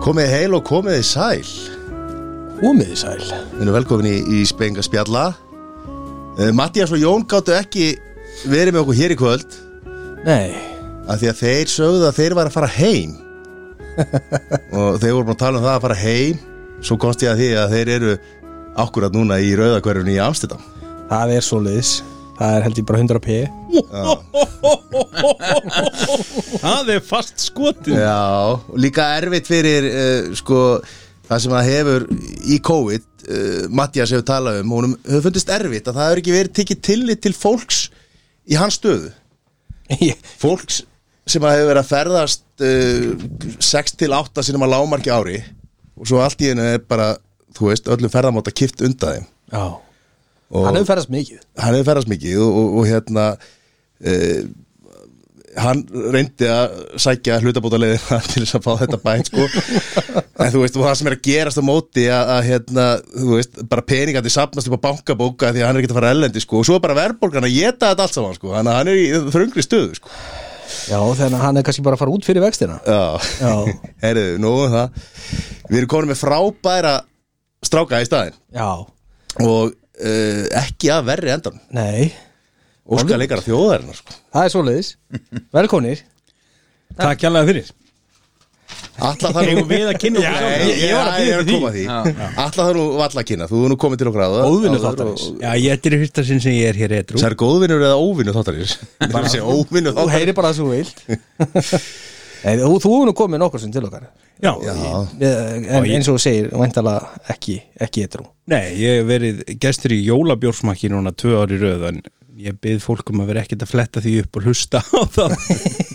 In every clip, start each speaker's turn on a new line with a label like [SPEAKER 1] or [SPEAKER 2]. [SPEAKER 1] Komið heil og komið sæl.
[SPEAKER 2] Komiði sæl
[SPEAKER 1] Við erum velkomin í, í Spenga spjalla. Uh, Mattias og Jón gáttu ekki verið með okkur hér í kvöld
[SPEAKER 2] Nei
[SPEAKER 1] af því að þeir sögðu að þeir var að fara heim. og þeir voru búin að tala um það að fara heim. Svo komst ég að því að þeir eru akkurat núna í rauðakverfinu í Amsterdam.
[SPEAKER 2] Það er svoleiðis Það er held ég bara 100 p
[SPEAKER 3] Það er fast skotin
[SPEAKER 1] Já, og líka erfitt fyrir uh, sko, það sem það hefur í COVID, uh, Mattias hefur talað um, honum hefur fundist erfitt að það hefur ekki verið tekið tillit til fólks í hans stöðu,
[SPEAKER 2] Ég-
[SPEAKER 1] fólks sem að hefur verið að ferðast uh, 6 til 8 sinum að lámarki ári og svo allt í hennu er bara þú veist, öllum ferðamáta kipt undan þeim
[SPEAKER 2] Já
[SPEAKER 1] og
[SPEAKER 2] Hann hefur ferðast mikið
[SPEAKER 1] hann hefur ferðast mikið og, og, og hérna uh, hann reyndi að sækja hlutabótaleiðina til þess að fá þetta bænt sko. en þú veist, og það sem er að gerast á móti að, að hérna, þú veist, bara peningandi sapnast upp á bankabóka því að hann er ekki að fara ellendi sko, og svo er bara verðbólgan að geta þetta allt saman sko, þannig að hann er í þröngri stöðu sko.
[SPEAKER 2] Já, þannig að hann er kannski bara að fara út fyrir vextina
[SPEAKER 1] Já,
[SPEAKER 2] Já.
[SPEAKER 1] herriðu, nú um það Við erum komin með frábæra stráka í staðinn
[SPEAKER 2] Já
[SPEAKER 1] og uh, ekki að verri endan
[SPEAKER 2] Nei
[SPEAKER 1] Óskar leikara þjóðarinnar sko.
[SPEAKER 2] Það er svoleiðis Velkonir
[SPEAKER 3] Takk hérlega fyrir
[SPEAKER 1] Alla það nú
[SPEAKER 3] Eigum við að kynna okkur
[SPEAKER 1] Nei,
[SPEAKER 3] sjálf
[SPEAKER 1] ég, ég var að bíða eftir því Alla það nú valla að kynna, þú er nú komið til okkar að
[SPEAKER 2] Óvinur þáttarins.
[SPEAKER 3] Já, ég þetta er í fyrsta sinn sem ég er hér etru
[SPEAKER 1] Það er góðvinur eða óvinur þáttarins Það er að segja óvinur
[SPEAKER 2] Þú
[SPEAKER 1] þáttarins
[SPEAKER 2] heyri bara það svo vilt Nei, þú, þú hefur nú komið nokkur sem til okkar
[SPEAKER 3] Já,
[SPEAKER 1] Já,
[SPEAKER 2] Eh, En eins og þú segir, væntalega ekki, ekki eitthrú
[SPEAKER 3] nei, ég hef verið gestur í jólabjórsmakki núna tvö ári röð en ég byrð fólk um að vera ekkert að fletta því upp og hlusta á það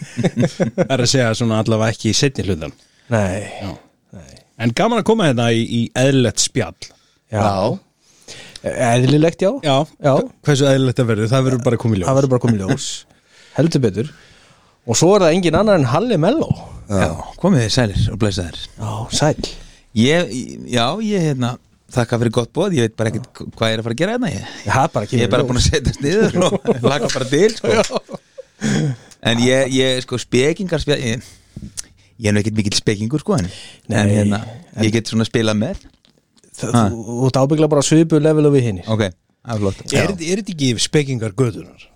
[SPEAKER 3] Það er að segja svona allavega ekki í setni hlutan
[SPEAKER 2] Nei
[SPEAKER 3] En gaman að koma hérna í, í eðlilegt spjall
[SPEAKER 2] Já.
[SPEAKER 1] já,
[SPEAKER 2] Eðlilegt já
[SPEAKER 3] Já,
[SPEAKER 2] Já.
[SPEAKER 3] hversu eðlilegt það verður, það verður bara komið
[SPEAKER 2] það
[SPEAKER 3] ljóð
[SPEAKER 2] verður bara komið ljós heldur betur og svo er það engin annar en Halli Mello
[SPEAKER 4] Já, komið þið sælir og blæsa þér
[SPEAKER 2] já, sæl
[SPEAKER 4] ég, Já, ég hérna þakka fyrir gott bóð, ég veit bara ekkert hvað ég er að fara að gera hérna ég,
[SPEAKER 2] það er bara
[SPEAKER 4] ég er bara búin að setja niður og laka bara til sko. En ég, ég sko spekingar spe, ég, ég er nú ekkert mikill spekingur sko en, en
[SPEAKER 2] Nei,
[SPEAKER 4] hérna, ég get svona spilað með
[SPEAKER 2] þú þú ert ábyggla bara svipu level og við hinnir
[SPEAKER 4] Ok, það er flott
[SPEAKER 3] Er þetta er þetta ekki spekingar gödunar?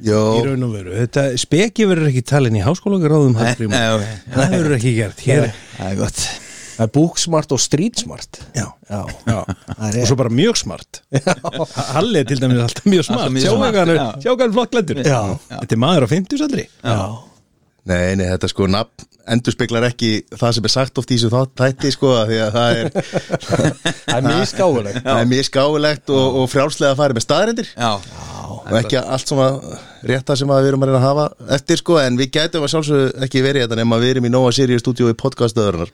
[SPEAKER 1] já
[SPEAKER 3] Í raun og veru, þetta speki verður ekki talin í háskóla gráðum Hallgrímur.
[SPEAKER 4] Nei, ok.
[SPEAKER 3] Það verður ekki gert hér
[SPEAKER 4] Það er gott
[SPEAKER 2] það er búksmart og streetsmart
[SPEAKER 3] Já.
[SPEAKER 2] já,
[SPEAKER 3] Já.
[SPEAKER 2] það
[SPEAKER 3] Og
[SPEAKER 2] er
[SPEAKER 3] svo bara mjög smart Halli er til dæmis alltaf mjög smart
[SPEAKER 4] Alltaf mjög
[SPEAKER 3] Sjá
[SPEAKER 4] smart,
[SPEAKER 3] hvað hann er-
[SPEAKER 4] já.
[SPEAKER 3] sjá hvað hann flokklendur
[SPEAKER 2] Já.
[SPEAKER 3] Þetta er maður á 50 sallri
[SPEAKER 2] já,
[SPEAKER 1] Nei, nei, þetta sko nafn endurspeglar ekki það sem er sagt oft í þessu þátt- þætti sko af Því að það er,
[SPEAKER 2] það er mjög skáðulegt
[SPEAKER 1] það er mjög skáulegt og, og frjálslega að fara með staðarindir
[SPEAKER 4] Já,
[SPEAKER 1] og ekki allt sem að rétta sem að við erum að reyna að hafa eftir sko en við gætum að sjálfsögðu ekki verið þetta nema við erum í Nóa Sirius stúdíu í podcastöðurnar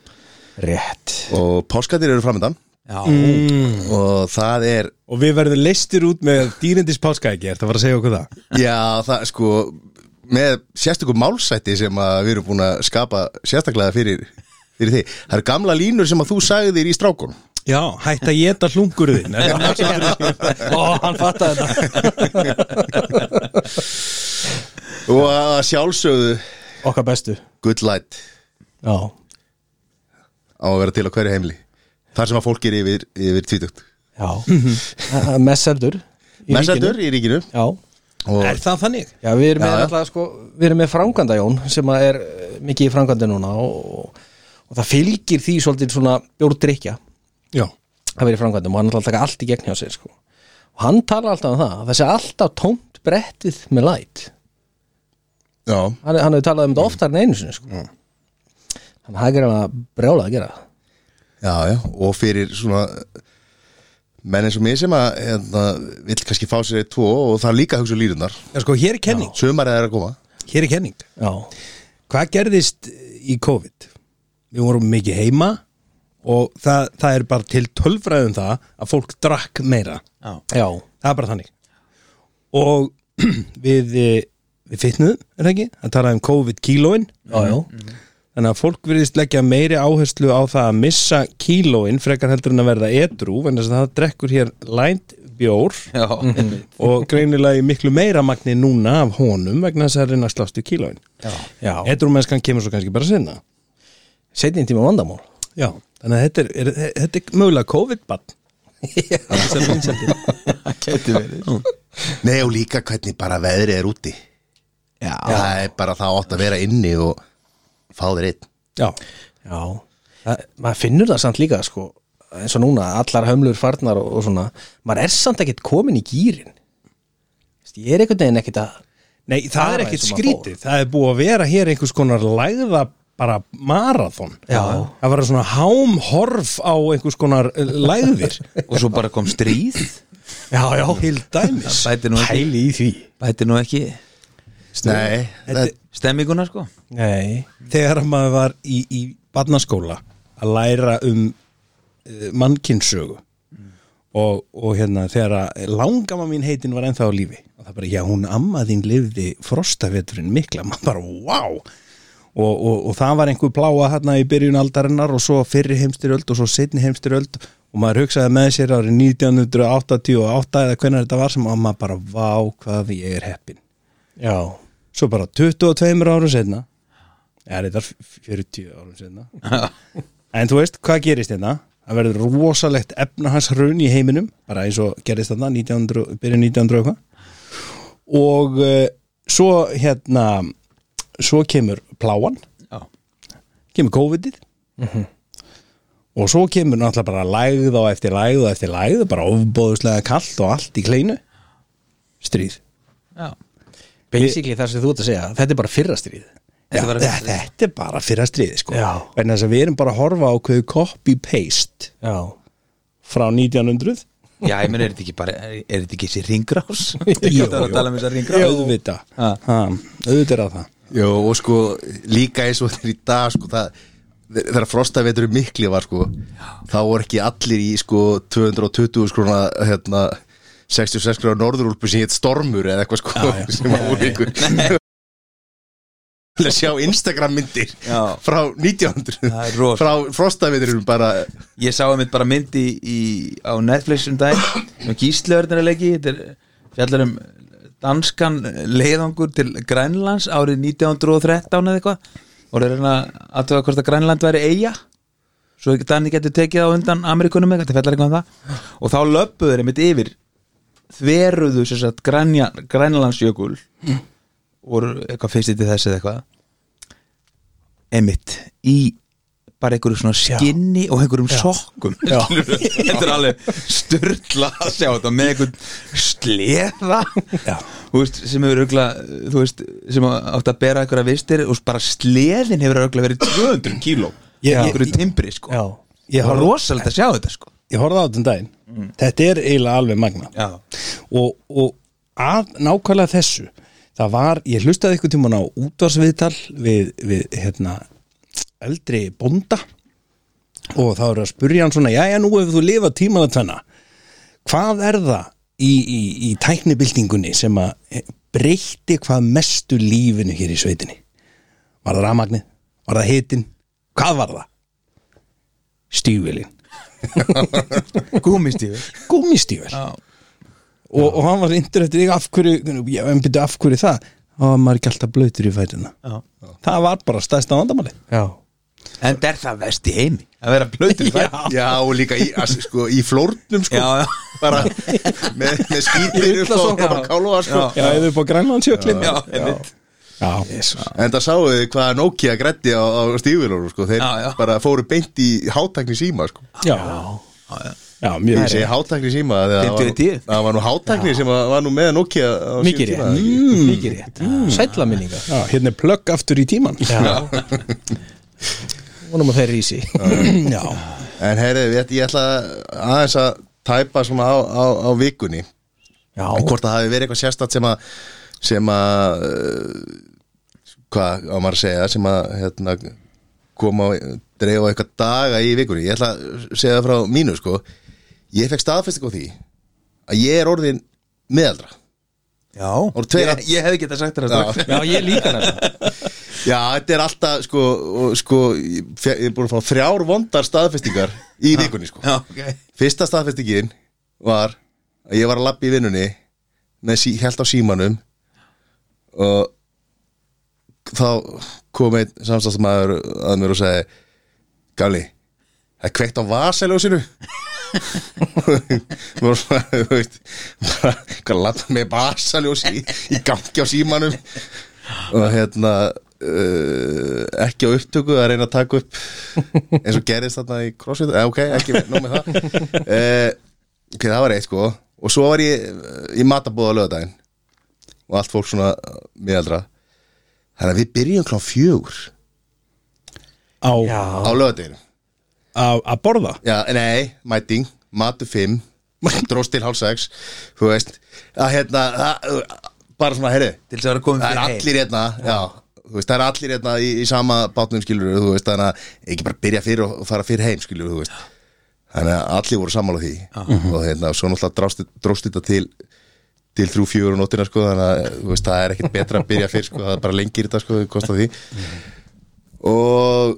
[SPEAKER 2] rétt
[SPEAKER 1] og páskatir eru framöndan
[SPEAKER 4] já,
[SPEAKER 1] og það er
[SPEAKER 3] Og við verðum leistir út með dýrindis páskaæki Þetta var að segja okkur það
[SPEAKER 1] Já, það sko með sérstökum málsætti sem að við erum búin að skapa sérstaklega fyrir, fyrir því. Það eru gamla línur sem að þú sagði þér í strákunum.
[SPEAKER 3] Já, hætt að geta hlungur þinn
[SPEAKER 2] ó, hann fattar þetta
[SPEAKER 1] Og að sjálfsögðu
[SPEAKER 2] okkar bestu
[SPEAKER 1] good light
[SPEAKER 2] já,
[SPEAKER 1] á að vera til á hverju heimli. Þar sem að fólk er yfir, yfir tvítugt.
[SPEAKER 2] já Það er mest seldur í
[SPEAKER 1] Messendur
[SPEAKER 2] ríkinu.
[SPEAKER 1] í ríkinu.
[SPEAKER 2] já
[SPEAKER 1] Og
[SPEAKER 3] Er það þannig?
[SPEAKER 2] Já, við erum, með,
[SPEAKER 1] Já, já.
[SPEAKER 2] alltaf, sko, við erum með franganda Jón sem að er eh, mikið í frangandi núna og, og, og það fylgir því svolítið svona bjórdrykja
[SPEAKER 3] Já
[SPEAKER 2] að vera í frangandi og hann er alltaf að taka allt í gegn hjá sér sko. og hann talar alltaf um það að það sé alltaf tómt brettið með læt
[SPEAKER 1] já,
[SPEAKER 2] hann, hann hefur talað um
[SPEAKER 1] Mm.
[SPEAKER 2] þetta oftar en einu sinni sko. þannig að það er að brjála að gera það.
[SPEAKER 1] já, já. Og fyrir svona menn eins og mér sem að hérna, vill kannski fá sér eitt tvo og það er líka hugsa um lírunar.
[SPEAKER 3] Já, sko, hér er kenning
[SPEAKER 1] Sumarið er að koma.
[SPEAKER 3] Hér er kenning
[SPEAKER 2] Já,
[SPEAKER 3] Hvað gerðist í COVID? Við vorum mikið heima og það, það er bara til tölfræðum það að fólk drakk meira
[SPEAKER 4] já,
[SPEAKER 2] já,
[SPEAKER 3] það er bara þannig og við eh, við fitnuðum, er það ekki? Það talaði um COVID-kílóin
[SPEAKER 2] já, já.
[SPEAKER 1] Mm.
[SPEAKER 3] þannig að fólk virðist leggja meiri áherslu á það að missa kílóin frekar heldur en að verða edrú, en þess að það drekkur hér lænt bjór
[SPEAKER 4] já.
[SPEAKER 3] og greinilega í miklu meira magni núna af honum vegna þess að reyna að slástu kílóin
[SPEAKER 2] já.
[SPEAKER 3] edrú mennskan kemur svo kannski bara sinna
[SPEAKER 2] Seinni tíma vandamál
[SPEAKER 3] Já, þannig að þetta er, er, þetta er mögulega COVID-bann Þessar vinsældir.
[SPEAKER 4] Það gæti verið
[SPEAKER 1] Nei og líka hvernig bara veðrið er úti
[SPEAKER 4] Já,
[SPEAKER 1] Það er bara það átt að vera inni og fá þér einn
[SPEAKER 3] Já,
[SPEAKER 2] Já, það, maður finnur það samt líka sko, eins og núna, allar hömlur farnar og, og svona, maður er samt ekkert komin í gýrin ég er einhvern veginn ekkert að
[SPEAKER 3] nei, það,
[SPEAKER 2] Það
[SPEAKER 3] er
[SPEAKER 2] var
[SPEAKER 3] ekkert
[SPEAKER 2] eins og maður
[SPEAKER 3] skrítið Það er búið að vera hér einhvers konar lægða bara marathon
[SPEAKER 2] Já.
[SPEAKER 3] Það var svona hámhorf á einhvers konar eh, lægðir
[SPEAKER 4] og svo bara kom stríð
[SPEAKER 2] Já, já,
[SPEAKER 3] Til dæmis
[SPEAKER 4] Það bæti nú ekki,
[SPEAKER 2] pæli í því
[SPEAKER 4] bæti nú ekki
[SPEAKER 1] Nei, það,
[SPEAKER 4] stemminguna sko
[SPEAKER 2] Nei,
[SPEAKER 3] Þegar maður var í, í barnaskóla að læra um eh, mannkynsögu og, og hérna þegar að langamma mín heitin var ennþá á lífi og það bara, já, hún amma þín lifði frostaveturinn mikla, maður bara, wow og, og, og það var einhver pláa hérna í byrjun aldarinnar og svo fyrri heimstyröld og svo setni heimstyröld og maður hugsaði með sér árið 1988 eða hvernig þetta var sem að maður bara, vá, hvað ég er heppin
[SPEAKER 2] já
[SPEAKER 3] svo bara 22 árum setna eða þetta er 40 árum setna en þú veist hvað gerist hérna það verður rosalegt efnahansrun í heiminum bara eins og gerist þarna 1900, byrja 1900 og eitthvað og uh, svo hérna svo kemur pláan
[SPEAKER 4] Já,
[SPEAKER 3] kemur COVID-ið og svo kemur náttúrulega bara lægð á eftir lægð og eftir lægð bara ofbóðuslega kallt og allt í kleinu stríð
[SPEAKER 4] já
[SPEAKER 2] Basically það sem þú ert að segja, þetta er bara fyrra stríð
[SPEAKER 3] Já,
[SPEAKER 4] Þetta var-
[SPEAKER 3] þetta, þetta er bara fyrra stríði sko
[SPEAKER 2] Já.
[SPEAKER 3] Vegna þess að við erum bara að horfa á hverju copy-paste
[SPEAKER 2] Já,
[SPEAKER 3] frá 1900
[SPEAKER 4] Já, ég meni, er þetta ekki bara, er, er þetta ekki þessi ringrás?
[SPEAKER 3] Jú,
[SPEAKER 4] Þetta var
[SPEAKER 3] jú.
[SPEAKER 4] að tala um þessa ringrás
[SPEAKER 3] Auðvita
[SPEAKER 4] Ha.
[SPEAKER 3] Auðvita er að það
[SPEAKER 1] Jó, og sko líka eins og þetta er í dag sko, það, þegar frostavetur mikli var sko, þá voru ekki allir í sko 220 skrona hérna, 66 skrona norðurúlpu sem hétt Stormur eða eitthvað sko sem var úr ykkur Til að sjá Instagram myndir
[SPEAKER 4] Já.
[SPEAKER 1] frá 1900
[SPEAKER 4] Það er rosa.
[SPEAKER 1] frá frostaveturum bara
[SPEAKER 4] Ég sá einmitt bara myndi í, á Netflix um dag um gíslöðurnar að leiki þetta er fjallar um danskan leiðangur til Grænlands árið 1913 eða eitthvað og það er reyna að tóka hvort að Grænland væri eiga svo ekki danni getur tekið á undan Amerikunum eða eitthvað, þetta fjallar eitthvað um það og þá löppuðu þeir einmitt yfir þveruðu sem sagt Grænja, Grænlandsjökul voru eitthvað fyrst í þessi eða eitthvað einmitt í bara einhverju svona skinni og einhverjum sokkum skilurðu. þetta er alveg styrla að sjá þetta með einhvern sleða
[SPEAKER 3] Já.
[SPEAKER 4] Þú veist, sem hefur ögla þú veist, sem átt að bera einhverja vistir og bara sleðin hefur ögla verið 200 kíló í
[SPEAKER 3] Ég-
[SPEAKER 4] einhverju timbri sko
[SPEAKER 2] já
[SPEAKER 3] Ég
[SPEAKER 4] það var
[SPEAKER 3] horfði,
[SPEAKER 4] rosalegt að sjá þetta sko
[SPEAKER 3] ég horfði á þetta um daginn
[SPEAKER 4] Mm.
[SPEAKER 3] Þetta er eiginlega alveg magna
[SPEAKER 4] já,
[SPEAKER 3] og, og að nákvæmlega þessu það var, ég hlustaði ykkur tíman á útvarsviðtal við, við hérna, eldri bónda og þá eru að spurja hann svona jæja nú hefur þú lifað tíman að tvenna hvað er það í, í, í tæknibildingunni sem að eh, breytti hvað mestu lífinu hér í sveitinni var það rafmagnið, var það hitin hvað var það? stífilin,
[SPEAKER 4] gúmistífi
[SPEAKER 3] gúmistífil
[SPEAKER 4] já,
[SPEAKER 3] og, og hann var reyndur eftir því af hverju, já, en byrju af hverju það og maður er ekki alltaf blöytur í fætina
[SPEAKER 4] já
[SPEAKER 3] það var bara stæðsta vandamáli
[SPEAKER 2] Já,
[SPEAKER 4] En það er það vest í heimi Að vera blöður
[SPEAKER 1] já og líka í, að- sko, í flórnum sko
[SPEAKER 4] Já, já.
[SPEAKER 1] bara með, með skýtir upp og bara káluða sko
[SPEAKER 4] Já.
[SPEAKER 3] já, eða upp á Grænlandsjöklin
[SPEAKER 4] Já, einmitt.
[SPEAKER 3] já.
[SPEAKER 1] En það sáu þið hvað Nokia grætti á, á stífilóru sko. Þeir
[SPEAKER 4] Já, já.
[SPEAKER 1] bara fóru beint í hátækni síma sko.
[SPEAKER 3] Já. já, mjög
[SPEAKER 1] Ég segi hátækni síma þegar það
[SPEAKER 4] 50 í
[SPEAKER 1] var,
[SPEAKER 4] 10.
[SPEAKER 1] það var nú hátækni sem að- var nú með Nokia á sínum
[SPEAKER 2] mikið
[SPEAKER 1] tíma.
[SPEAKER 2] rétt, Mm. mikið rétt Sætla minninga
[SPEAKER 3] já, hérna er plögg aftur í tíman Mm. já,
[SPEAKER 2] Vonum að þeir rísi
[SPEAKER 3] já.
[SPEAKER 1] En heyrðu, ég, ég ætla aðeins að tæpa svona á, á, á vikunni
[SPEAKER 2] Já,
[SPEAKER 1] og hvort það hafi verið eitthvað sérstætt sem að sem að eh, hvað á maður að segja sem að hérna, koma og dreifa eitthvað daga í vikunni ég ætla að segja það frá mínu sko ég fekk staðfesting á því að ég er orðin meðaldra
[SPEAKER 4] Já
[SPEAKER 1] Og tveir-
[SPEAKER 4] ég, ég hefði getað sagt þér það
[SPEAKER 2] já ég líka þetta
[SPEAKER 1] já, þetta er alltaf sko, og, sko ég, fe- ég er búin að fá þrjár vondar staðfestingar í vikunni sko
[SPEAKER 4] Já, ok
[SPEAKER 1] fyrsta staðfestingin var að ég var að lappa í vinnunni með sí, held á símanum og þá kom einn samstæðsmaður að mér og segi Gali, Það er kveikt á vasaljósinu Þú voru svona, þú veist bara, hvað lappa með vasaljósi í, í gangi á símanum og hérna uh, ekki á upptöku að reyna að taka upp eins og gerist þarna í crossfit eh, ok, ekki nóg með það uh, ok, það var eitt sko og svo var ég eh, í matabóð á lögadaginn og allt fólk svona eh, miðaldra þannig að við byrjum klá fjögur
[SPEAKER 3] á,
[SPEAKER 1] á lögadaginn
[SPEAKER 3] á, að borða
[SPEAKER 1] Já, nei, mæting, matu 5 dróst til hálf 6 þú veist, að hérna að, bara svona, herri,
[SPEAKER 4] til þess að vera komið
[SPEAKER 1] það er
[SPEAKER 4] fyrir heim
[SPEAKER 1] allir hérna já, þú veist, það er allir hérna í, í sama bátnum skilur, þú veist, þannig að ekki bara byrja fyrir og fara fyrir heim skilur, þú veist þannig að allir voru sammála því og hérna, svo náttúrulega drást, dróst þetta til til þrjú fjögur og nóttina sko, þannig að þú veist, það er ekkert betra að byrja fyrir sko, það er bara lengir þetta sko, það kostar því og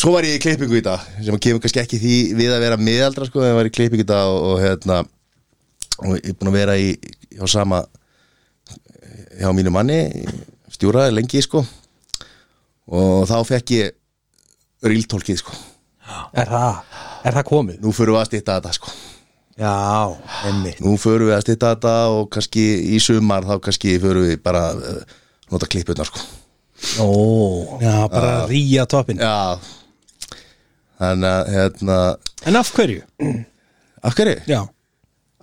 [SPEAKER 1] svo var ég í klippingu í dag sem að kemur kannski ekki því við að vera miðaldra sko, en var í klippingu í dag og, og hérna og ég er búin að vera í hjá sama hjá mínu manni stjúraði lengi sko og þá fekk ég ríltólkið sko
[SPEAKER 2] er það, er það komið?
[SPEAKER 1] nú förum við að stýta þetta sko
[SPEAKER 4] já, emmi
[SPEAKER 1] nú förum við að stýta þetta og kannski í sumar þá kannski förum við bara eh, nota klippurnar sko
[SPEAKER 2] Ó,
[SPEAKER 3] Já, bara uh, ríja toppin
[SPEAKER 1] já þannig að hérna
[SPEAKER 3] En af hverju?
[SPEAKER 1] af hverju?
[SPEAKER 3] Já,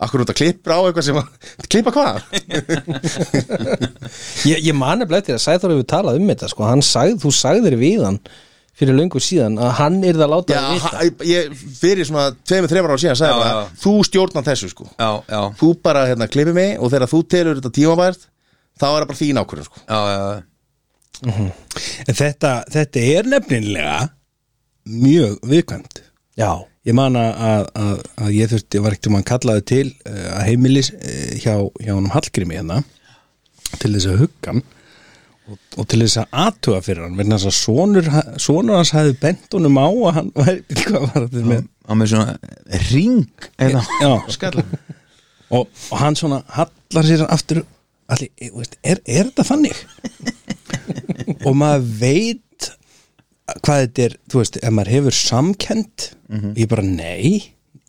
[SPEAKER 1] Akkur út að klippa á eitthvað sem að klippa hvað?
[SPEAKER 2] ég, ég mani blættir að Sæþór hefur talað um þetta sko. hann sagði, þú sagðir við hann fyrir löngu síðan að hann yrði að
[SPEAKER 1] Já,
[SPEAKER 2] láta þig vita.
[SPEAKER 1] ha- ég fyrir svona tveimur, þreimur ára síðan sagði
[SPEAKER 4] Já,
[SPEAKER 1] bara,
[SPEAKER 4] já.
[SPEAKER 1] þú stjórnar þessu sko
[SPEAKER 4] já, já,
[SPEAKER 1] þú bara hérna klippi mig og þegar þú telur þetta tímabært þá er það bara þín ákvörðun sko
[SPEAKER 4] já, já
[SPEAKER 3] en þetta, þetta er nefnilega mjög viðkvæmt
[SPEAKER 2] já,
[SPEAKER 3] Ég man að, að, að, að ég þurfti var ekkert um að kallaði til eh, að heimilis eh, hjá, hjá honum Hallgrími hérna til þess að hugga hann og, og til þess að aðtuga fyrir hann vegna þess að sonur, ha- sonur hans hefði bent honum á að hann væri, hvað var þetta með
[SPEAKER 4] á með svona ring eða
[SPEAKER 3] Já.
[SPEAKER 4] skalla
[SPEAKER 3] og, og hann svona hallar sér aftur allir, e, veist, er, er þetta þannig? og maður veit hvað þetta er, þú veist, ef maður hefur samkend ég bara nei,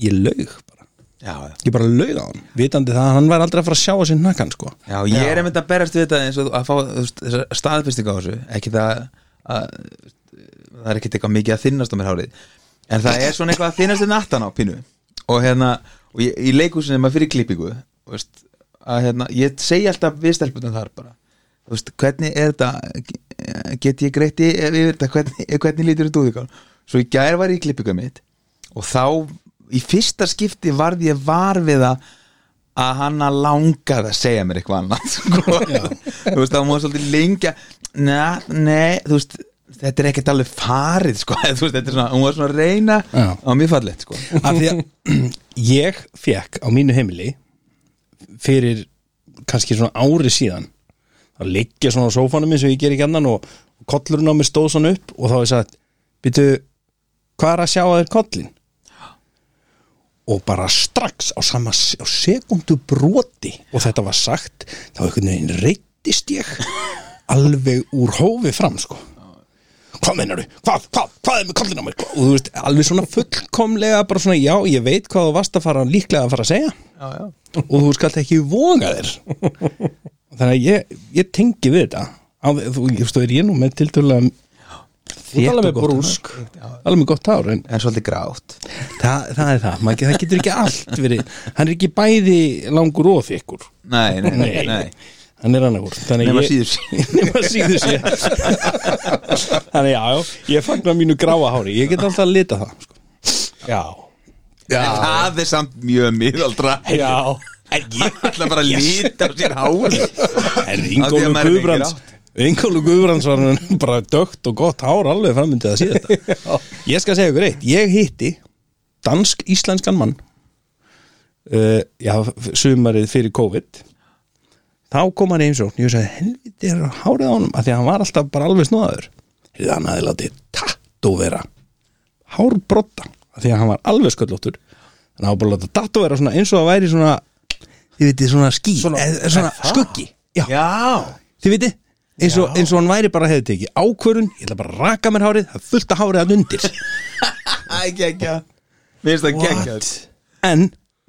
[SPEAKER 3] ég laug bara
[SPEAKER 4] já, já
[SPEAKER 3] ég bara laug á hann, vitandi það að hann var aldrei að fara að sjá að sér nakkan sko
[SPEAKER 4] Já, ég er einmitt að berast við þetta eins og að fá þú veist, þessa staðfestingu á þessu ekki það að það er ekkert eitthvað mikið að þinnast á mér hárið en það er svona eitthvað að þinnast en aftan á pínu og hérna, og ég, í leikhúsinu maður fyrir klippingu þú veist, að hérna, ég segi alltaf við stelpunum þar bara þú veist, hvernig er þetta get ég greitti yfir þetta hvernig, hvernig lítur þetta út ykkur svo í gær var ég í klippingu mitt og þá, í fyrsta skipti varð ég var við að að hann að langaði að segja mér eitthvað annað sko. þú veist, þá múið svolítið lengja neða, nei, þú veist þetta er ekkert alveg farið sko. þú veist, þetta er svona, hún var svona að reyna
[SPEAKER 3] Já.
[SPEAKER 4] á mjög fallegt sko.
[SPEAKER 3] af því að ég fekk á mínu heimili fyrir kannski svona ári síðan þá liggja svona á sófanum eins og ég ger ekki annan og kollurinn á mér stóð svona upp og þá er sagt, býtu hvað er að sjá að þér kollin? og bara strax á sama s- á sekundu broti og þetta var sagt, þá einhvern veginn reyttist ég alveg úr hófi fram sko hvað mennarðu, hvað, hvað, hvað er með kollin á mér og þú veist, alveg svona fullkomlega bara svona, já, ég veit hvað þú varst að fara líklega að fara að segja
[SPEAKER 4] já, já.
[SPEAKER 3] og þú skalt ekki voga þér þannig að ég, ég tengi við þetta á, þú, ég veist, þú er ég nú með tiltölulega þú
[SPEAKER 4] Þétt
[SPEAKER 3] tala
[SPEAKER 4] og
[SPEAKER 3] með
[SPEAKER 4] gott
[SPEAKER 3] brúsk alveg með gott hár en
[SPEAKER 4] en svolítið grátt
[SPEAKER 3] það, það er það, maður, það getur ekki allt verið hann er ekki bæði langur og þykkur
[SPEAKER 4] nei, nei, nei, nei.
[SPEAKER 3] hann er annað úr
[SPEAKER 4] Nema síður
[SPEAKER 3] síður nema síður síður þannig já, já, ég fagnar mínu gráa hári ég get alltaf að lita það sko.
[SPEAKER 2] já,
[SPEAKER 1] Já,
[SPEAKER 4] en það er samt mjög miðaldra
[SPEAKER 2] já.
[SPEAKER 4] ég ætla bara að líta á sér hári
[SPEAKER 3] en
[SPEAKER 4] Af því að
[SPEAKER 3] Ingólu
[SPEAKER 4] maður er
[SPEAKER 3] Guðbrands
[SPEAKER 4] ekki
[SPEAKER 3] Ingólu Guðbrands var hann bara dögt og gott hár alveg framöndið að síðasta ég skal segja ykkur eitt, ég hitti dansk-íslenskan mann uh, já, sumarið fyrir COVID þá kom hann einsókn, ég sagði helviti er hárið á honum, af því að hann var alltaf bara alveg snóðaður, hefði hann aðeins látið tattóvera hárbrotta, af því að hann var alveg sköllóttur þannig að hann var bara að láta tattóvera svona eins og að væri svona, þið vitið svona ský, Eh, svona, svona skuggi já,
[SPEAKER 4] já,
[SPEAKER 3] þið viti eins og, eins og hann væri bara hefði tekið ákvörun ég ætla bara að raka mér hárið, það er fullt að hárið að undir
[SPEAKER 4] Æ, geggja Mér finnst það geggja
[SPEAKER 3] En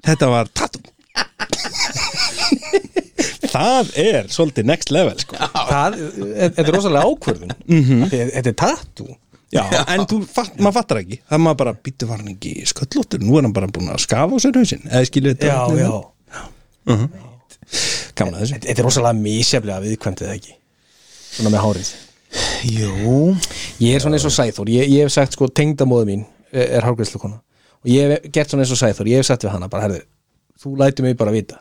[SPEAKER 3] þetta var tattoo Það er svolítið next level sko.
[SPEAKER 2] það, þetta er rosalega ákvörðun Því að þetta er tattoo
[SPEAKER 3] Já, en þú, fatt, maður fattar ekki Það er maður bara, býttu var hann ekki sköllóttur Nú er hann bara búin að skafa á sér hausinn Eða skilur þetta
[SPEAKER 2] já, já,
[SPEAKER 3] Gaman að þessu
[SPEAKER 2] þetta þetta er rosalega misjaflega viðkvæmt eða ekki svona með hárið
[SPEAKER 4] Jú
[SPEAKER 2] ég er svona eins og Sæþór, ég, ég hef sagt sko tengdamóðu mín eh, er hárgreiðslukona og ég hef gert svona eins og Sæþór, ég hef sagt við hana bara herðu, þú lætur mig bara vita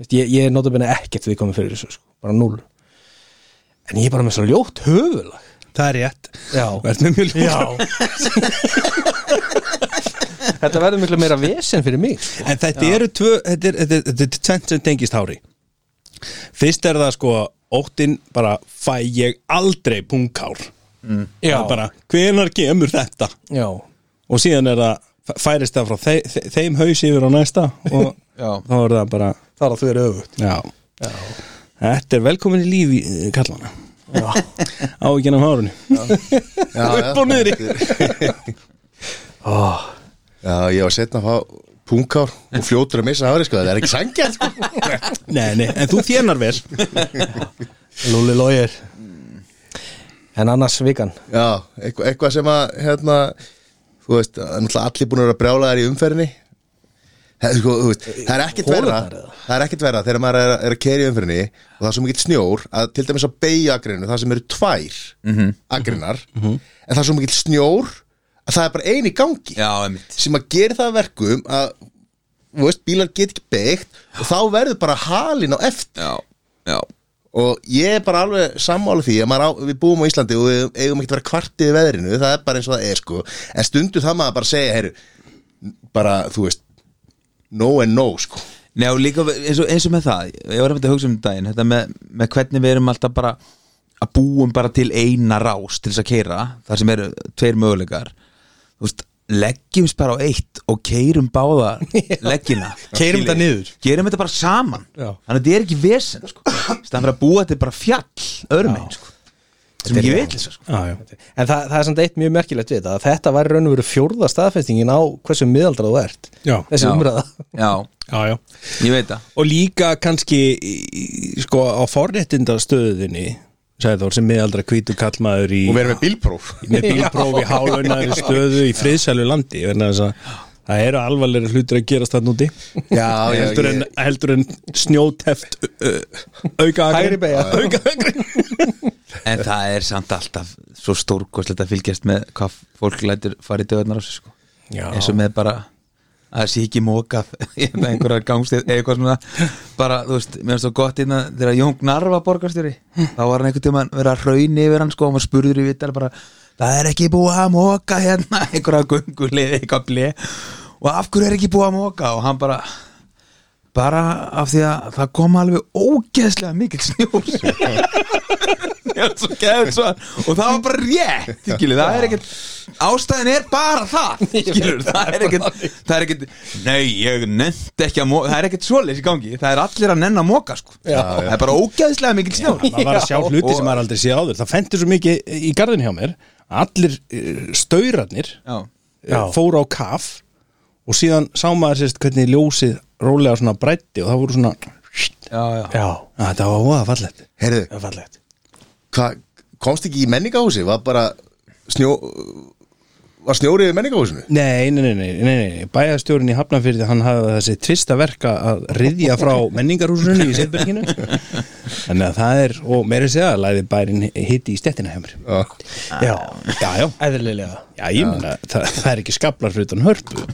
[SPEAKER 2] Veist, ég, ég er notabene ekkert við komið fyrir þessu sko, bara núl en ég er bara með svo ljótt höfulag
[SPEAKER 3] Það er rétt
[SPEAKER 2] já,
[SPEAKER 3] Verð með mjög ljótt
[SPEAKER 2] já. þetta verður miklu meira vesen fyrir mig sko.
[SPEAKER 3] En þetta eru tvö, þetta er, þetta er, þetta er tvent sem tengist hári Fyrst er það sko Óttinn bara fæ ég aldrei punghár mm.
[SPEAKER 2] Já.
[SPEAKER 3] bara, Hvenar kemur þetta?
[SPEAKER 2] já,
[SPEAKER 3] Og síðan er það fæ- færist það frá þe þe þeim haus yfir á næsta og
[SPEAKER 4] Já.
[SPEAKER 3] þá er það bara
[SPEAKER 2] þar að þú er öfugt
[SPEAKER 3] Já,
[SPEAKER 2] já,
[SPEAKER 3] þetta er velkomin í lífi kallana
[SPEAKER 2] já.
[SPEAKER 3] á ekki nefn hárunni Upp og niður í.
[SPEAKER 2] Oh,
[SPEAKER 1] Já, ég var setna að fá punkár og fljótur að missa ári, sko, það er ekki sangjað sko.
[SPEAKER 3] Nei, nei, en þú þénar vel
[SPEAKER 2] Lúli Lóger en annars vikan
[SPEAKER 1] Já, eitthvað, eitthvað sem að hérna, þú veist, það er náttúrulega allir búin að vera brjála þær í umferðinni það, er sko, þú veist, það er ekkert verra
[SPEAKER 2] Holurnar eða?
[SPEAKER 1] það er ekkert verra þegar maður er, er að keri umferðinni og það er svo mikið snjór að til dæmis að beigja agrinu, það sem eru tvær mm
[SPEAKER 3] Mhm.
[SPEAKER 1] -hmm. agrinar, en það er svo mikið snjór að það er bara ein í gangi
[SPEAKER 4] Já, einmitt
[SPEAKER 1] sem að gera það að verkum að þú veist, bílar get ekki beigt og þá verður bara halin á eftir
[SPEAKER 4] Já, já
[SPEAKER 1] og ég er bara alveg sammála því að maður á, við búum á Íslandi og við eigum ekki að vera kvartið í veðrinu, það er bara eins og það er sko en stundu það maður bara að segja heyr, bara, þú veist no and no sko
[SPEAKER 4] Nei, og líka eins og, eins og með það Ég var einmitt að hugsa um daginn Þetta með, með hvernig við erum alltaf bara að búum bara til eina rás til þess að keira þar sem eru tveir möguleikar Þú veist, leggjumst bara á eitt og keirum báða leggina
[SPEAKER 2] Keyrum þetta niður.
[SPEAKER 4] Gerum þetta bara saman
[SPEAKER 2] Já.
[SPEAKER 4] Þannig að þetta er ekki vesen sko. Þannig að búa þetta er bara fjall öðrum einn sko. sem
[SPEAKER 2] Þetta er-
[SPEAKER 4] ég veit sko.
[SPEAKER 3] Já, já
[SPEAKER 2] En það, það er samt eitt mjög merkilegt við þetta að þetta var raun og veru fjórða staðfestingin á hversu miðaldra þú ert
[SPEAKER 3] Já.
[SPEAKER 2] þessi
[SPEAKER 4] Já.
[SPEAKER 2] umræða
[SPEAKER 4] Já,
[SPEAKER 3] Já, já
[SPEAKER 4] ég veit það
[SPEAKER 3] Og líka kannski í- í- sko á forréttindastöðinni sagði Þór sem miðaldra hvítu kallmaður í
[SPEAKER 1] og við erum með bílpróf
[SPEAKER 3] með bílprófi hálaunaðri stöðu í friðsælu landi vegna þess að það eru alvarlega hlutir að gerast þarna úti
[SPEAKER 1] Já, já,
[SPEAKER 3] heldur, en,
[SPEAKER 1] ég-
[SPEAKER 3] heldur en snjóteft uh, auka
[SPEAKER 2] Hægri beygja.
[SPEAKER 3] auka akrein
[SPEAKER 4] En það er samt alltaf svo stórkoslegt að fylgjast með hvað fólk lætur fara í döðnar á sig sko. eins og með bara að það sé ekki mókað eða einhverjar gangstíð eða eitthvað svona bara, þú veist, mér finnst það gott innan þegar Jón Gnarr var borgarstjóri þá var hann einhvern tímann verið að hrauni yfir hann sko og maður spurður í vital bara það er ekki búið að móka hérna einhverja gungulið, eitthvað ble og af hverju er ekki búið að móka og hann bara bara af því að það kom alveg ógeðslega mikill snjór Ég var svo geðið svo og það var bara rétt skilur, það er ekkert, ástæðin er bara það skilur, það er ekkert það er ekkert, nei ég nefndi ekki að móka, það er ekkert svoleiðis í gangi það er allir að nenn að móka sko það er bara ógeðslega mikill snjór
[SPEAKER 3] maður var að sjá hluti sem maður aldrei sé áður það fendur svo mikið í garðin hjá mér allir eh, staurarnir
[SPEAKER 4] já,
[SPEAKER 3] Já. fóru eh, á kaf og síðan sá maður sérst hvernig ljósið rólega svona brætti og það voru svona að
[SPEAKER 4] já, já.
[SPEAKER 2] Já,
[SPEAKER 3] þetta var óða fallegt
[SPEAKER 1] heyrðu,
[SPEAKER 2] það er fallegt
[SPEAKER 1] hvað, komst ekki í menningahúsi var bara snjó var snjórið í menningahúsinu
[SPEAKER 3] Nei, nei, nei, nei, nei, nei, nei. bæjarstjórin í Hafnarfyrði hann hafði þessi tvista verka að riðja frá menningarhúsinu í Seyðberginu Þannig að það er, og meira að segja, læði bærin hitti í stettina hefur
[SPEAKER 1] Já.
[SPEAKER 2] Já,
[SPEAKER 3] Já, já,
[SPEAKER 2] eðlilega
[SPEAKER 3] já, ég meina, það, það er ekki skablar fyrir utan hörpu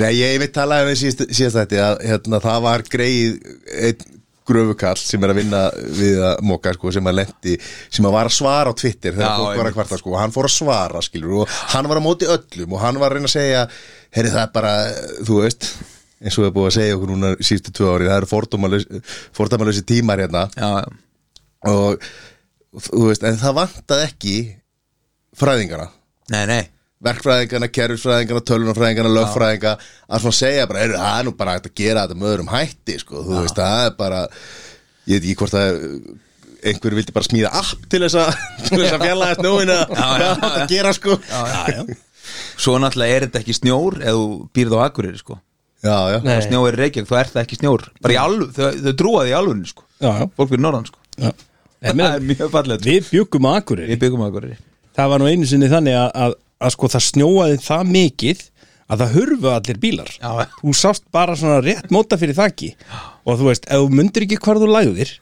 [SPEAKER 1] Nei, ég veit talaði um því síðast, síðast þetta að hérna, það var greið einn gröfukall sem er að vinna við að moka sko, sem að lendi sem að var að svara á Twitter þegar
[SPEAKER 4] Já,
[SPEAKER 1] fólk var að
[SPEAKER 4] einmitt.
[SPEAKER 1] kvarta sko, og hann fór að svara skilur og hann var á móti öllum og hann var að reyna að segja heyri það er bara, þú veist eins og við er búið að segja okkur núna síðustu tvö ári það eru fordómalaus- fordómalausi tímar hérna
[SPEAKER 4] Já, já.
[SPEAKER 1] og þú veist, en það vantaði ekki fræðingana
[SPEAKER 4] nei, nei
[SPEAKER 1] verkfræðingarna, kerfisfræðingarna, tölunarfræðingarna, lögfræðinga að svona segja bara, "Heyrðu, það er nú bara hægt að gera þetta með öðrum hætti, sko, þú veist, það er bara ég veit ekki hvort það er einhver vildi bara smíða app til þess að til þess að fjallaða snjóin að hvað
[SPEAKER 4] já,
[SPEAKER 1] átt
[SPEAKER 4] já.
[SPEAKER 1] að gera sko
[SPEAKER 4] já, já. Svo náttúrulega er þetta ekki snjór eða þú býrð á Akureyri sko
[SPEAKER 1] já, já,
[SPEAKER 2] Nei.
[SPEAKER 4] Snjó er í Reykjavík, þá er það ekki snjór bara í alveg, þau, þau trúa því í alveg sko
[SPEAKER 3] Já, já.
[SPEAKER 4] fólk fyrir norðan sko
[SPEAKER 3] Já. Nei,
[SPEAKER 4] það
[SPEAKER 3] meina,
[SPEAKER 4] er mjög fallegt sko.
[SPEAKER 3] Við byggum að Akureyri
[SPEAKER 4] við byggum á Akureyri
[SPEAKER 3] Það var nú einu sinni þannig að, að, að sko það snjóaði það mikið að það hurfu allir bílar
[SPEAKER 4] Já.
[SPEAKER 3] Þú sást bara svona rétt móta fyrir þakki og þú veist, ef þú mundir ekki hvar þú lagðir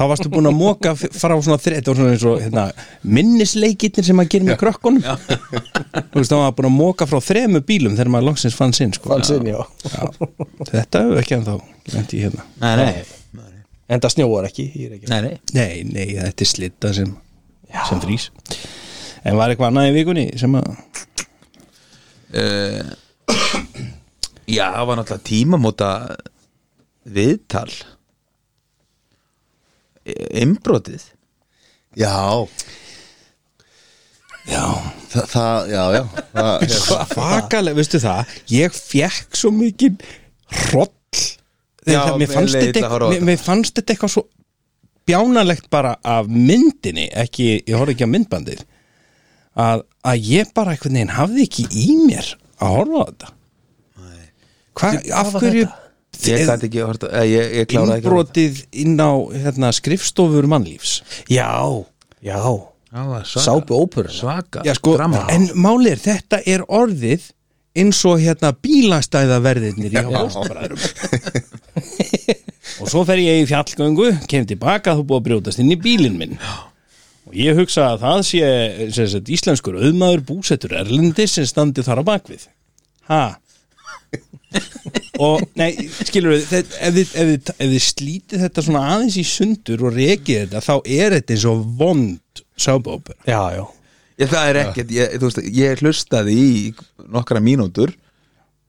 [SPEAKER 3] þá varstu búin að móka fara á svona þrið, þetta var svona eins og hérna, minnisleikirnir sem maður gerir með krökkunum þú veist, þá var búin að móka frá þremu bílum þegar maður loksins fann sinn sko.
[SPEAKER 2] fann sinn, já
[SPEAKER 3] Já. Þetta hefur ekki ennþá lent í hérna
[SPEAKER 4] nei, nei,
[SPEAKER 2] en það snjóar ekki, ég er ekki
[SPEAKER 4] nei, nei.
[SPEAKER 3] Nei, nei, þetta er slitta sem, sem frýs En var eitthvað annað í vikunni sem að
[SPEAKER 4] Uh, já, það var náttúrulega tímamóta viðtal E, Imbrotið
[SPEAKER 1] já.
[SPEAKER 3] Já,
[SPEAKER 1] Þa, það, já, já það,
[SPEAKER 3] svakalega, veistu það Ég fekk svo mikið hroll
[SPEAKER 4] Já,
[SPEAKER 3] Þegar mér
[SPEAKER 4] mér
[SPEAKER 3] fannst
[SPEAKER 4] leið
[SPEAKER 3] þetta
[SPEAKER 4] illa að
[SPEAKER 3] eitthvað-
[SPEAKER 4] horfa á
[SPEAKER 3] mér-
[SPEAKER 4] þetta.
[SPEAKER 3] Mér fannst þetta eitthvað svo bjánalegt bara af myndinni ekki, ég horf ekki á myndbandið að, að ég bara einhvern veginn hafði ekki í mér að horfa á þetta Hva, af
[SPEAKER 2] var
[SPEAKER 3] hverju
[SPEAKER 4] Ég gæti ekki horta, eh, ég, ég kláraði ekki að horta.
[SPEAKER 3] innbrotið inn á hérna, skrifstofur mannlífs
[SPEAKER 2] já, já,
[SPEAKER 4] Já, það var svaka-
[SPEAKER 2] sápu óperuna
[SPEAKER 4] Svaka,
[SPEAKER 3] Já, sko,
[SPEAKER 4] drama
[SPEAKER 3] en málið er þetta er orðið eins og hérna bílastæðaverðirnir í hálfbræðurum og svo fer ég í fjallgöngu kem tilbaka þú búið að brjótast inn í bílinn minn og ég hugsa að það sé sem sagt, íslenskur auðmaður búsettur erlendi sem standi þar á bakvið ha og nei, skilur við ef þið, ef, þið, ef þið slítið þetta svona aðeins í sundur og rekið þetta þá er þetta eins og vond sábóper
[SPEAKER 2] já, já,
[SPEAKER 4] ég, Það er ekkert, ég, þú veist, ég hlustaði í nokkra mínútur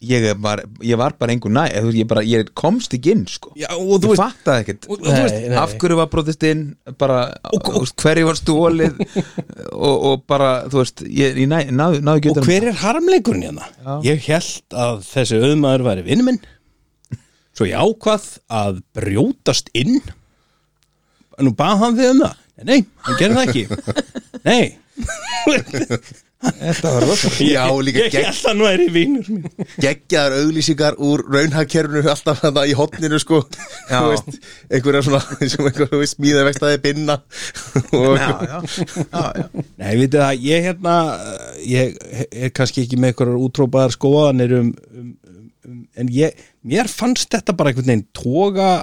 [SPEAKER 4] Ég var, ég var bara engu næ eh, þú veist, ég, bara, ég komst ekki inn sko.
[SPEAKER 3] Já, og
[SPEAKER 4] Ég
[SPEAKER 3] þú veist-
[SPEAKER 4] fattaði ekkert
[SPEAKER 3] og- og þú veist-
[SPEAKER 2] Nei, nei.
[SPEAKER 4] Af hverju var brotist inn bara, og, og, Hverju var stólið og, og bara, þú veist Ég, ég næ, náðu, náðu ekki
[SPEAKER 3] Og
[SPEAKER 4] utan um
[SPEAKER 3] hver er harmleikurinn hérna? Ég held að þessi auðmaður væri vinn minn Svo ég ákvað að brjótast inn Nú bað hann þig um það Nei, Nei, hann gerði það ekki Nei Þetta var rosa
[SPEAKER 1] Já, líka
[SPEAKER 3] Ég
[SPEAKER 1] gegn-
[SPEAKER 3] held að hann væri vinnur mín
[SPEAKER 1] geggjaðar auglýsingar úr raunhagkerfinu alltaf þarna í hotninu sko
[SPEAKER 4] Já.
[SPEAKER 1] Þú veist, einhverja svona sem einhverja þú veist, smíða vextaði binna og
[SPEAKER 4] já, já, já, já.
[SPEAKER 3] Nei, við þetta, ég hérna ég er kannski ekki með einhverjar útrópaðar skoðanir um, um, um, um en ég, mér fannst þetta bara einhvern veginn toga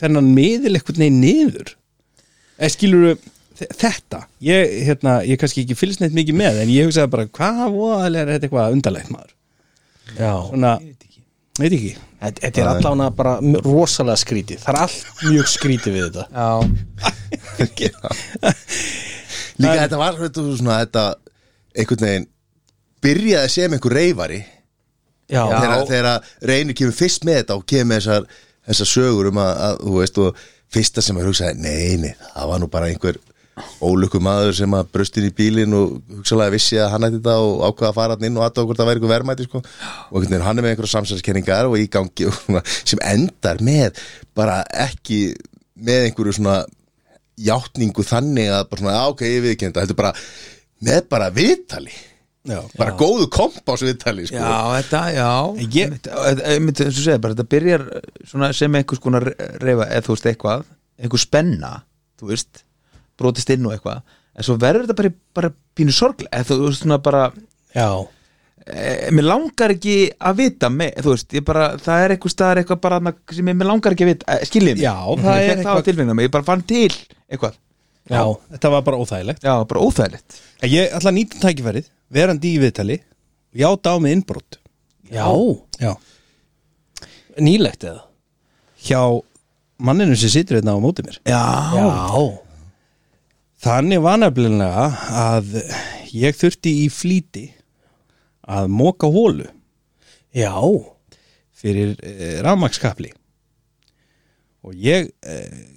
[SPEAKER 3] þennan miðil einhvern veginn niður eða skilur þetta, ég, hérna, ég kannski ekki fylgst neitt mikið með, en ég hugsaði bara hvað voðalega er þetta eitthvað undarlegt maður
[SPEAKER 2] já.
[SPEAKER 3] svona, veit ekki
[SPEAKER 2] Þetta þetta er allána bara m- rosalega skrítið það er allt mjög skrítið við þetta
[SPEAKER 4] Já.
[SPEAKER 1] líka þetta var þetta, svona, þetta einhvern veginn byrjaði sem einhver reyfari
[SPEAKER 2] já,
[SPEAKER 1] þegar, þegar að reynir kemur fyrst með þetta og kemur með þessar, þessar sögur um að, að þú veist og fyrsta sem að hugsaði nei, nei, það var nú bara einhver ólöku maður sem að brust inn í bílinn og hugsalega vissi að hann ætti þetta og ákvaða að fara hann inn og aðtöða hvort það væri einhver verðmæti sko. og einhvern veginn hann er með einhverja samsæðiskenningar og í gangi og svona, sem endar með bara ekki með einhverju svona játningu þannig að bara svona, "Já, ok, ég viðkenda þetta er bara með bara viðtali
[SPEAKER 3] Já.
[SPEAKER 1] bara góðu kompás viðtali sko.
[SPEAKER 4] Já, þetta, já
[SPEAKER 3] Ég-
[SPEAKER 4] Einmitt, eh, einmitt, eins og segja, bara þetta byrjar svona sem einhvers konar reyfa eða þú veist eitthvað, einhver spenna þú veist, brotist inn og eitthvað en svo verður þetta bara, bara pínu sorglega, eða þú veist svona bara
[SPEAKER 2] já,
[SPEAKER 4] e, mér langar ekki að vita me, þú veist, ég bara, það er einhver staðar eitthvað bara þarna sem ég, mér langar ekki að vita e, skiljið mig,
[SPEAKER 3] Já, það er
[SPEAKER 4] ég fekk það
[SPEAKER 3] eitthvað-
[SPEAKER 4] á tilfinninguna mig, ég bara fann til eitthvað,
[SPEAKER 3] Já, þetta var bara óþægilegt
[SPEAKER 4] já, bara óþægilegt
[SPEAKER 3] En Ég ætla að nýta tækifærið, verandi í viðtali játa á með innbrot
[SPEAKER 2] já.
[SPEAKER 3] Já
[SPEAKER 2] nýlegt eða
[SPEAKER 3] hjá manninu sem situr hérna á móti mér
[SPEAKER 4] Já,
[SPEAKER 2] já,
[SPEAKER 3] þannig var nefnilega að ég þurfti í flýti að móka hólu
[SPEAKER 2] já,
[SPEAKER 3] fyrir e, rafmakskapli og ég e,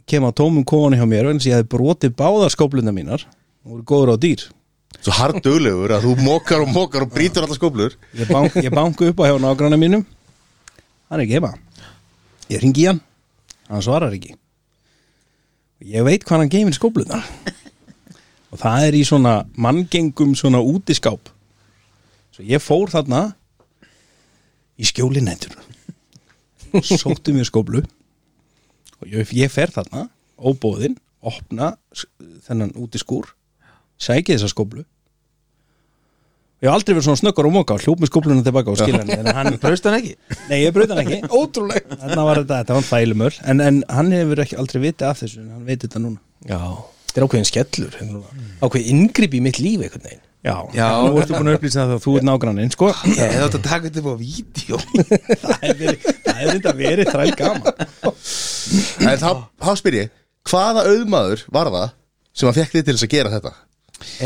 [SPEAKER 3] kem á tómum kóðan hjá mér eins og ég hefði brotið báðar skópluna mínar og voru góður á dýr
[SPEAKER 1] svo harduglegur að þú mókar og mókar og brýtur allar skóplur
[SPEAKER 3] ég, bank, ég banku upp á hjá nágrana mínum hann er ekki heima ég ringi í hann hann svarar ekki ég veit hvað hann geymir skópluna og það er í svona manngengum svona útiskáp svo ég fór þarna í skjólinættur sótti mér skóplu og ég, ég fer þarna óbóðinn, opna s- þennan útiskúr sæki þessa skóplu ég hef aldrei verið svona snöggur og móka hljóp með skópluna tilbaka og skilja henni en hann,
[SPEAKER 4] Braust hann ekki?
[SPEAKER 3] nei ég brauði hann ekki ótrúlega þarna var þetta, þetta var hann fælumöl en, en hann hefur ekki aldrei vitið af þessu en hann veit þetta núna
[SPEAKER 2] Já, þetta er ákveðin skellur hérna. ákveðin inngrip í mitt líf einhvern veginn
[SPEAKER 3] Já,
[SPEAKER 4] Já.
[SPEAKER 3] nú ertu búin að upplýsa það að þú ert nágranninn, sko
[SPEAKER 4] Ég hef átt að taka þetta upp á vídeo
[SPEAKER 3] Það er verið, það er þetta verið þræl gaman
[SPEAKER 1] En þá, þá spyr ég, hvaða auðmaður var það sem að fekk þið til þess að gera þetta?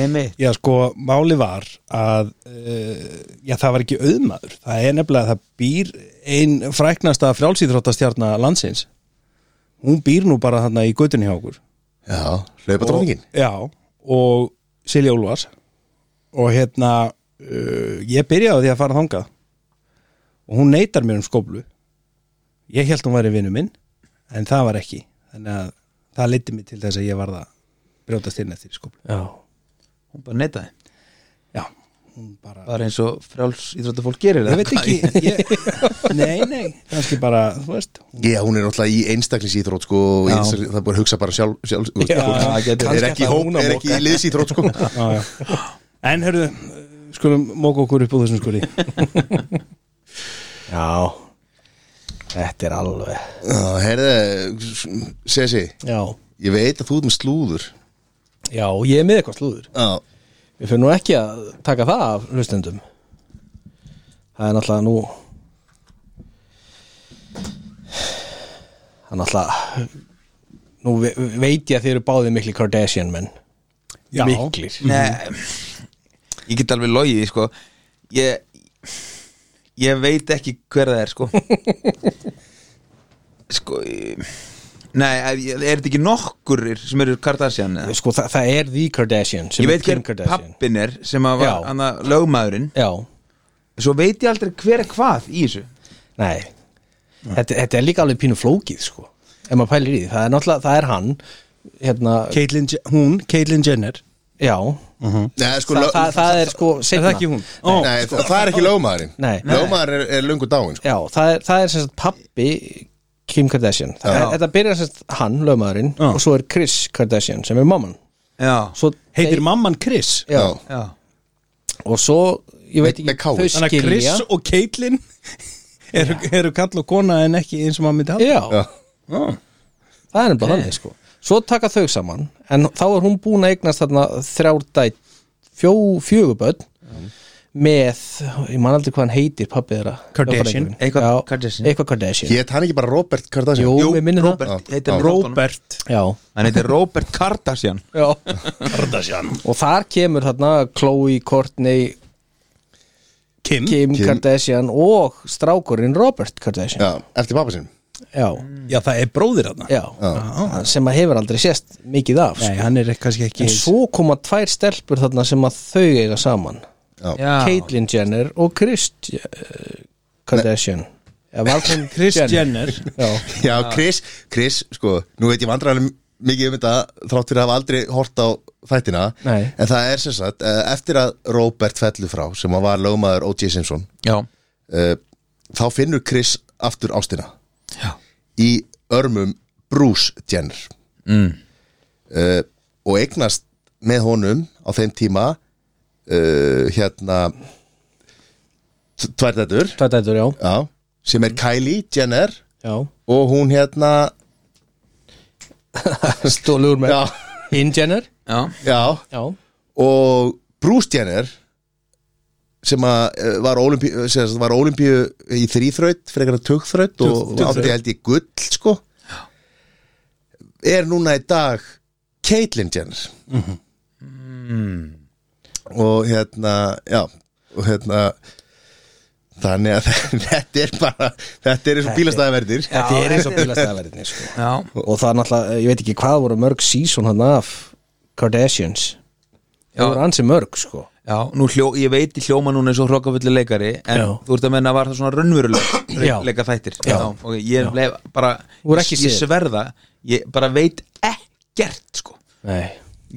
[SPEAKER 4] Einmitt
[SPEAKER 3] Já, sko, máli var að uh, já, það var ekki auðmaður það er nefnilega að það býr ein fræknasta frjálsýþróttastjarna landsins hún býr nú bara þarna í göttunni hjá okkur
[SPEAKER 1] Já, hlaupa dróningin
[SPEAKER 3] Já, og Silja Úlfars og hérna uh, ég byrjaði á því að fara þangað og hún neytar mér um skóplu ég held hún væri vinnu minn en það var ekki þannig að það leiti mig til þess að ég varð að brjótast inn eftir skóplu
[SPEAKER 2] Já,
[SPEAKER 4] Hún bara neytaði
[SPEAKER 3] Já, hún bara
[SPEAKER 4] Bara eins og fráls íþróttafólk gerir
[SPEAKER 3] Ég veit ekki ég, Nei, nei, kannski bara, þú veist
[SPEAKER 1] Já, hún er náttúrulega í einstaklingsíþrótt sko og í þessari- það er búin að hugsa bara sjálf, sjálf sko,
[SPEAKER 3] Já,
[SPEAKER 1] sko.
[SPEAKER 4] það getur-
[SPEAKER 1] er ekki, í
[SPEAKER 2] ætlaði
[SPEAKER 1] hóp,
[SPEAKER 2] hún að
[SPEAKER 1] er ekki í liðsíþrótt sko
[SPEAKER 3] já, já. En hörðu, eh, skulum móka okkur upp úr þessum skuli
[SPEAKER 2] já Þetta er alveg
[SPEAKER 1] Já, Herðu, Sessi
[SPEAKER 2] Já,
[SPEAKER 1] Ég veit að þú ert með slúður
[SPEAKER 2] já, ég er með eitthvað slúður
[SPEAKER 1] Já,
[SPEAKER 2] Við fyrir nú ekki að taka það af hlustendum Það er náttúrulega nú Það er náttúrulega Nú ve- veit ég að þið eru báðið mikli Kardashian menn
[SPEAKER 3] Já.
[SPEAKER 2] Miklir
[SPEAKER 4] Mhm. Nei, ég get alveg logið sko. ég, ég veit ekki hver það er sko. sko ég- Nei, er er þetta ekki nokkurir sem eru Kardashian eða?
[SPEAKER 2] Sko það, það er The Kardashian sem
[SPEAKER 4] Ég
[SPEAKER 2] er
[SPEAKER 4] veit
[SPEAKER 2] Kim
[SPEAKER 4] hver
[SPEAKER 2] Kardashian.
[SPEAKER 4] pappin er sem að var
[SPEAKER 2] Já.
[SPEAKER 4] hana, lögmaðurinn
[SPEAKER 2] Já,
[SPEAKER 4] Svo veit ég aldrei hver er hvað í þessu
[SPEAKER 2] nei Þetta, þetta er líka alveg pínu flókið sko Ef maður pælir í því, það er náttúrulega, það er hann Hérna,
[SPEAKER 3] Caitlyn, Je- hún, Caitlyn Jenner
[SPEAKER 2] já
[SPEAKER 1] Nei, sko,
[SPEAKER 2] það,
[SPEAKER 1] lög-
[SPEAKER 2] það, það er sko
[SPEAKER 3] Er
[SPEAKER 2] seinna.
[SPEAKER 3] það ekki hún? Ó,
[SPEAKER 1] Hérna. Nei, sko, það er ekki lögmaðurinn
[SPEAKER 2] Nei.
[SPEAKER 1] Lögmaður er, er löngu dáin sko.
[SPEAKER 2] Já, það er, það er sem sagt pappi Kim Kardashian Það er,
[SPEAKER 4] Já.
[SPEAKER 2] Þetta byrjar sem sagt hann, lögmaðurinn
[SPEAKER 3] Já.
[SPEAKER 2] og svo er Chris Kardashian sem er mamman
[SPEAKER 4] Já,
[SPEAKER 2] svo
[SPEAKER 3] Heitir mamman Chris?
[SPEAKER 2] Já.
[SPEAKER 4] já
[SPEAKER 2] og svo, ég veit
[SPEAKER 1] Með-
[SPEAKER 2] ekki,
[SPEAKER 1] með kál.
[SPEAKER 2] þau
[SPEAKER 3] Þannig að Chris
[SPEAKER 2] skilja
[SPEAKER 3] og Caitlyn eru, eru kall og kona en ekki eins og maður myndi halda
[SPEAKER 2] Já,
[SPEAKER 1] Já.
[SPEAKER 3] Já.
[SPEAKER 2] það er bara þannig sko Svo taka þau saman, en þá er hún búin að eignast þarna þrjár dæt fjó, fjöguböld með, ég man aldrei hvað hann heitir pappið þeirra
[SPEAKER 3] Kardashian.
[SPEAKER 2] lögfræðingurinn.
[SPEAKER 4] Eitthvað
[SPEAKER 2] Já,
[SPEAKER 4] Kardashian.
[SPEAKER 2] Eitthvað Kardashian
[SPEAKER 1] Hét hann ekki bara Robert Kardashian?
[SPEAKER 2] Jú, við minnum það
[SPEAKER 4] Robert,
[SPEAKER 1] Já.
[SPEAKER 4] heitir hann
[SPEAKER 3] Robert
[SPEAKER 2] Já,
[SPEAKER 4] Hann heitir Robert Kardashian
[SPEAKER 2] já
[SPEAKER 3] Kardashian
[SPEAKER 2] Og þar kemur þarna Chloe, Courtney,
[SPEAKER 3] Kim,
[SPEAKER 2] Kim,
[SPEAKER 1] Kim.
[SPEAKER 2] Kardashian og strákurinn Robert Kardashian
[SPEAKER 1] Já, eftir pappa sinum
[SPEAKER 2] Já,
[SPEAKER 3] Já, það er bróðir hann
[SPEAKER 2] já, sem að hefur aldrei sést mikið af sko.
[SPEAKER 3] Nei, hann er kannski ekki
[SPEAKER 2] En svo koma tvær stelpur þarna sem að þau eiga saman Caitlyn Jenner og Kris Kardashian Eða var hún
[SPEAKER 3] Kris Jenner
[SPEAKER 2] Já,
[SPEAKER 1] Já, Chris, Chris, sko Nú veit ég vandræðan mikið um þetta þrátt fyrir að hafa aldrei hort á þættina
[SPEAKER 2] Nei.
[SPEAKER 1] En það er sem sagt, eh, eftir að Robert fellur frá sem að var lögmaður O.J. Simpson
[SPEAKER 4] Já,
[SPEAKER 1] eh, þá finnur Chris aftur ástina
[SPEAKER 4] já.
[SPEAKER 1] í örmum Bruce Jenner
[SPEAKER 4] Mm.
[SPEAKER 1] uh, og eignast með honum á þeim tíma uh, hérna t- tvær dætur
[SPEAKER 2] tvær dætur, já,
[SPEAKER 1] já, sem er Kylie Jenner
[SPEAKER 2] já.
[SPEAKER 1] og hún hérna
[SPEAKER 2] Stólur með
[SPEAKER 1] já,
[SPEAKER 2] Kim Jenner
[SPEAKER 4] já.
[SPEAKER 1] já,
[SPEAKER 2] Já,
[SPEAKER 1] og Bruce Jenner sem að eh, var olimpíu, sem að var olimpíu í þrýþraut, frekar að tugþraut og
[SPEAKER 3] Tugþraut.
[SPEAKER 1] átti held ég gull sko er núna í dag Caitlyn Jenner Mhm. Mm. og hérna já, og hérna þannig að þetta er bara þetta er eins og bílastæðaverðir
[SPEAKER 2] þetta er eins og
[SPEAKER 4] þetta er-
[SPEAKER 2] bílastæðverðinni sko.
[SPEAKER 4] já.
[SPEAKER 2] Og það er náttúrulega, ég veit ekki hvað voru mörg season hann af Kardashians
[SPEAKER 4] Já.
[SPEAKER 2] Það voru ansi mörg sko
[SPEAKER 4] Já, nú hljó, ég veit í hljóma núna eins og hrokkafullu leikari en
[SPEAKER 2] Já.
[SPEAKER 4] þú ert að menna var það svona
[SPEAKER 2] Já.
[SPEAKER 4] raunverulega leika þættir
[SPEAKER 2] Já.
[SPEAKER 4] ok, ég,
[SPEAKER 2] Já.
[SPEAKER 4] leif, bara,
[SPEAKER 2] Þú er
[SPEAKER 4] ég,
[SPEAKER 2] ekki
[SPEAKER 4] ég
[SPEAKER 2] séð.
[SPEAKER 4] sverða ég bara veit gert sko
[SPEAKER 2] Nei,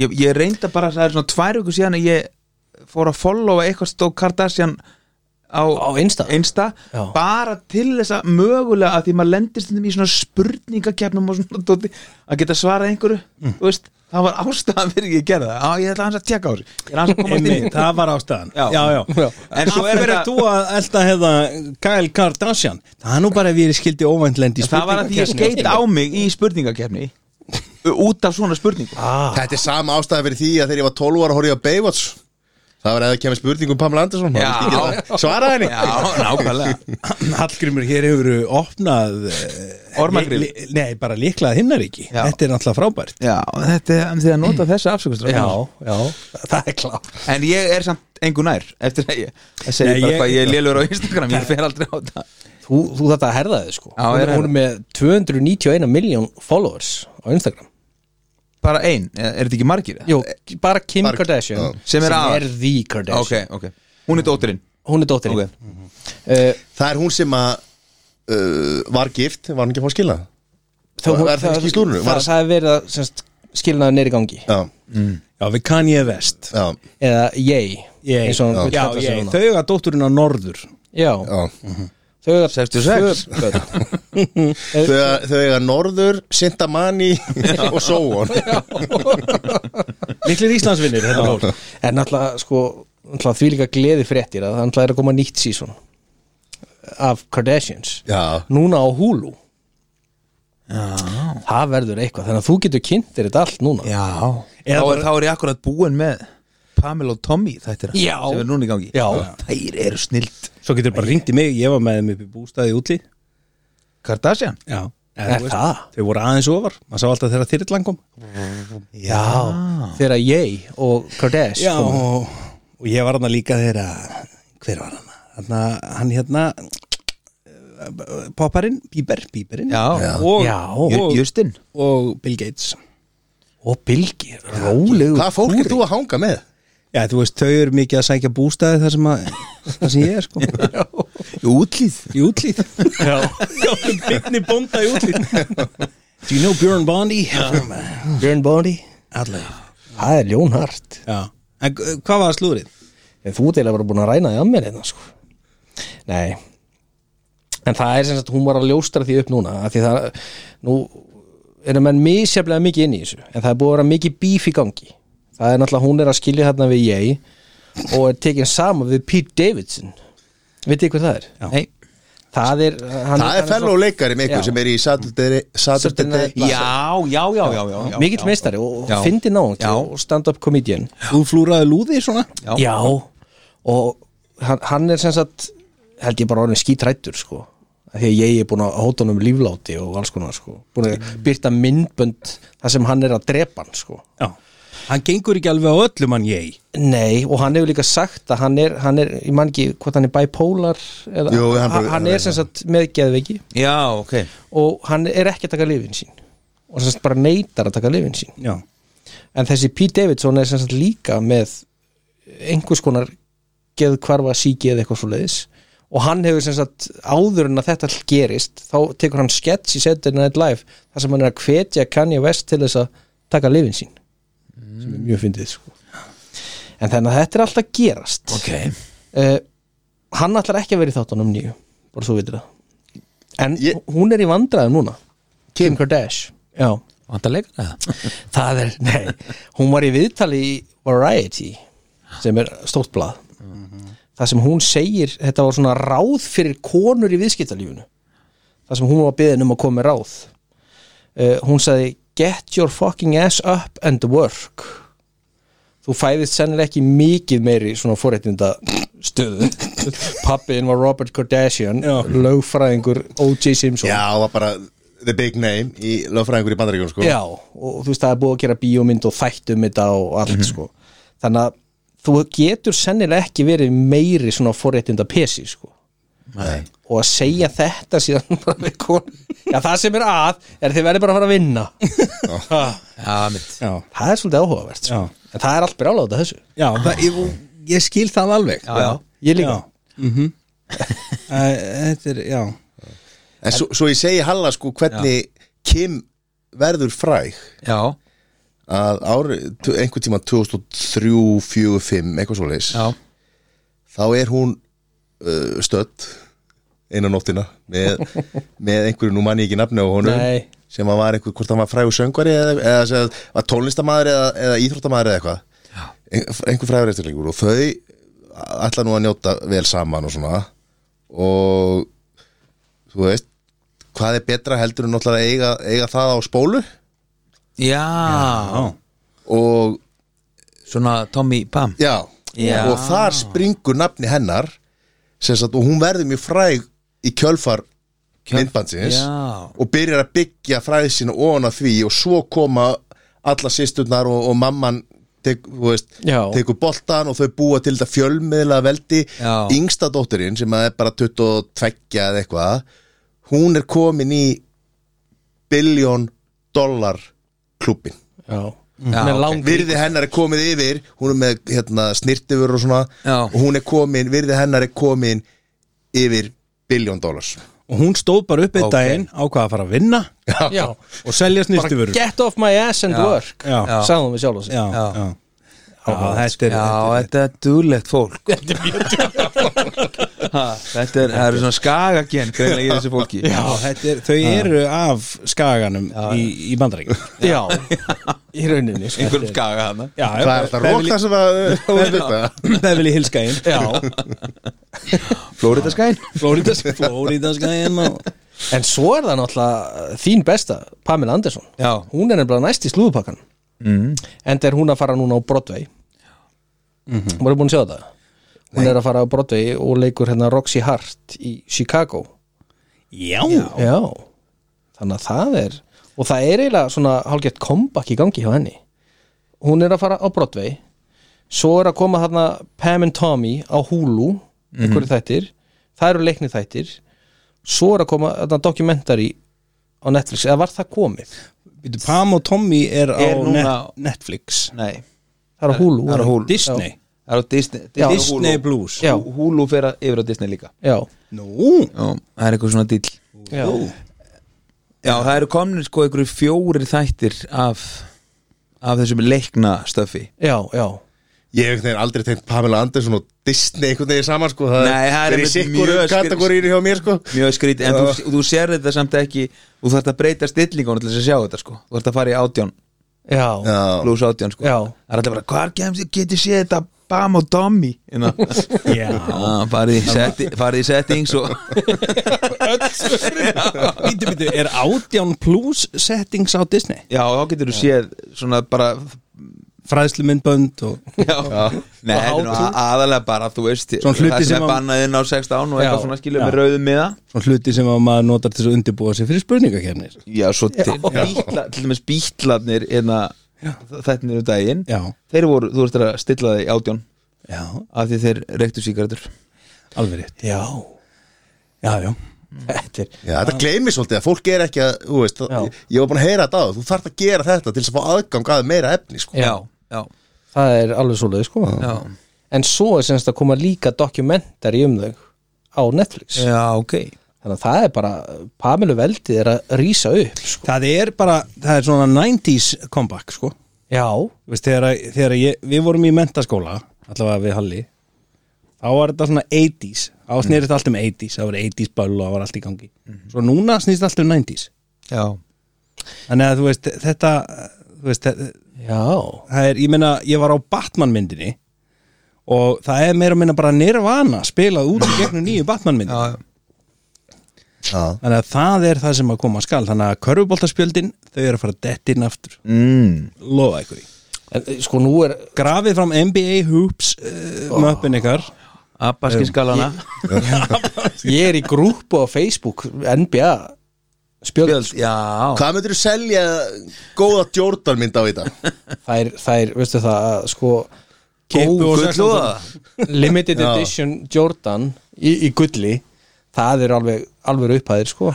[SPEAKER 4] ég, ég reynda bara að það er svona tvær viku síðan að ég fór að followa eitthvað stók Kardashian á,
[SPEAKER 2] Á Insta?
[SPEAKER 4] Insta
[SPEAKER 2] Já.
[SPEAKER 4] bara til þess að mögulega að því maður lendist um í svona spurningakefnum og svona dóti að geta svarað einhverju
[SPEAKER 2] Mm.
[SPEAKER 4] þú veist, það var ástæðan fyrir ekki að gera það á, ég ætla hans að tjekka á þessu ég ætla hans að komast inn
[SPEAKER 3] Einmitt, það var ástæðan
[SPEAKER 4] Já.
[SPEAKER 3] já, já.
[SPEAKER 4] Já. En
[SPEAKER 3] En
[SPEAKER 4] svo
[SPEAKER 3] svo
[SPEAKER 4] er
[SPEAKER 3] er
[SPEAKER 4] þetta-
[SPEAKER 3] þú að elda hefða Kyle Kardashian Það er nú bara að við erum skildi óvendlendi
[SPEAKER 4] En það var að því ég skeit á mig í spurningakefni út af svona spurningum
[SPEAKER 2] Ah,
[SPEAKER 1] Ah. Þetta er sama ástæði fyrir því að þegar ég var 12 ára horfði ég á Baywatch Það var eða kemur spurningum Pamela Andersson maður
[SPEAKER 4] Já.
[SPEAKER 1] vildi ekki það. Svaraði henni
[SPEAKER 4] já, nákvæmlega
[SPEAKER 3] Hallgrimur hér hefur opnað eh,
[SPEAKER 4] Ormagrill.
[SPEAKER 3] li- li- Nei, bara líklað hinnaríki
[SPEAKER 4] Já.
[SPEAKER 3] Þetta er náttúrulega frábært
[SPEAKER 4] já, þetta er því að nota þessa afsökustráð
[SPEAKER 2] já, já, það er klart
[SPEAKER 4] En ég er samt engu nær Eftir að ég að segja
[SPEAKER 3] Nei,
[SPEAKER 4] bara
[SPEAKER 3] ég-
[SPEAKER 4] hvað ég er lélur á Instagram Ég fer aldrei á þetta
[SPEAKER 2] Þú, þú þetta að herða þið sko
[SPEAKER 4] Já,
[SPEAKER 2] hún,
[SPEAKER 4] ég er
[SPEAKER 2] er,
[SPEAKER 4] að
[SPEAKER 2] hún er með 291 miljón followers á Instagram
[SPEAKER 4] Bara ein, eða er þetta ekki margir?
[SPEAKER 2] Jú, bara Kim
[SPEAKER 1] Bara-
[SPEAKER 2] Kardashian
[SPEAKER 1] já.
[SPEAKER 4] Sem er Mm. aðal.
[SPEAKER 2] The Kardashian
[SPEAKER 4] Ok, ok Hún er dóttirinn
[SPEAKER 2] Hún er dóttirinn
[SPEAKER 4] okay.
[SPEAKER 2] okay. uh,
[SPEAKER 1] Það er hún sem að uh, var gift, var hún ekki að fá að skila Var- var það ekki í slúrinu?
[SPEAKER 2] Það,
[SPEAKER 1] Var-
[SPEAKER 2] það er verið að semst, skilnaður neyri gangi
[SPEAKER 1] Já,
[SPEAKER 4] Mm.
[SPEAKER 3] Já, við Kanye West
[SPEAKER 1] já,
[SPEAKER 2] Eða yay,
[SPEAKER 3] Yay.
[SPEAKER 2] Eins og hún
[SPEAKER 1] Já.
[SPEAKER 2] vill
[SPEAKER 3] Já,
[SPEAKER 2] kalla sig
[SPEAKER 3] ég,
[SPEAKER 2] núna.
[SPEAKER 3] þau að dótturinn á norður
[SPEAKER 2] já.
[SPEAKER 1] já
[SPEAKER 2] Þau er
[SPEAKER 4] 66.
[SPEAKER 2] Eh.
[SPEAKER 1] Þau þau eiga Norður, Sintamani og Sóon
[SPEAKER 3] Miklir Íslandsvinnir, hérna þetta fólk
[SPEAKER 2] En náttúrulega sko náttúrulega því líka gleði fréttir að það náttúrulega er að koma nýtt síson af Kardashians
[SPEAKER 1] Já,
[SPEAKER 2] núna á Hulu Já Það verður eitthvað, þannig að þú getur kynnt þér þetta allt núna
[SPEAKER 4] Já
[SPEAKER 3] Eða
[SPEAKER 4] þá,
[SPEAKER 3] bara-
[SPEAKER 4] er, þá er ég akkurat búin með Pamela og Tommy þættir
[SPEAKER 2] Já.
[SPEAKER 4] Sem er núna í gangi
[SPEAKER 2] Já.
[SPEAKER 4] Þær eru snilt
[SPEAKER 3] Svo getur bara ringt í mig, ég var með þeim upp í bústæði útli
[SPEAKER 4] Kardashian
[SPEAKER 3] Já
[SPEAKER 2] Er það?
[SPEAKER 3] Þau voru aðeins ofar, maður sá alltaf þeirra þyrrlan kom
[SPEAKER 2] Já, þegar ég og Kardash
[SPEAKER 3] Já,
[SPEAKER 2] komu.
[SPEAKER 3] og, Sko. og ég var hana líka þegar að, hver var hana? hana hann hérna eh, popparinn, Bieber, Bieberinn
[SPEAKER 4] Já. Já.
[SPEAKER 3] og,
[SPEAKER 2] Já.
[SPEAKER 3] og,
[SPEAKER 4] Justin
[SPEAKER 3] og Bill Gates
[SPEAKER 2] og Bilgi, rólegu
[SPEAKER 1] hvað fólk er þú að hanga með?
[SPEAKER 3] Já, þú veist, þau eru mikið að sækja bústæði þar sem, að, þar sem ég er sko
[SPEAKER 4] Útlýð
[SPEAKER 3] í útlýð Já, byggni bónda í útlýð Do you know Björn Bondi?
[SPEAKER 2] Björn Bondi
[SPEAKER 3] Allega
[SPEAKER 2] Það er ljónhart
[SPEAKER 3] Já, en eh, hvað var slúðrið?
[SPEAKER 2] En þú deila bara búin að ræna því að mér hérna sko. Nei En það er sem sagt, hún var að ljóstra því upp núna af Því það, nú erum menn misjaflega mikið inn í þessu En það er búið að vera mikið bíf í gangi Það er náttúrulega, hún er að skilja hérna við ég Og er tekin sama við Pete Davidson Vitið þið hvað það er?
[SPEAKER 3] Já.
[SPEAKER 4] Nei
[SPEAKER 2] Það er, hann,
[SPEAKER 1] Það er fellow leikari með ykkur
[SPEAKER 2] Já.
[SPEAKER 1] sem er í Saturday Saturday
[SPEAKER 2] Saturday Night
[SPEAKER 1] Night
[SPEAKER 2] Live.
[SPEAKER 4] Já, já, já, já, já, já
[SPEAKER 2] mikill
[SPEAKER 4] já.
[SPEAKER 2] meistari og
[SPEAKER 4] Já.
[SPEAKER 2] fyndi náungi
[SPEAKER 4] Já.
[SPEAKER 2] og stand-up comedian
[SPEAKER 3] Þú flúraði lúði svona?
[SPEAKER 4] Já.
[SPEAKER 2] já, og hann, hann er sem sagt held ég bara orðin skítrættur sko Af því að ég er búin að hóta honum um lífláti og alls konar sko búin að byrta myndbönd þar sem hann er að drepa hann sko
[SPEAKER 3] Já Hann gengur ekki alveg á öllum hann ég
[SPEAKER 2] nei og hann hefur líka sagt að hann er, hann er ég man ekki hvort hann er bipolar eða,
[SPEAKER 1] Jú, hann bara-
[SPEAKER 2] hann, er sem sagt með geðveiki
[SPEAKER 4] Já, ok
[SPEAKER 2] og hann er ekki að taka lifin sín og sem sagt bara neitar að taka lifin sín
[SPEAKER 3] Já
[SPEAKER 2] en þessi Pete Davidson er sem sagt líka með einhvers konar geðkvarfa síki eða eitthvað svo leiðis og hann hefur sem sagt áður en að þetta all gerist þá tekur hann sketch í Saturday Night Live þar sem hann er að hvetja Kanye West til þess að taka lifin sín sem er mjög fyndið sko. en þannig að þetta er alltaf að gerast
[SPEAKER 4] Ok
[SPEAKER 2] uh, hann ætlar ekki að vera í þáttunum nýju bara svo vitur það en
[SPEAKER 1] Ég-
[SPEAKER 2] hún er í vandræðum núna Kim Kardashian já
[SPEAKER 4] Vantar leikana það
[SPEAKER 2] Það er, nei, hún var í viðtali í Variety sem er stórt blað það sem hún segir, þetta var svona ráð fyrir konur í viðskiptalífunu það sem hún var beðin um að koma með ráð uh, hún sagði get your fucking ass up and work þú fæðist sennilega ekki mikið meiri svona fórættinda stöðu pappiðin var Robert Kardashian
[SPEAKER 3] Já.
[SPEAKER 2] lögfræðingur O.J. Simpson
[SPEAKER 1] Já, það var bara the big name í lögfræðingur í bandaríkjum sko
[SPEAKER 2] Já, og þú veist það er búið að gera bíómynd og þætt um þetta og allt sko Þannig að þú getur sennilega ekki verið meiri svona forréttinda pesi sko
[SPEAKER 4] Nei
[SPEAKER 2] og að segja þetta síðan bara við kon Já, það sem er að er þið verður bara að fara að vinna
[SPEAKER 4] Já, mitt
[SPEAKER 3] Já
[SPEAKER 2] Það er svolítið áhugavert sko.
[SPEAKER 3] Já.
[SPEAKER 2] En það er allt byrja áláta þessu
[SPEAKER 3] Já, það, ég, ég skil það alveg
[SPEAKER 4] Já, já
[SPEAKER 2] Ég líka
[SPEAKER 3] Já. Mhm. Æ, Þetta er, já
[SPEAKER 1] En svo, svo ég segi Halla sko hvernig Kim verður fræg
[SPEAKER 4] Já
[SPEAKER 1] að ári, einhvern tíma 2003, 4, 5 eitthvað svoleiðis,
[SPEAKER 4] já,
[SPEAKER 1] þá er hún uh, stödd eina nóttina með, með einhverju, nú mann ég ekki nafni á honum
[SPEAKER 2] Nei.
[SPEAKER 1] sem að var einhver, hvort hann var frægur söngvari eða, eða sem að var tónlistamæður eða, eða íþróttamæður eða eitthvað Ein, einhver frægur eftirleikur og þau ætla nú að njóta vel saman og svona og þú veist hvað er betra heldur en náttúrulega að eiga, eiga það á spólu
[SPEAKER 4] já.
[SPEAKER 1] og
[SPEAKER 4] svona Tommy Pam
[SPEAKER 1] Já,
[SPEAKER 4] Já.
[SPEAKER 1] og þar springur nafni hennar sem sagt, og hún verður mjög fræg í kjölfar myndbandsins
[SPEAKER 4] já,
[SPEAKER 1] og byrjar að byggja fræði sína ofan að því og svo koma alla sýsturnar og, og mamman tek, þú veist,
[SPEAKER 2] Já.
[SPEAKER 1] tekur boltan og þau búa til þetta fjölmiðla veldi
[SPEAKER 4] Já.
[SPEAKER 1] yngsta dótturinn sem að er bara 22 eða eitthvað hún er komin í biljón dollar klubin
[SPEAKER 2] já,
[SPEAKER 4] Já,
[SPEAKER 2] Hún er
[SPEAKER 4] ok.
[SPEAKER 2] lang-
[SPEAKER 1] virði hennar er komið yfir hún er með hérna, snirtifur og svona
[SPEAKER 4] Já.
[SPEAKER 1] og hún er komin, virði hennar er komin yfir biljón dólars
[SPEAKER 3] og hún stóð bara upp einn
[SPEAKER 4] Ok.
[SPEAKER 3] daginn ákvað að fara að vinna
[SPEAKER 2] já,
[SPEAKER 3] og selja snýstu
[SPEAKER 2] bara get off my ass and work
[SPEAKER 3] Já. Já.
[SPEAKER 2] sagði hún við sjálf og sig
[SPEAKER 3] já,
[SPEAKER 4] Já.
[SPEAKER 3] já. þetta er,
[SPEAKER 4] já þetta er duglegt fólk þetta er mjög duglegt þetta er, það eru svona skagagen greinlega í þessu fólki
[SPEAKER 3] já, þetta er, þau eru af skaganum í, í bandaríkjum
[SPEAKER 2] já, í rauninni sko.
[SPEAKER 4] einhverjum skaga hana
[SPEAKER 3] Já,
[SPEAKER 1] það er þetta rók það sem að hún er þetta
[SPEAKER 3] Beverly Hills gæinn
[SPEAKER 2] já,
[SPEAKER 4] Florida skæn
[SPEAKER 3] Flóridas Flóridas gæinn og
[SPEAKER 2] En svo er það náttúrulega þín besta, Pamela Andersson
[SPEAKER 4] Já.
[SPEAKER 2] Hún er nefnilega næst í slúðupakkan
[SPEAKER 4] mm.
[SPEAKER 2] En er hún að fara núna á Broadway mm -hmm. Hún er búin að sjá það Hún er að fara á Broadway og leikur hérna Roxy Hart í Chicago
[SPEAKER 3] Já,
[SPEAKER 2] Já, þannig að það er Og það er eiginlega svona hálfgett comeback í gangi hjá henni Hún er að fara á Broadway Svo er að koma þarna Pam and Tommy á Hulu einhverju þættir, það eru leikni þættir Svo er að koma þarna dokumentari á Netflix, eða var það komið?
[SPEAKER 3] Býtu, Pam og Tommy er á
[SPEAKER 4] Er núna-
[SPEAKER 3] net, Netflix
[SPEAKER 4] nei,
[SPEAKER 2] Það er á Hulu
[SPEAKER 4] það er á Hulu.
[SPEAKER 3] Disney
[SPEAKER 4] það eru Disney,
[SPEAKER 2] Já.
[SPEAKER 4] Disney,
[SPEAKER 3] Disney
[SPEAKER 4] Hulu.
[SPEAKER 3] Blues
[SPEAKER 2] Já.
[SPEAKER 4] Hulu fer að- yfir á Disney líka
[SPEAKER 2] Já,
[SPEAKER 3] Nú,
[SPEAKER 4] já, það er eitthvað svona dýll
[SPEAKER 2] já, já.
[SPEAKER 4] já, það eru komnir sko einhverju fjórir þættir af af þessum leikna stöfi
[SPEAKER 2] já, já.
[SPEAKER 1] ég hef einhvern veginn aldrei tengt Pamela Andersson og Disney einhvern veginn saman sko það
[SPEAKER 4] Nei, það
[SPEAKER 1] er
[SPEAKER 4] er
[SPEAKER 1] í
[SPEAKER 4] einmitt
[SPEAKER 1] sikkur
[SPEAKER 4] mjög skil-
[SPEAKER 1] kategóriður hjá mér sko
[SPEAKER 4] mjög skrítið, en þú, þú sér þetta samt ekki þú þarft að breyta stillingunum til þess að sjá þetta sko. þú þarft að fara í átján,
[SPEAKER 2] já.
[SPEAKER 1] já,
[SPEAKER 4] pluss átján sko.
[SPEAKER 2] Já.
[SPEAKER 4] það er alltaf bara, hvar kemst ég geti séð þetta bam og dommi
[SPEAKER 3] Já.
[SPEAKER 4] farið í setti- farið í settings og
[SPEAKER 3] býtu, býtu, er átján Blues settings á Disney?
[SPEAKER 4] já, þá getur þú séð svona bara
[SPEAKER 3] Fræðslumyndbönd og
[SPEAKER 4] já, Nei, þetta er nú a- aðalega bara þú veist,
[SPEAKER 3] Svona hluti
[SPEAKER 4] það
[SPEAKER 3] sem
[SPEAKER 4] sem er
[SPEAKER 3] að-
[SPEAKER 4] bannað inn á 16 og eitthvað
[SPEAKER 2] Já.
[SPEAKER 4] svona skilur
[SPEAKER 3] Já.
[SPEAKER 4] með rauðum miða
[SPEAKER 3] svona hluti sem að maður notar til þess að undirbúa sig fyrir spurningakefnir
[SPEAKER 4] já, svo til, bítla, til dæmis bítlarnir hérna, þetta niður daginn
[SPEAKER 3] Já,
[SPEAKER 4] þeir voru, þú veist að stilla þig átján
[SPEAKER 3] já,
[SPEAKER 4] af því þeir reyktu sígaretur
[SPEAKER 3] alveg rétt Mm. Já, já,
[SPEAKER 2] Þetta er
[SPEAKER 1] já þetta gleymir svolítið að fólk er ekki að þú veist,
[SPEAKER 2] Já.
[SPEAKER 1] ég var búin að heyra þetta á þú þarf að gera þetta til þess að fá aðgang að meira efni sko
[SPEAKER 4] já, já,
[SPEAKER 2] Það er alveg svoleiði sko
[SPEAKER 4] já,
[SPEAKER 2] En svo er semst að koma líka dokumentari um þau á Netflix
[SPEAKER 4] já, ok
[SPEAKER 2] Þannig að það er bara, Pamelu veldið er að rýsa upp sko.
[SPEAKER 3] það er bara það er svona 90s comeback sko
[SPEAKER 2] Já,
[SPEAKER 3] Þú veist, þegar, að- þegar að ég, við vorum í mentaskóla allavega við Halli þá var þetta svona 80s þá
[SPEAKER 4] Mm.
[SPEAKER 3] snýrist allt um 80s, það var 80s böll og það var allt í gangi svo núna snýrist allt um 90s
[SPEAKER 4] já,
[SPEAKER 3] þannig að þú veist, þetta þú veist, það,
[SPEAKER 2] já,
[SPEAKER 3] það er, ég meina, ég var á Batman myndinni og það er meira að minna bara nirvana spilað út í gegnum nýju Batman myndinni
[SPEAKER 4] já,
[SPEAKER 1] já,
[SPEAKER 3] þannig að það er það sem að koma skal þannig að körfuboltaspjöldin, þau eru að fara dettin aftur,
[SPEAKER 4] mm.
[SPEAKER 3] lofa ykkur í
[SPEAKER 2] en eh, sko nú er
[SPEAKER 3] grafið fram NBA Hoops uh, möppin ykkar
[SPEAKER 4] abbaskinskalana
[SPEAKER 2] Ég er í grúpu á Facebook NBA spjöld,
[SPEAKER 4] já,
[SPEAKER 1] hvað myndir þú selja góða Jordan mynd á þetta?
[SPEAKER 2] þær, þær, veistu það að, sko,
[SPEAKER 3] Kippu
[SPEAKER 2] góð-
[SPEAKER 3] og
[SPEAKER 4] gullúða
[SPEAKER 2] limited edition Jordan í, í gulli það er alveg, alveg upphæðir sko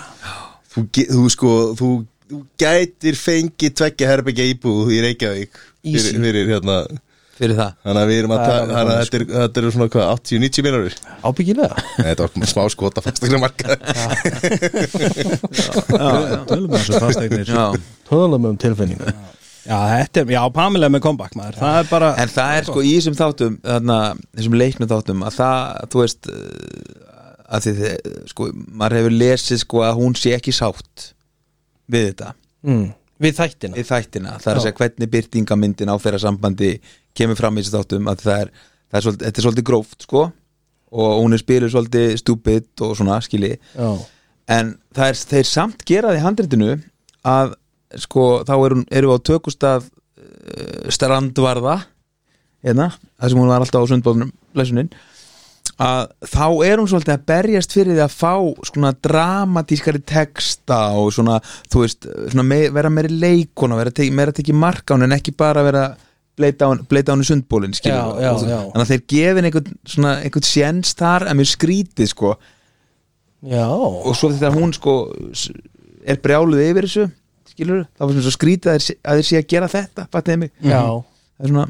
[SPEAKER 1] Þú, ge- þú sko, þú, þú gætir fengið tveggja herbyggja íbúð í Reykjavík
[SPEAKER 2] Easy.
[SPEAKER 1] fyrir, fyrir hérna
[SPEAKER 4] fyrir það
[SPEAKER 1] þannig að við erum að
[SPEAKER 2] Það er
[SPEAKER 1] ta- þannig
[SPEAKER 2] alveg
[SPEAKER 1] sko. að þetta er, þetta er svona hvað, 80-90 minnur
[SPEAKER 2] ábyggilega
[SPEAKER 1] þetta var smá skota fastaklega marka
[SPEAKER 3] tölum þessu fastegnir
[SPEAKER 4] já,
[SPEAKER 2] tölum um tilfinningu
[SPEAKER 3] Já, þetta er, já, Pamela er með comeback maður Það er bara,
[SPEAKER 4] En það er sko í þessum þáttum þarna, þessum leiknum þáttum að það, þú veist eh, að því þið, sko, maður hefur lesið sko að hún sé ekki sátt við þetta,
[SPEAKER 2] mm. Við þættina
[SPEAKER 4] við þættina það er að segja hvernig byrtingamyndin áferða sambandi kemur fram í þessum þáttum að það er, það er svolítið, þetta er svolítið gróft sko og hún er spiluð svolítið stúpid og svona skili
[SPEAKER 2] Já,
[SPEAKER 4] en það er, þeir samt gera því handritinu að sko þá er hún, erum við á tökustaf uh, strandvarða hérna, það sem hún var alltaf á sundbólnum lesunin að þá er hún svolítið að berjast fyrir því að fá svona dramatískari texta og svona, þú veist svona me, vera meiri leikona, vera teki, meira tekið mark á hún en ekki bara vera bleita á hún, bleita á hún í sundbólin
[SPEAKER 2] Já, já, já.
[SPEAKER 4] þannig að þeir gefin einhvern, svona, einhvern sjens þar að mér skrítið sko
[SPEAKER 2] já
[SPEAKER 4] og svo þegar hún sko s- er brjáluð yfir þessu skilur, þá var sem svo skrítið að þeir, sé- að þeir sé að gera þetta fattiði mig
[SPEAKER 2] Já,
[SPEAKER 4] það er svona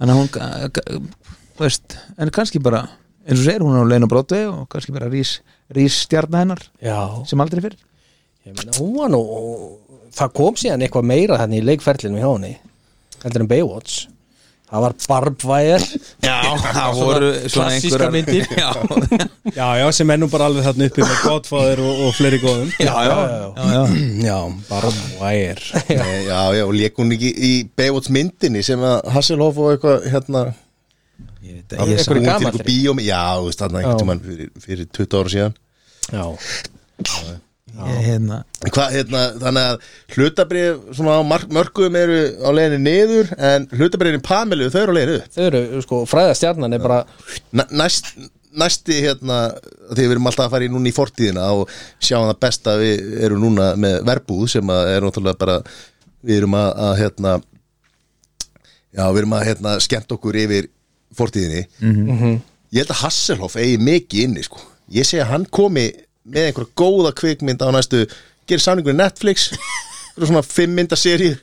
[SPEAKER 4] þannig að hún ga- ga- þú veist, en kannski bara eins og segir hún er á leina brotvei og kannski bara rís, rís stjarnar hennar
[SPEAKER 2] já
[SPEAKER 4] sem aldrei fyrr
[SPEAKER 2] Ég meina, hún var nú Það kom síðan eitthvað meira þannig í leikferlinu hjá henni heldur en Baywatch Það var barbvæðir
[SPEAKER 4] Já, það
[SPEAKER 2] voru svona
[SPEAKER 4] klassískar
[SPEAKER 2] einhverjar-
[SPEAKER 4] já,
[SPEAKER 3] já, já, sem er nú bara alveg þarna uppi með Godfather og, og fleiri góðum
[SPEAKER 4] já, já, já, já.
[SPEAKER 3] Já, bara vægir
[SPEAKER 1] Nei, Já, já, og lék hún ekki í Baywatch myndinni sem að Hasselhoff og eitthvað hérna
[SPEAKER 4] Ég veit
[SPEAKER 1] að
[SPEAKER 4] að ég
[SPEAKER 1] hún
[SPEAKER 4] sá
[SPEAKER 1] til
[SPEAKER 2] gamall
[SPEAKER 1] eitthvað
[SPEAKER 2] þrý.
[SPEAKER 1] bíóm Já, þú veist, þarna
[SPEAKER 2] Já.
[SPEAKER 1] einhvern tímann fyrir, fyrir 20 ára síðan
[SPEAKER 2] Já,
[SPEAKER 4] ég- hérna
[SPEAKER 1] En Hvað, hérna, þannig að hlutabrif svona á mark, mörgum eru á leiðinni niður en hlutabrifin Pamelu, þau eru á leiðinni upp
[SPEAKER 2] þau eru, sko, fræðastjarnan er bara
[SPEAKER 1] Næ- næst, Næsti, hérna, því við erum alltaf að fara í núna í fortíðina og sjáum það besta við erum núna með verbúð sem að er náttúrulega bara við erum að, að hérna já, við erum að hérna skemmt okkur yfir fortíðinni Ég held að Hasselhoff eigi mikið inni sko. Ég segi að hann komi með einhverja góða kvikmynd á næstu gerir samningur í Netflix einhverja svona fimm mynda serið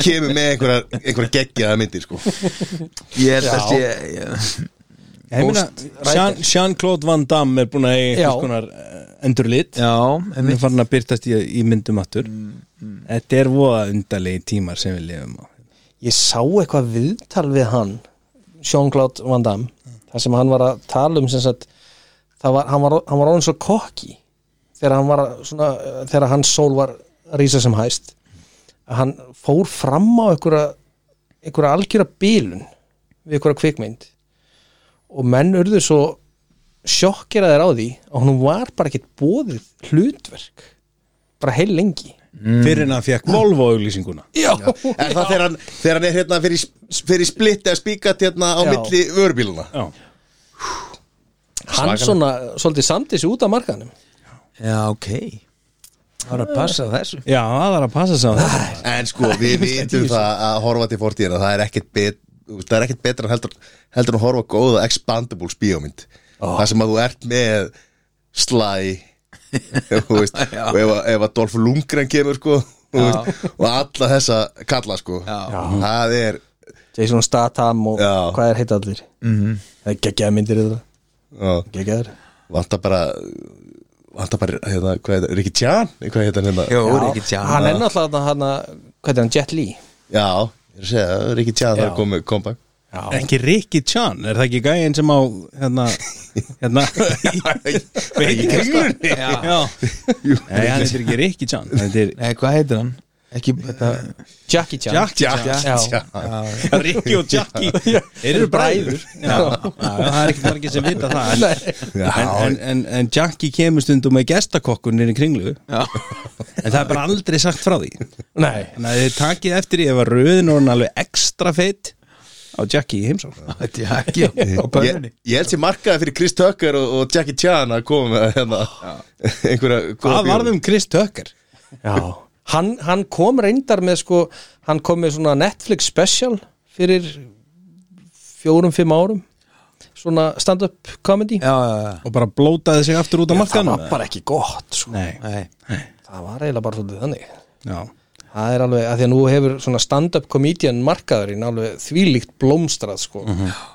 [SPEAKER 1] kemur með einhverja, einhverja geggjaða myndir sko.
[SPEAKER 4] ég held að sé ég-
[SPEAKER 3] Ég meina, Jean- Jean-Claude Van Damme er búin að eiga
[SPEAKER 2] Já.
[SPEAKER 3] einhvers konar eh, endurlit
[SPEAKER 4] já, en
[SPEAKER 3] Hann er farin að byrtast í, í myndum aftur Þetta er voða undalegi tímar sem við lifum á
[SPEAKER 2] ég sá eitthvað viðtal við hann Jean-Claude Van Damme þar sem hann var að tala um sem sagt, það var, hann, var, hann var orðin svo kokki þegar hann var að- svona, eh, þegar hans sól var að rísa sem hæst að hann fór fram á einhverja, einhverja algjöra bílun við einhverja kvikmynd og menn urðu svo sjokkera þeir á því að hún var bara ekkert bóðið hlutverk bara heil lengi
[SPEAKER 3] Fyrir en að fekk Volvo-auglýsinguna
[SPEAKER 2] Já,
[SPEAKER 1] Er það þegar hann, þegar hann er hérna fyrir, fyrir splitt eða spíkat hérna á
[SPEAKER 2] Já.
[SPEAKER 1] milli vörubíluna?
[SPEAKER 3] Já,
[SPEAKER 2] hann svona svolítið samt þessi út af markanum
[SPEAKER 4] já, ok það var að passa á þessu
[SPEAKER 3] Já, það er að passa sig á þetta
[SPEAKER 1] En sko, við vitum það að horfa til fortíðina það er ekkert, bet, það er ekkert betra en heldur, heldur en að horfa á góða Expandables bíómynd það sem að þú ert með slæ þú veist, og ef, að- ef að Dolph Lundgren kemur sko þú veist, og alla þessa kalla sko
[SPEAKER 4] Já.
[SPEAKER 1] það er
[SPEAKER 2] Jason Statham og
[SPEAKER 1] Já.
[SPEAKER 2] hvað er heita allir mm
[SPEAKER 4] Mhm.
[SPEAKER 2] -hmm. það er geggjaða myndir þetta
[SPEAKER 1] já,
[SPEAKER 2] geggjaðar
[SPEAKER 1] vantar bara vantar bara, hérna, hvað heitir, Ricky Chan hvað heitir hann hérna?
[SPEAKER 4] Jó, Ríkir Tján
[SPEAKER 2] hann er náttúrulega hann hvað er hann Jet Li
[SPEAKER 1] Já, ég er að segja, Ricky Chan það
[SPEAKER 2] Já.
[SPEAKER 1] er komið kompakt
[SPEAKER 3] Ekki Ricky Chan, er það ekki gæinn sem á hérna, hérna Veit ekki
[SPEAKER 1] Kringlunni?
[SPEAKER 3] Já, Nei, hann heitir ekki Ricky Chan hann heitir
[SPEAKER 4] Nei, hvað heitir hann? Ekki, þetta,
[SPEAKER 2] Jackie Chan
[SPEAKER 3] Jack Chan
[SPEAKER 1] Jack
[SPEAKER 2] Já.
[SPEAKER 1] Chan
[SPEAKER 3] Ricky og Jackie Eru bræður Já, það er ekki margir sem vita það en,
[SPEAKER 1] Já.
[SPEAKER 3] en, en, en, en Jackie kemur stundum með gestakokkun nýri kringlu
[SPEAKER 4] já,
[SPEAKER 3] En það er bara aldrei sagt frá því
[SPEAKER 2] nei
[SPEAKER 3] Þannig að þið takið eftir ég ef að röðin og hann alveg ekstra feitt á Jackie í heimsókn
[SPEAKER 4] þetta er ekki á
[SPEAKER 1] ég,
[SPEAKER 4] pönnunni
[SPEAKER 1] ég held sér markaði fyrir Chris Tucker og, og Jackie Chan að koma með hérna einhverja góða
[SPEAKER 3] Hvað
[SPEAKER 1] bíómynd.
[SPEAKER 2] um-
[SPEAKER 3] varðum Chris Tucker?
[SPEAKER 2] Já. hann, hann kom reyndar með sko, hann kom með svona Netflix special fyrir fjórum, fimm árum svona stand-up comedy
[SPEAKER 4] Já, já, já
[SPEAKER 3] Og bara blótaði sig aftur út á
[SPEAKER 2] það
[SPEAKER 3] markanum?
[SPEAKER 2] var bara ekki gott sko.
[SPEAKER 3] Nei,
[SPEAKER 4] Nei,
[SPEAKER 2] það var eiginlega bara svolítið þannig
[SPEAKER 3] já
[SPEAKER 2] það er alveg, að því að nú hefur svona stand-up comedian markaðurinn alveg þvílíkt blómstrað sko,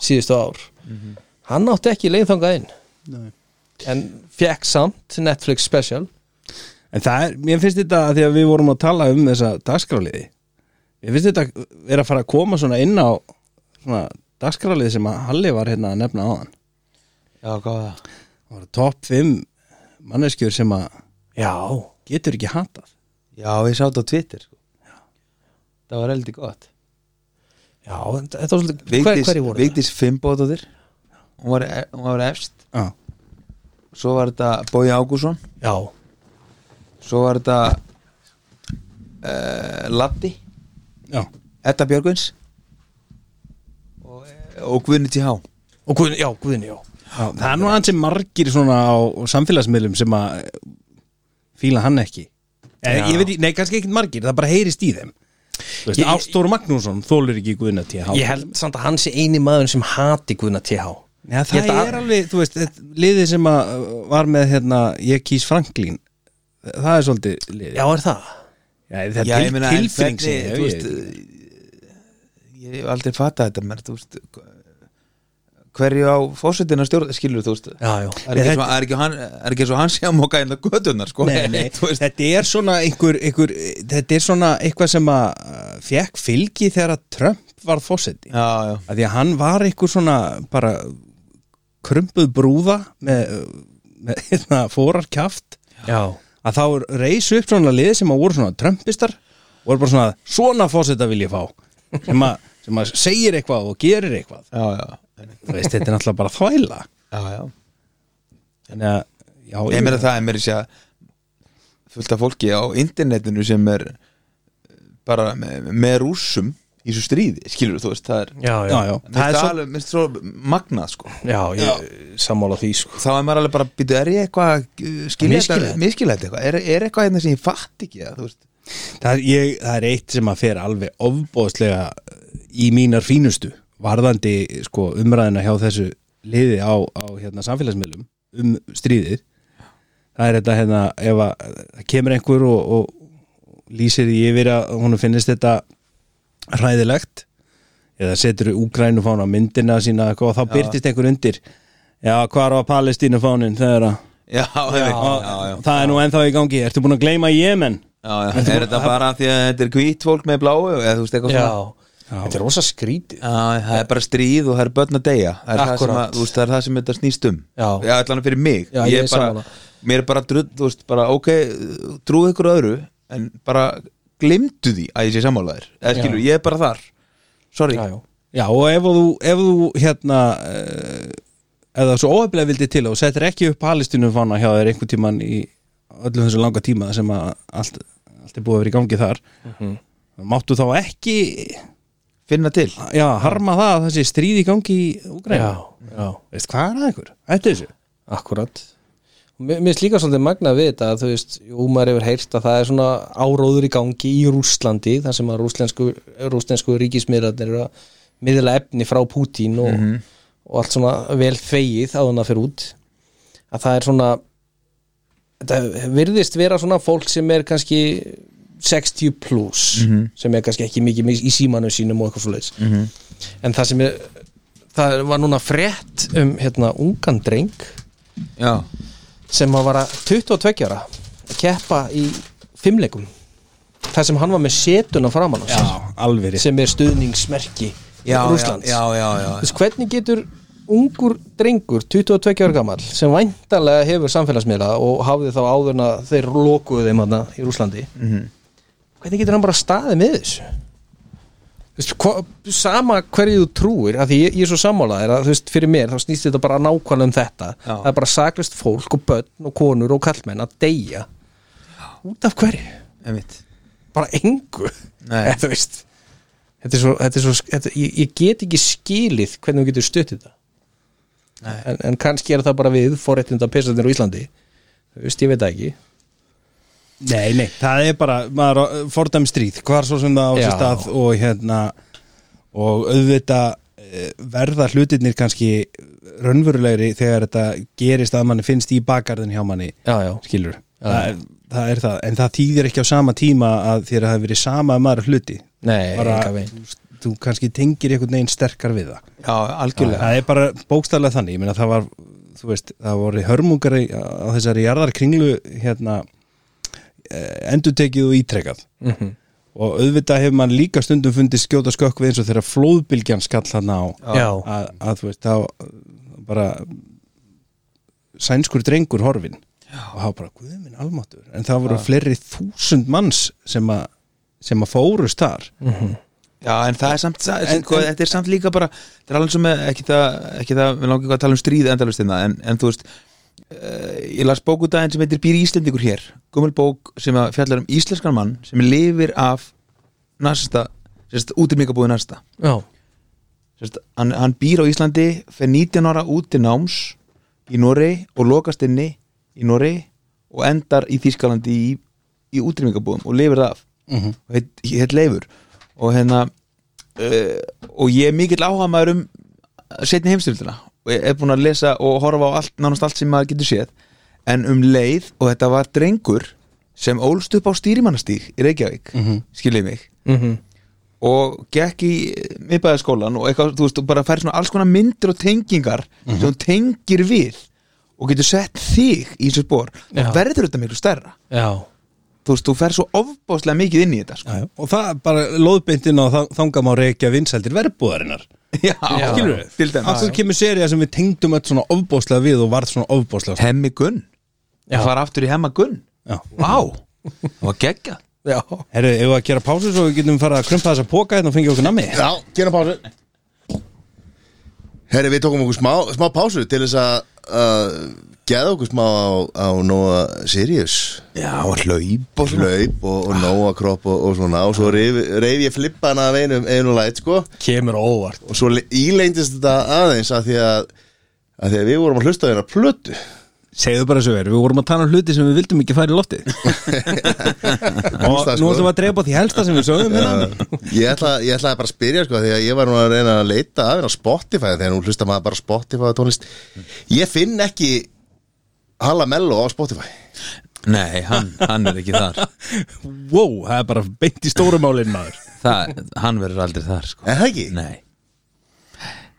[SPEAKER 2] síðustu ár hann átti ekki leið þangað inn en fekk samt Netflix special
[SPEAKER 3] En það er, mér finnst þetta að því að við vorum að tala um þessa dagskráliði Ég finnst þetta er að fara að koma svona inn á svona dagskralið sem að Halli var hérna að nefna áðan
[SPEAKER 4] Já, góða
[SPEAKER 3] Það var topp 5 manneskjur sem að
[SPEAKER 2] Já,
[SPEAKER 3] getur ekki hatað
[SPEAKER 4] Já, ég sá þetta á Twitter sko. Það var eldi gott
[SPEAKER 2] já, þetta þetta var svolítið hver,
[SPEAKER 4] Vigdís,
[SPEAKER 2] Hverju voru það?
[SPEAKER 4] Vigdís Fimboðóttir hún, var- hún var efst
[SPEAKER 3] Já,
[SPEAKER 4] Svo var þetta Bói Ágússon
[SPEAKER 2] Já,
[SPEAKER 4] Svo var þetta uh, Latti
[SPEAKER 3] já,
[SPEAKER 4] Edda Björgvins og, og Guðni T.H.
[SPEAKER 2] og Guðni, já, Guðni, já
[SPEAKER 3] já Það er nú aðeins sem margir svona á samfélagsmiðlum sem að eh, fíla hann ekki
[SPEAKER 2] Já.
[SPEAKER 3] Eh, Ég veit, ekki- nei, kannski ekkert margir, það bara heyrist í þeim Þú veist,
[SPEAKER 2] Ég-
[SPEAKER 3] Ástór Magnússon þólur ekki Guðna T.H.
[SPEAKER 2] Ég held samt að hann sé eini maður sem hati Guðna TH
[SPEAKER 3] Já,
[SPEAKER 2] Ég
[SPEAKER 3] það
[SPEAKER 2] held að-
[SPEAKER 3] er alveg, þú veist, þetta- liðið sem að uh, var með hérna, ég kýs Franklín það er svolítið liðið
[SPEAKER 2] Já, er það?
[SPEAKER 3] Já, það er til,
[SPEAKER 4] en
[SPEAKER 3] tilfinning sem
[SPEAKER 4] hvernig,
[SPEAKER 3] ég hef,
[SPEAKER 4] þú
[SPEAKER 3] ég
[SPEAKER 4] veist,
[SPEAKER 3] veit ekki.
[SPEAKER 4] Ég hef aldrei fattað þetta menn, þú veist hverju á fósettina stjórn skilur þú veist
[SPEAKER 2] Já, já
[SPEAKER 4] Það er ekki, svo, er, ekki hann, er ekki svo hann sé að móka inn á gödunar sko
[SPEAKER 3] Nei, nei,
[SPEAKER 4] Þú veist,
[SPEAKER 3] þetta er svona einhver, einhver, þetta er svona eitthvað sem að uh, fekk fylgi þegar að Trump varð fósetti
[SPEAKER 4] Já, já,
[SPEAKER 3] að því að hann var einhver svona bara krumpuð brúða með, uh, með hérna, fórarkjaft
[SPEAKER 2] Já,
[SPEAKER 3] að þá reysu upp svona liði sem að voru svona trömpistar og voru bara svona svona fósetta vil ég fá sem að, sem að segir eitthvað og gerir eitthvað
[SPEAKER 4] já, já,
[SPEAKER 3] þú veist, þetta er náttúrulega bara þvæla
[SPEAKER 4] já, já.
[SPEAKER 3] þannig að, já,
[SPEAKER 4] Ég meina það er mér að segja fullt af fólki á internetinu sem er bara með, með rússum í svo stríði, skilur þú veist, það er
[SPEAKER 2] já,
[SPEAKER 3] já, já,
[SPEAKER 4] það er
[SPEAKER 3] svo-
[SPEAKER 4] svo, alveg, minnst svo magnað sko
[SPEAKER 2] Já, ég sammála því, sko
[SPEAKER 4] þá er maður alveg bara, býtu, er ég eitthvað að skilja
[SPEAKER 2] Misskilja
[SPEAKER 4] þetta,
[SPEAKER 2] þetta?
[SPEAKER 4] miskilja þetta eitthvað er, er eitthvað hérna sem ég fatt ekki það, þú veist
[SPEAKER 3] Það er, ég, það er eitt sem að fer alveg ofbóðslega í mínar fínustu varðandi sko, umræðina hjá þessu liði á, á hérna, samfélagsmiðlum um stríðið það er þetta hérna ef að það kemur einhver og, og lýsir því yfir að hún finnist þetta hræðilegt eða setur úgrænu fána myndina sína eitthvað, og þá byrtist einhver undir já, hvar var Palestínu fánin þegar að
[SPEAKER 4] já, já, já, já,
[SPEAKER 3] það er nú ennþá í gangi, ertu búin að gleyma Jemen?
[SPEAKER 4] já, já. er þetta bara af því að þetta er hvít fólk með bláu eða þú veist eitthvað
[SPEAKER 2] Já,
[SPEAKER 4] svona
[SPEAKER 2] þetta er rosa skrítið
[SPEAKER 4] Já, það er bara stríð og það er börn að deyja það er, það sem,
[SPEAKER 2] Akkúrat.
[SPEAKER 4] að, þú veist, það er það sem þetta snýst um
[SPEAKER 2] Já.
[SPEAKER 4] já allan fyrir mig
[SPEAKER 2] Já, ég
[SPEAKER 4] ég
[SPEAKER 2] er
[SPEAKER 4] er bara,
[SPEAKER 2] sammála.
[SPEAKER 4] mér er bara, drull, þú veist, bara ok, trúið ykkur öðru en bara glimtu því að ég sé sammálaðir eða skilur, ég er bara þar sorry,
[SPEAKER 2] Já, já
[SPEAKER 3] Já og ef þú, ef þú hérna eh, ef það svo óhefnilega vildi til og settir ekki upp palestinum fána hjá þér einhvern tíman í öllum þessu langa tíma sem að allt, allt er búið að vera í gangi þar
[SPEAKER 2] Mhm.
[SPEAKER 3] máttu þá ekki
[SPEAKER 4] finna til
[SPEAKER 3] já, harma það að þessi stríð í gangi í Úgræn
[SPEAKER 2] Já, já,
[SPEAKER 3] Veist hvað er það ykkur? Ætti þessu?
[SPEAKER 2] akkurat Mér mér finnst líka svolítið magnað við þetta að þú veist, jú maður hefur heyrt að það er svona áróður í gangi í Rússlandi þar sem að rússlensku, rússlensku ríkismiðlarnir eru að miðla efni frá Pútín og, og allt svona vel fegið á hann að fyrir út að það er svona þetta virðist vera svona fólk sem er kannski 60 plus sem er kannski ekki mikið í símanum sínum og eitthvað svo leis -hmm. en það sem er það var núna frétt um hérna ungan dreng
[SPEAKER 4] já,
[SPEAKER 2] sem að vara 22 ára að keppa í fimmleikum þar sem hann var með setuna framan á sér
[SPEAKER 3] alveg rétt
[SPEAKER 2] sem er stuðningsmerki
[SPEAKER 4] já, já,
[SPEAKER 2] Rússlands
[SPEAKER 4] já, já, já.
[SPEAKER 2] Þess, hvernig getur ungur drengur 22 ára gamall sem væntanlega hefur samfélagsmiðla og hafði þá áðurna þeir lokuðu þeim hana í Rúslandi
[SPEAKER 4] Mhm.
[SPEAKER 2] hvernig getur hann bara staðið með þessu Þú veist, hva, sama hverju þú trúir að því ég, ég er svo sammálaðir að þú veist, fyrir mér þá snýst þetta bara nákvæmlega um þetta
[SPEAKER 4] Já.
[SPEAKER 2] það er bara saklist fólk og börn og konur og kallmenn að deyja út af hverju
[SPEAKER 4] einmitt
[SPEAKER 2] bara engu
[SPEAKER 4] Nei.
[SPEAKER 2] Eða, þú veist þetta er svo, þetta er svo þetta, ég, ég get ekki skilið hvernig þú getur stutt þetta en, en kannski er það bara við forréttinda pesarnir á Íslandi þú veist, ég veit það ekki
[SPEAKER 3] Nei, nei, það er bara maður, á- fordæmi stríð, hvar svo sem það á sér
[SPEAKER 2] Já.
[SPEAKER 3] stað og hérna og auðvitað eh, verða hlutirnir kannski raunverulegri þegar þetta gerist að manni finnst í bakarðin hjá manni,
[SPEAKER 2] já, já,
[SPEAKER 3] skilur það, er- það er það, en það þýðir ekki á sama tíma að þér hafi verið sama um aðra hluti
[SPEAKER 2] nei,
[SPEAKER 3] bara,
[SPEAKER 2] engan veginn.
[SPEAKER 3] þú, þú kannski tengir einhvern veginn sterkar við það
[SPEAKER 4] já, algjörlega
[SPEAKER 3] það er bara bókstæðlega þannig ég meina það var, þú veist, það voru hörmungar í- á þessari jarðarkringlu hérna eh, endurtekið og ítrekað og auðvitað hefur mann líka stundum fundið skjóta skökk við eins og þegar flóðbylgjan skall hann á
[SPEAKER 2] Já.
[SPEAKER 3] að, að þú veist, þá bara sænskur drengur horfin Já. og hafa bara, guð minn almáttur en það voru fleiri þúsund manns sem að sem að fórust þar
[SPEAKER 4] Já, en það er samt, en,
[SPEAKER 3] En-
[SPEAKER 4] sko,
[SPEAKER 3] en-
[SPEAKER 4] þetta er samt líka bara þetta er alveg sem með, ekki það, ekki það við langar ekki að tala um stríð endalust innan en, en þú veist, uh, ég las bók út aðeins sem heitir Býr Íslendingur hér gummul bók sem að fjallar um íslenskan mann sem lifir af nasista, sérst, útirmingabúið nasista
[SPEAKER 2] já,
[SPEAKER 4] sérst, hann, hann býr á Íslandi fer 19 ára út til náms í Norei og lokast inni í Norei og endar í Þýskalandi í, í útirmingabúðum og lifir það af og heit, heit leifur og hérna uh, og ég er mikill áhuga maður um setni heimstyrldina og ég er búin að lesa og horfa á allt, nánast allt sem maður getur séð en um leið og þetta var drengur sem ólst upp á stýrimannastíg í Reykjavík, mm skiljið mig
[SPEAKER 2] mhm
[SPEAKER 4] og gekk í miðbæðaskólan og eitthvað, þú veist, og bara fær svona alls konar myndir og tengingar sem hún tengir við og getur sett þig í þessu spór
[SPEAKER 2] Já.
[SPEAKER 4] og verður þetta miklu stærra
[SPEAKER 2] já,
[SPEAKER 4] þú veist, þú fer svo ofbáslega mikið inn í þetta sko.
[SPEAKER 3] Já, já. og það bara lóðbeintin og þa- þangað má reykja vinsældir verbúðarinnar
[SPEAKER 4] já,
[SPEAKER 2] Já.
[SPEAKER 4] skilur við, til
[SPEAKER 3] af
[SPEAKER 4] dæmis
[SPEAKER 3] hverju kemur serið sem við tengdum öll svona ofbóðslega við og varð svona ofbóðslega
[SPEAKER 4] hemmi gunn,
[SPEAKER 2] Já.
[SPEAKER 4] það var aftur í hemma gunn
[SPEAKER 3] Já.
[SPEAKER 4] vá, það var geggjað
[SPEAKER 2] já
[SPEAKER 3] Herru, ef við að gera pásu svo við getum fara að krumpa þessa póka hérna og fengja okkur nammi
[SPEAKER 1] Já, gera pásu Herri, við tókum okkur smá, smá pásu til þess að uh, geða okkur smá á, á Nóa Sirius
[SPEAKER 4] já, hlaup og svona
[SPEAKER 1] Hlaup og, og Nóa kropp og, og svona og svo reif, reif ég flippana af einum einu læt sko
[SPEAKER 2] kemur á óvart
[SPEAKER 1] og svo le- ílengdist þetta aðeins að því að, að því að við vorum að hlusta á hérna plötu
[SPEAKER 3] segðu bara svo er, við vorum að tala um hluti sem við vildum ekki fara í loftið og
[SPEAKER 1] Hlusta, sko.
[SPEAKER 3] nú ætlum
[SPEAKER 4] um
[SPEAKER 3] við að drepa því helsta sem við sögum hérna
[SPEAKER 1] ég, ætla, ég ætlaði bara að spyrja sko því að ég var nú að reyna að leita af hérna á Spotify þegar nú hlusta maður bara á Spotify tónlist ég finn ekki Halla Mello á Spotify
[SPEAKER 4] nei, hann, hann er ekki þar
[SPEAKER 3] wow, það er bara beint í stórumálinn maður
[SPEAKER 4] það, hann verður aldrei þar sko.
[SPEAKER 1] Er það ekki?
[SPEAKER 4] nei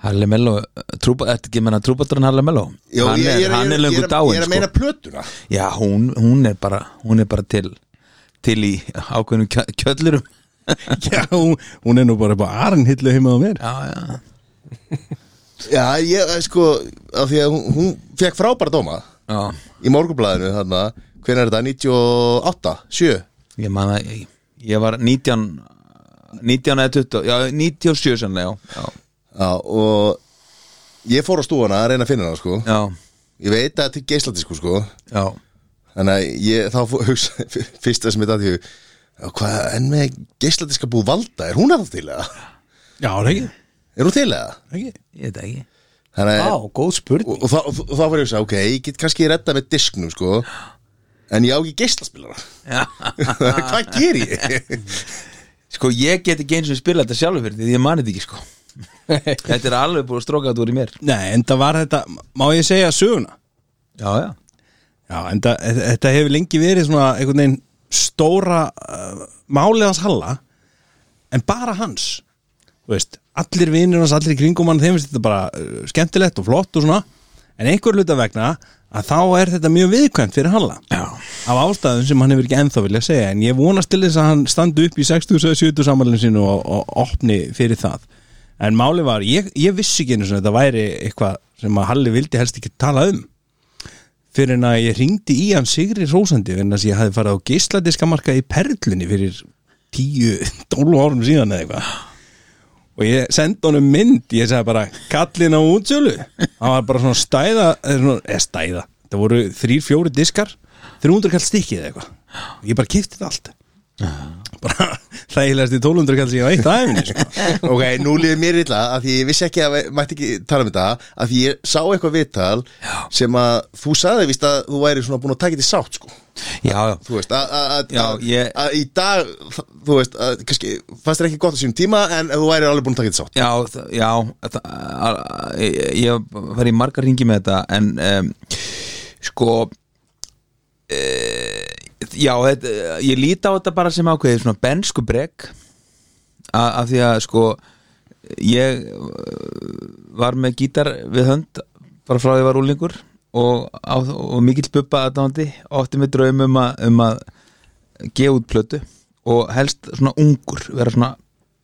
[SPEAKER 4] Harley Mello, trúpa, ertu ekki að menna trúbáturinn Harley Mello?
[SPEAKER 1] Jó,
[SPEAKER 4] hann
[SPEAKER 1] ég-
[SPEAKER 4] er,
[SPEAKER 1] ég
[SPEAKER 4] hann er
[SPEAKER 1] ég
[SPEAKER 4] löngu
[SPEAKER 1] að-
[SPEAKER 4] dáinn
[SPEAKER 1] Ég er að
[SPEAKER 4] sko.
[SPEAKER 1] meina plötuna
[SPEAKER 4] Já, hún, hún er bara hún er bara til til í ákveðnum kjö- kjöllurum
[SPEAKER 3] já, hún- hún er nú bara bara arnhillu heima á mér
[SPEAKER 4] Já, já
[SPEAKER 1] Já, ég, eh, sko, af því að hún, hún fekk frábæra dóma
[SPEAKER 4] Já,
[SPEAKER 1] í morgunblæðinu þarna Hvernig er þetta? 98? 7?
[SPEAKER 4] ég man að ég, ég var 19 19 eða 20, já 97 sannlega, já,
[SPEAKER 1] Já, og ég fór á stúana að reyna að finna hana, sko
[SPEAKER 4] já,
[SPEAKER 1] Ég veit að þetta er geisladisku, sko
[SPEAKER 4] já,
[SPEAKER 1] Þannig að ég þá fó- hugsa fyrsta sem ég dætti hug já, Hvað, en með geisladiska búið valda, er hún að það til eða?
[SPEAKER 3] já, er ekki,
[SPEAKER 1] Er hún til eða?
[SPEAKER 3] ekki.
[SPEAKER 4] ég veit það ekki
[SPEAKER 1] Þannig
[SPEAKER 2] já,
[SPEAKER 1] að
[SPEAKER 2] góð spurning
[SPEAKER 1] og, og, þá- og, og þá var ég að hugsa, ok, ég get kannski redda með disknum, sko En ég á ekki geislaspilara
[SPEAKER 4] já.
[SPEAKER 1] Hvað ger ég?
[SPEAKER 4] Sko, ég get ekki eins og spila þetta sjálfur fyrir því ég mani þetta ekki, sko Þetta er alveg búið að stróka þetta úr í mér
[SPEAKER 3] nei, en það var þetta, má ég segja söguna
[SPEAKER 4] Já, já,
[SPEAKER 3] Já, en það- þetta hefur lengi verið svona einhvern veginn stóra uh, málið hans Halla en bara hans Þú veist, allir vinnir hans, allir í kringum hann þeim finnst þetta bara uh, skemmtilegt og flott og svona en einhver hluta vegna að þá er þetta mjög viðkvæmt fyrir Halla
[SPEAKER 4] já,
[SPEAKER 3] af ástæðum sem hann hefur ekki ennþá vilja segja en ég vonast til þess að hann standi upp í 60-70 samanlinn sinu og, og opni fyrir það en máli var, ég, ég vissi ekki einu svona þetta væri eitthvað sem að Halli vildi helst ekki tala um fyrir en að ég ringdi í hann Sigri Rósandi en að ég hafði farið á geisladiskamarka í Perlunni fyrir 10-12 árum síðan eða eitthvað og ég sendi honum mynd ég sagði bara kallin á útsölu hann var bara svona stæða eða svona- eða stæða, það voru þrír, fjóri diskar 300 kall stikkið eða eitthvað ég bara kipti þetta allt bara þægilegast í 1200 kall sem ég veit aðeins sko.
[SPEAKER 1] ok, nú líður mér illa af því ég vissi ekki að mætti ekki tala um þetta af því ég sá eitthvað viðtal sem að þú sagði víst að þú væri svona búin að taka þetta í sátt sko
[SPEAKER 4] já, já
[SPEAKER 1] þú veist, að- að- að-
[SPEAKER 4] Já,
[SPEAKER 1] að
[SPEAKER 4] ég-
[SPEAKER 1] að í dag þú veist, að kannski fannst þér ekki gott á sínum tíma en þú væri alveg búin að taka þetta í sátt
[SPEAKER 4] Já, þa- já þa- a- a- ég- ég var í margar ringi með þetta en um, sko e, já, þetta, ég líti á þetta bara sem ákveðið svona bensku brek af því að sko ég eh, var með gítar við hönd bara frá því ég var úlingur og, á, og mikill bubba aðdándi og átti með draum um að, um að gefa út plötu og helst svona ungur vera svona,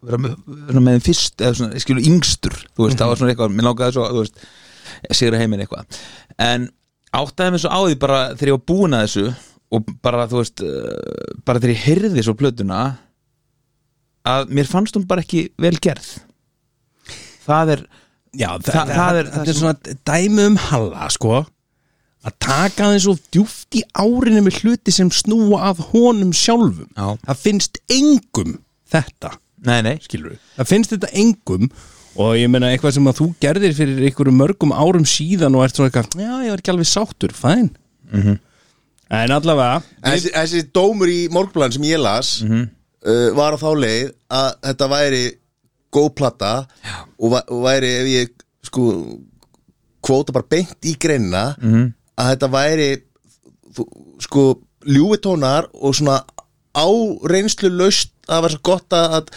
[SPEAKER 4] vera með, vera með þeim fyrst eða svona, ég skilur yngstur þú veist, það var svona eitthvað, mér langaði svo þú veist, sigra heiminn eitthvað en áttaði mér svo á því bara þegar ég var búin að þessu og bara þú veist eh, bara þegar ég heyrði svo plötuna að mér fannst hún bara ekki vel gerð það er
[SPEAKER 3] Já, þa
[SPEAKER 4] það-
[SPEAKER 3] það,
[SPEAKER 4] það er-
[SPEAKER 3] er,
[SPEAKER 4] það
[SPEAKER 3] það er
[SPEAKER 4] sem-
[SPEAKER 3] svona dæmi um halla sko að taka þeim svo djúft í árinu með hluti sem snúa að honum sjálfum
[SPEAKER 4] Já.
[SPEAKER 3] það finnst engum þetta
[SPEAKER 4] nei, nei,
[SPEAKER 3] skilur það finnst þetta engum og ég meina eitthvað sem að þú gerðir fyrir einhverjum mörgum árum síðan og ert svona eitthvað já, ég var ekki alveg sáttur, fæn
[SPEAKER 4] Mhm.
[SPEAKER 3] en allavega
[SPEAKER 1] En þessi, þessi dómur í morgblan sem ég las
[SPEAKER 4] Mhm.
[SPEAKER 1] uh, var á þá leið að þetta væri góð plata og, va- og væri ef ég sko kvóta bara beint í greinna að þetta væri þú, sko ljúvitónar og svona áreynslu laust að það var svo gott að, að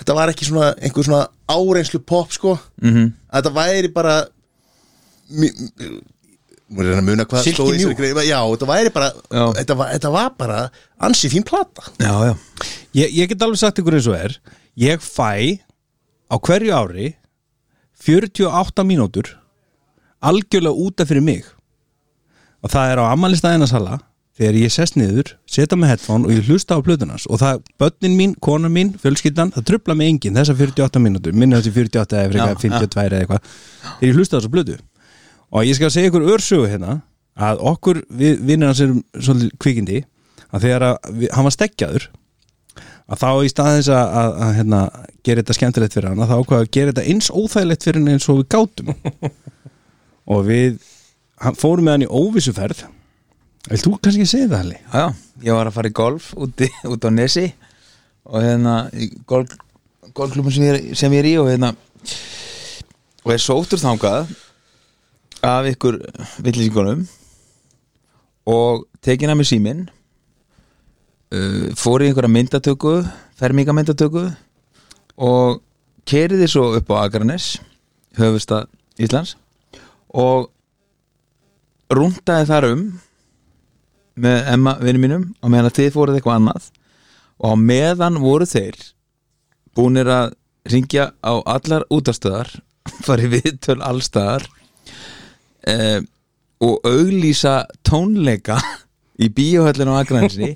[SPEAKER 1] þetta var ekki svona einhver svona áreynslu pop sko -hmm. að þetta væri bara mi- Mér er að muna hvað
[SPEAKER 3] Silky
[SPEAKER 1] stóð í þessari
[SPEAKER 3] Mjúk.
[SPEAKER 1] grein. Já, þetta væri bara
[SPEAKER 4] Já.
[SPEAKER 1] þetta var, þetta var bara ansi fín plata
[SPEAKER 4] já, já
[SPEAKER 3] Ég, ég get alveg sagt ykkur eins og er Ég fæ á hverju ári 48 mínútur algjörlega útaf fyrir mig og það er á ammælistæðina sala þegar ég sest niður, setja með headphone og ég hlusta á plötunans og það, börnin mín, kona mín, fjölskyldan það trubla mig enginn þessar 48 mínútur minna þessi 48 eða frekar
[SPEAKER 4] Já,
[SPEAKER 3] 52 eða eitthvað þegar ég hlusta á þessu plötu og ég skal segja ykkur örsögu hérna að okkur, við vinnir hans erum svolítið kvikindi, að þegar að, við, hann var stekkjaður að þá í staðins að, að, að hérna, gera þetta skemmtilegt fyrir hann að þá ákvaða að gera þetta eins óþægilegt fyrir hann eins og við gátum og við hann, fórum með hann í óvissuferð Vilt þú kannski segja það, Halli?
[SPEAKER 4] Já, já, ég var að fara í golf úti, út á Nesi og hérna í golf, golfklubun sem, ég er- sem ég er í og hérna og er sóttur þangað af ykkur villýsingunum og tekin að mér síminn uh, fór í einhverja myndatöku fermingamyndatöku og keriði svo upp á Akranes höfusta Íslands og rúndaði þar um með Emma vinnu mínum og meðan að þið fóruð eitthvað annað og á meðan voru þeir búnir að ringja á allar útastöðar farið viðtöl allstaðar eh, og auglýsa tónleika í bíóhöllinu á Akranisni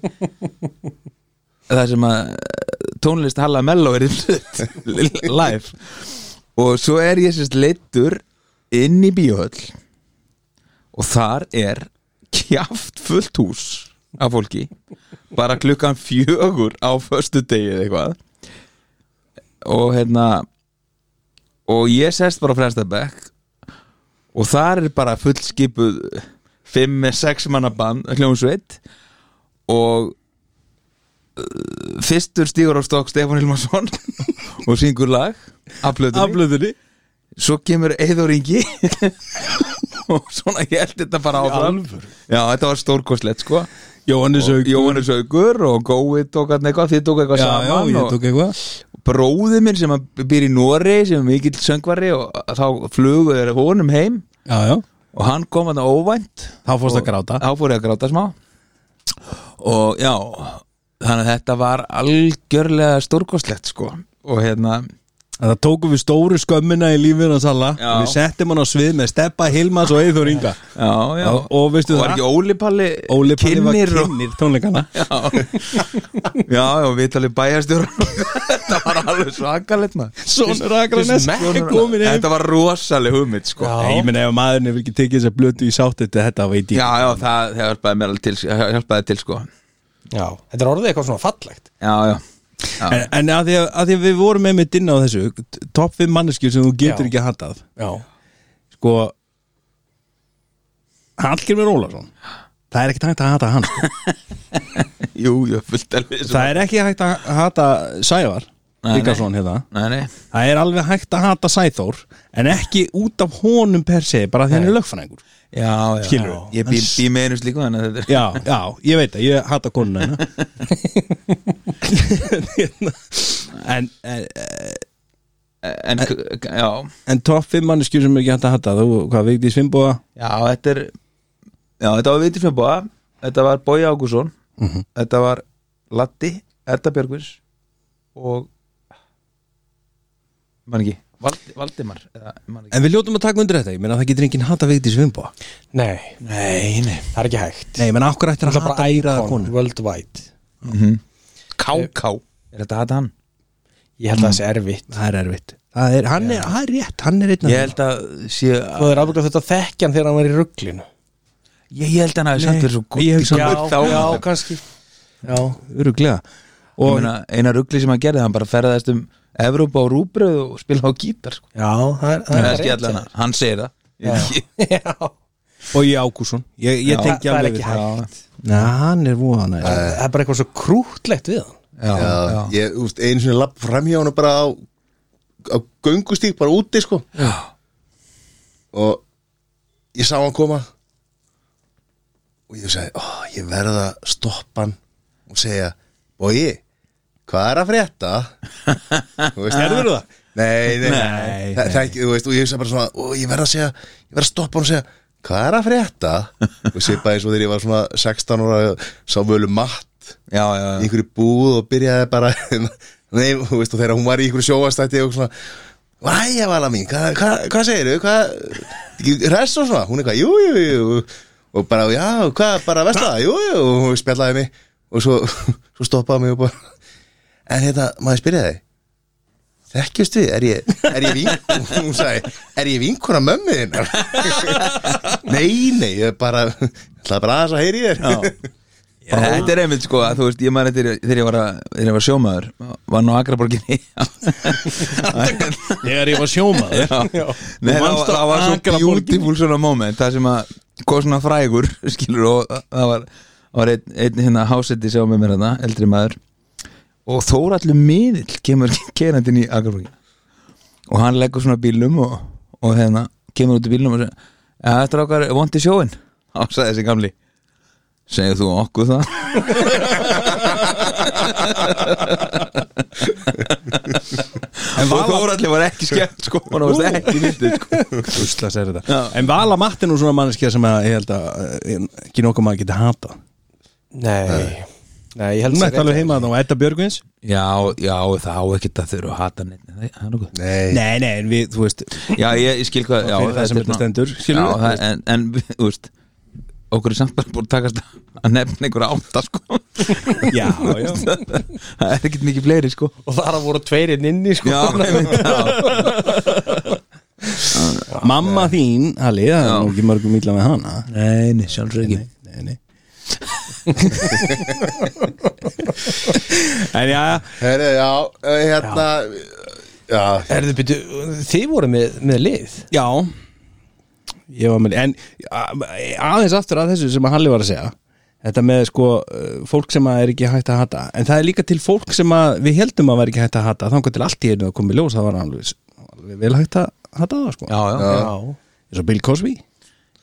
[SPEAKER 4] þar sem að eh, tónlist Halla Mello er í hlut live og svo er ég sérst leittur inn í bíóhöll og þar er kjaft fullt hús af fólki bara klukkan fjögur á föstu degi eða eitthvað og hérna og ég sest bara á fremstabæk og þar er bara fullskipuð fimm með sex manna band hljómsveit og uh, fyrstur stígur á stokk Stefán Hilmarsson og syngur lag af plötunni
[SPEAKER 3] Aflöðunni
[SPEAKER 4] svo kemur Eður Ingi og svona ég held þetta bara áfram já, þetta var stórkoslegt sko
[SPEAKER 3] Jóhannes
[SPEAKER 4] og
[SPEAKER 3] Haug
[SPEAKER 4] Jóhannes Haugur og Gói tók hann eitthvað, þið tók eitthvað
[SPEAKER 3] Já, já,
[SPEAKER 4] saman
[SPEAKER 3] ég
[SPEAKER 4] og
[SPEAKER 3] tók eitthvað
[SPEAKER 4] bróði minn sem að býr í Nóri sem er mikill söngvari og þá flugu þeir honum heim
[SPEAKER 3] Já, já
[SPEAKER 4] og hann kom hann óvænt
[SPEAKER 3] Þá fórstu að
[SPEAKER 4] Og-
[SPEAKER 3] gráta.
[SPEAKER 4] þá fór ég að gráta smá og já þannig að þetta var algjörlega stórkoslegt sko og hérna
[SPEAKER 3] að Það tókum við stóru skömmina í lífið hans alla
[SPEAKER 4] Já.
[SPEAKER 3] Við settum hann á svið með Steppa, Hilmas og Eithor Inga
[SPEAKER 4] já, já,
[SPEAKER 3] Og- og veistu
[SPEAKER 4] og var
[SPEAKER 3] það?
[SPEAKER 4] ekki Óli Palli
[SPEAKER 3] Óli Palli var
[SPEAKER 4] kynnir og-
[SPEAKER 3] kynnir tónleikana
[SPEAKER 4] Já, já, já við talið bæjarstjóra Þetta var alveg svakalegt maður
[SPEAKER 3] Sonur Akranes
[SPEAKER 4] Sonur-
[SPEAKER 3] er komin heim
[SPEAKER 4] Þetta var rosaleg hugmynd sko
[SPEAKER 3] Nei, Ég meina ef maðurinn hefur ekki tekið þess að blötu í sátt þetta, þetta veit ég
[SPEAKER 4] Já, já, það það hjálpaði mér alveg til, það hjálpaði til sko
[SPEAKER 2] Já, þetta er orðið eitthvað svona fallegt
[SPEAKER 4] Já, já, já.
[SPEAKER 3] En, en að, því að, að því að við vorum með með dinna á þessu t- Topp 5 manneskjur sem þú getur
[SPEAKER 2] Já.
[SPEAKER 3] ekki handað
[SPEAKER 2] Já,
[SPEAKER 3] Sko Hallgrimur Ólafsson Það er ekki hægt að hata hann sko.
[SPEAKER 4] Jú, jú, fullt alveg um svo.
[SPEAKER 3] Það er ekki hægt að hata Sævar
[SPEAKER 4] Nei,
[SPEAKER 3] Ríkarsson hérna
[SPEAKER 4] Nei, nei,
[SPEAKER 3] Það er alveg hægt að hata Sæþór En ekki út af honum per se Bara því hann er lögfræðingur
[SPEAKER 4] já, já
[SPEAKER 3] Skilurðu?
[SPEAKER 4] Ég bý, bý með einu um slíku þannig að þetta er
[SPEAKER 3] Já, já, ég veit að ég hata konuna hérna. hennar en, en,
[SPEAKER 4] En, k- já,
[SPEAKER 3] en topp 5 manneskjur sem er ekki hægt að hata Þú, hvað, Vigdís Fimboða
[SPEAKER 4] já, þetta er
[SPEAKER 3] Mhm.
[SPEAKER 4] Já, þetta var Vitismjöbóa Þetta var Bói Ágússon Þetta var Latti Edda Björgvins og mann ekki Vald, Valdimar eða, man ekki.
[SPEAKER 3] En við ljótum að taka undir þetta, ég meina það getur enginn hata Vigdís Vimbo
[SPEAKER 2] Nei,
[SPEAKER 4] Nei, nei
[SPEAKER 2] það er ekki hægt
[SPEAKER 3] Nei, menn akkur ættir að
[SPEAKER 2] Það er bara
[SPEAKER 3] hata æraða
[SPEAKER 2] icon,
[SPEAKER 3] konu
[SPEAKER 2] worldwide
[SPEAKER 4] mm -hmm. Káká Er þetta að hann?
[SPEAKER 2] Ég held að það sé erfitt
[SPEAKER 3] Það er erfitt Það er, hann er, það er rétt, hann er einn af
[SPEAKER 4] Ég
[SPEAKER 3] þeim.
[SPEAKER 4] held að sé
[SPEAKER 2] Þú er ábygglega þetta þekkjan þegar hann var í rugglinu
[SPEAKER 4] Ég, ég held að hann hafi samt verið svo
[SPEAKER 3] ég hugsa
[SPEAKER 4] góð
[SPEAKER 3] að-
[SPEAKER 4] þá
[SPEAKER 2] já, kannski Já,
[SPEAKER 3] Örugglega.
[SPEAKER 4] og
[SPEAKER 3] Og
[SPEAKER 4] meina, eina ruggli sem hann gerði, hann bara ferðast um Evrópa og Rúbröð og spila á gítar sko.
[SPEAKER 2] já það er,
[SPEAKER 4] Nei,
[SPEAKER 2] það er
[SPEAKER 4] ekki allan hann, hann segir það Ég-
[SPEAKER 2] Já,
[SPEAKER 3] og ég Ágússon Ég, ég
[SPEAKER 4] Já.
[SPEAKER 3] tengi
[SPEAKER 2] það er
[SPEAKER 3] alveg
[SPEAKER 2] ekki
[SPEAKER 3] við það
[SPEAKER 2] hægt
[SPEAKER 3] Næ, hann er vona
[SPEAKER 2] Það er bara eitthvað svo krútlegt við hann
[SPEAKER 4] já, já.
[SPEAKER 1] Já, ég, úst, einu sinni lapp framhjá hann bara á, á göngustík, bara úti sko Já. og ég sá hann koma og ég sagði, ó, ég verða að stoppa hann og segja, bogi hvað er að frétta? Erður það? Nei, nei,
[SPEAKER 3] Nei,
[SPEAKER 1] það, það ekki, þú veist, og ég hugsa bara svona, ó, ég verða að segja ég verða að stoppa hann og segja, hvað er að frétta? og svipaði svo þegar ég var svona 16 ára, sá völu matt
[SPEAKER 4] já, já,
[SPEAKER 1] í
[SPEAKER 4] já.
[SPEAKER 1] einhverju búð og byrjaði bara nei, þú veist, og þegar hún var í einhverju sjóastætti og svona Væja vala mín, hvað hva, hva segirðu, hvað hress og svona, hún er hvað, jú, jú, jú og bara, já, hvað, bara vesla jú, jú, og hún spjallaði mig og svo, svo stoppaði mig og bara en hérna, maður spyrja þig þekkjust við, er ég, er ég vink hún sagði, er ég vinkona mömmu þinnar nei, nei, ég bara ætlaði bara aðeins að heyri þér
[SPEAKER 4] Já, Þetta er einmitt sko að þú veist, ég maður þegar þegar ég var, að, þegar ég var sjómaður var nú Akraborginni
[SPEAKER 3] Þegar ég var sjómaður
[SPEAKER 4] Já. Nei,
[SPEAKER 3] Þú
[SPEAKER 4] það,
[SPEAKER 3] manst
[SPEAKER 4] það
[SPEAKER 3] á
[SPEAKER 4] var svo
[SPEAKER 3] Akraborginni.
[SPEAKER 4] beautiful svona moment það sem að kom svona frægur skilur og það var, það var einn ein, hérna hásetti sjá með mér hérna eldri maður og Þórallu miðill kemur kerandinn í Akraborgin og hann leggur svona bílum og, og hérna kemur út í bílum og segir að þetta er okkar vondi sjóin þá sagði þessi gamli segir þú okkur það en og Þórallu var ekki skemmt sko hann var ekki myndið sko
[SPEAKER 3] Úsla sér þetta
[SPEAKER 4] Já.
[SPEAKER 3] En Vala Matt er nú svona manneskja sem að ég held að eh, ekki nokkuð maður geti hata
[SPEAKER 2] Nei, nei, ég held
[SPEAKER 3] Hún
[SPEAKER 2] sé
[SPEAKER 3] ætti
[SPEAKER 2] rétt
[SPEAKER 3] alveg
[SPEAKER 2] hjá
[SPEAKER 3] heima þannig á Edda Björgvins
[SPEAKER 4] Já, já, það á ekkert að þurfa að hata neitt Nei, það er nokkuð
[SPEAKER 1] nei,
[SPEAKER 3] Nei, nei, en við, þú veist
[SPEAKER 4] Já, ég, ég skil hvað já,
[SPEAKER 3] fyrir það
[SPEAKER 4] þetta
[SPEAKER 3] sem þetta hérna-
[SPEAKER 4] er svona-
[SPEAKER 3] stendur, skilur
[SPEAKER 4] Já,
[SPEAKER 3] við,
[SPEAKER 4] það, en, en, við- þú veist Okkur er samt bara búin að takast að nefna einhverja átta, sko
[SPEAKER 3] Já, já
[SPEAKER 4] Það er ekkert mikið fleiri, sko
[SPEAKER 2] þeim. Og þar að voru
[SPEAKER 3] hérna
[SPEAKER 2] tveirinn inni sko
[SPEAKER 4] Já, einmitt, já,
[SPEAKER 3] Mamma þín, Halli, það
[SPEAKER 4] Já.
[SPEAKER 3] er nú ekki mörgum illa með hana
[SPEAKER 4] Nei, nei, sjálfsög ekki
[SPEAKER 3] Nei, nei En já,
[SPEAKER 1] Herri, já, eh, hérna Já,
[SPEAKER 2] Erðu byrju, þið voru með, með lið
[SPEAKER 3] já Ég var með En a- aðeins aftur að þessu sem að Halli var að segja Þetta með sko eh, fólk sem að er ekki hægt að hata En það er líka til fólk sem að við heldum að vera ekki hægt að hata Þannig til allt í einu að koma í ljós Það var alveg, alveg vel hægt að hata það sko
[SPEAKER 4] Já, já,
[SPEAKER 2] Já,
[SPEAKER 3] Eins og Bill Cosby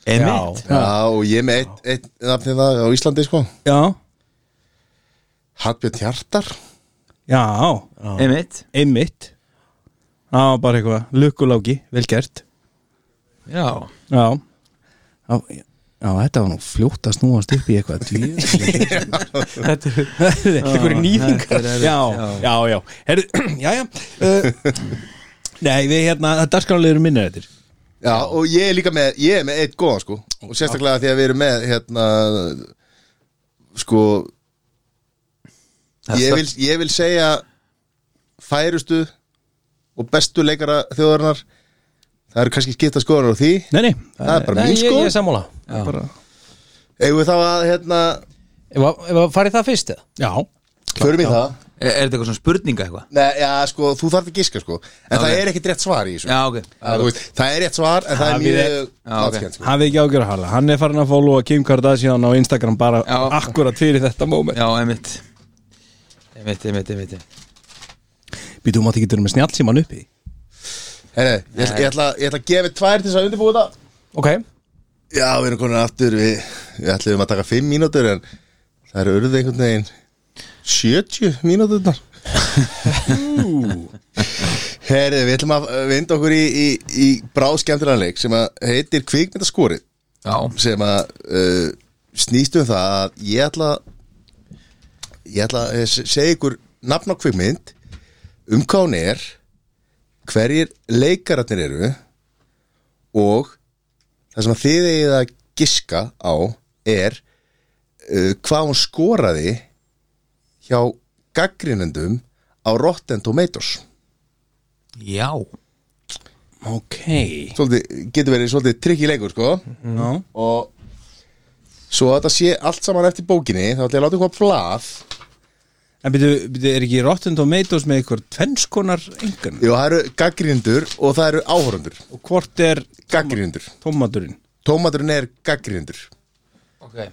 [SPEAKER 4] einmitt
[SPEAKER 1] já og ég með eitt, eitt nafnið það á Íslandi sko
[SPEAKER 3] Já,
[SPEAKER 1] Hallbjörn Hjartar
[SPEAKER 3] já,
[SPEAKER 4] Einmitt,
[SPEAKER 3] einmitt Já, bara eitthvað, lukkuláki, vel gert
[SPEAKER 4] já
[SPEAKER 3] Já Já, já þetta var nú fljótt að snúast upp í eitthvað djöfull.
[SPEAKER 2] þetta er einhverju nýðingar
[SPEAKER 3] Já, já, já Herðu, já, já uh, Nei, við hérna, það dagskránlega eru minnir þetta
[SPEAKER 1] Já, og ég er líka með, ég er með eitt góðan sko Og sérstaklega því að við erum með, hérna Sko Ég vil, ég vil segja Færustu Og bestu leikara þjóðarinnar Það eru kannski skipta skoðanar á því
[SPEAKER 3] Nei, nei,
[SPEAKER 1] Það er bara
[SPEAKER 2] Nei,
[SPEAKER 1] mín
[SPEAKER 2] ég,
[SPEAKER 1] sko
[SPEAKER 2] ég er sammála
[SPEAKER 3] það er bara
[SPEAKER 1] Eigum við þá að, hérna,
[SPEAKER 2] Ef að- ef að farið það fyrst eða?
[SPEAKER 3] Já,
[SPEAKER 1] förum í það
[SPEAKER 4] Er, er þetta eitthvað svona spurninga eitthvað?
[SPEAKER 1] Nei, já, sko, þú þarf að giska sko En það er ekkit rétt svar í þessu
[SPEAKER 4] Já, ok
[SPEAKER 1] Það, þú veist, það er rétt svar en það er
[SPEAKER 3] Það við er-
[SPEAKER 1] mjög
[SPEAKER 4] Já, ok.
[SPEAKER 1] náttskjönt sko.
[SPEAKER 3] hafið ekki ágjör að hala Hann er farin að followa Kim Kardashian á Instagram bara
[SPEAKER 4] Já.
[SPEAKER 3] akkurat fyrir þetta moment
[SPEAKER 4] Já, einmitt Einmitt, einmitt, einmitt
[SPEAKER 3] Býtu, þú mátt ekki vera með snjálsíman uppi
[SPEAKER 1] Herre, ég, ætla- ég, ætla, ég ætla að gefa tvær til þess að undirbúa þetta
[SPEAKER 2] Ok,
[SPEAKER 1] Já, við erum konar aftur Við, við ætlum að taka fimm mínútur en það eru urðu einhvern veginn 70 mínúturnar Herri, við ætlum að uh, vinda okkur í, í, í bráðskemmtiranleik sem að heitir kvikmyndaskorið
[SPEAKER 4] Já,
[SPEAKER 1] sem að uh, snýst um það að ég ætla ég ætla að s- segja ykkur nafn á kvikmynd um hvað hún er hverjir leikararnir eru og það sem að þið eigið að giska á er uh, hvað hún skoraði hjá gaggrinundum á Rotten Tomatoes
[SPEAKER 4] Já
[SPEAKER 3] Ok
[SPEAKER 1] svolítið, getur verið svolítið trikki leikur sko
[SPEAKER 3] Já
[SPEAKER 1] og svo að þetta sé allt saman eftir bókinni þá ætla ég að láta eitthvað blað
[SPEAKER 3] En byrju, byrju, er ekki Rotten Tomatoes með eitthvað tvennskonar engan?
[SPEAKER 1] Jú, það eru gaggrindur og það eru áhorundur
[SPEAKER 3] Og hvort er
[SPEAKER 1] gaggrindur
[SPEAKER 3] tomaturinn?
[SPEAKER 1] Tómaturinn er gaggrindur
[SPEAKER 4] okay.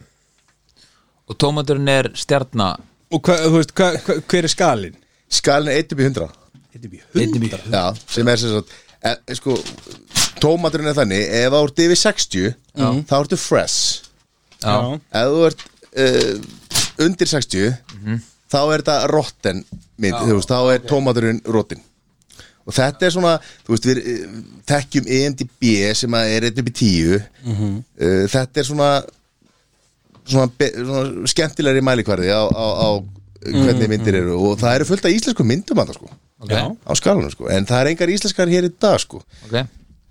[SPEAKER 4] Og tómaturinn er stjarna
[SPEAKER 3] Og hva, þú veist, hva, hva, hver er skalin?
[SPEAKER 1] Skalin er 1 upp í 100
[SPEAKER 3] Þetta er mjög
[SPEAKER 4] Einnig mjög
[SPEAKER 1] Já, sem er sem sagt e, sko, Tómaturinn er þannig Ef það ert yfir 60 Þá ertu fresh
[SPEAKER 4] Já,
[SPEAKER 1] Ef þú ert uh, undir 60 Þá er þetta rotten mynd, þú veist, Þá er tómaturinn rotin Og þetta er svona Þú veist, við eh, þekkjum EMDB Sem að er 1 upp í 10 Eh, Þetta er svona Svona, be- svona skemmtilegri mælikvarði á, á, á hvernig myndir eru og það eru fullt af íslensku myndum að sko
[SPEAKER 4] ok, já.
[SPEAKER 1] á skalunum sko, en það er engar íslenskar hér í dag sko,
[SPEAKER 4] ok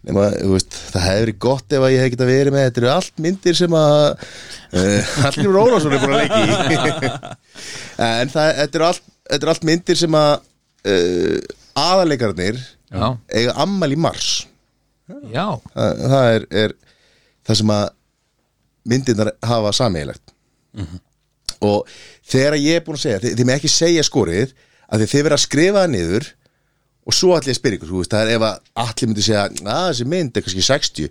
[SPEAKER 1] nema, þú veist, það hefði verið gott ef að ég hef getað verið með, þetta eru allt myndir sem að uh, Hallgrímur Ólafsson er búin að leiki en það, þetta eru allt, þetta eru allt myndir sem að uh, aðalegarnir
[SPEAKER 4] Já,
[SPEAKER 1] eiga ammæli í mars
[SPEAKER 4] já,
[SPEAKER 1] það, það er, er það sem að myndirnar hafa sameiginlegt
[SPEAKER 4] Mhm.
[SPEAKER 1] og þegar ég er búin að segja þið, þið með ekki segja skorið að þið, þið verða að skrifa það niður og svo allir spyrir ykkur, þú veist, það er ef að allir myndi segja, að þessi mynd er kannski 60
[SPEAKER 4] já,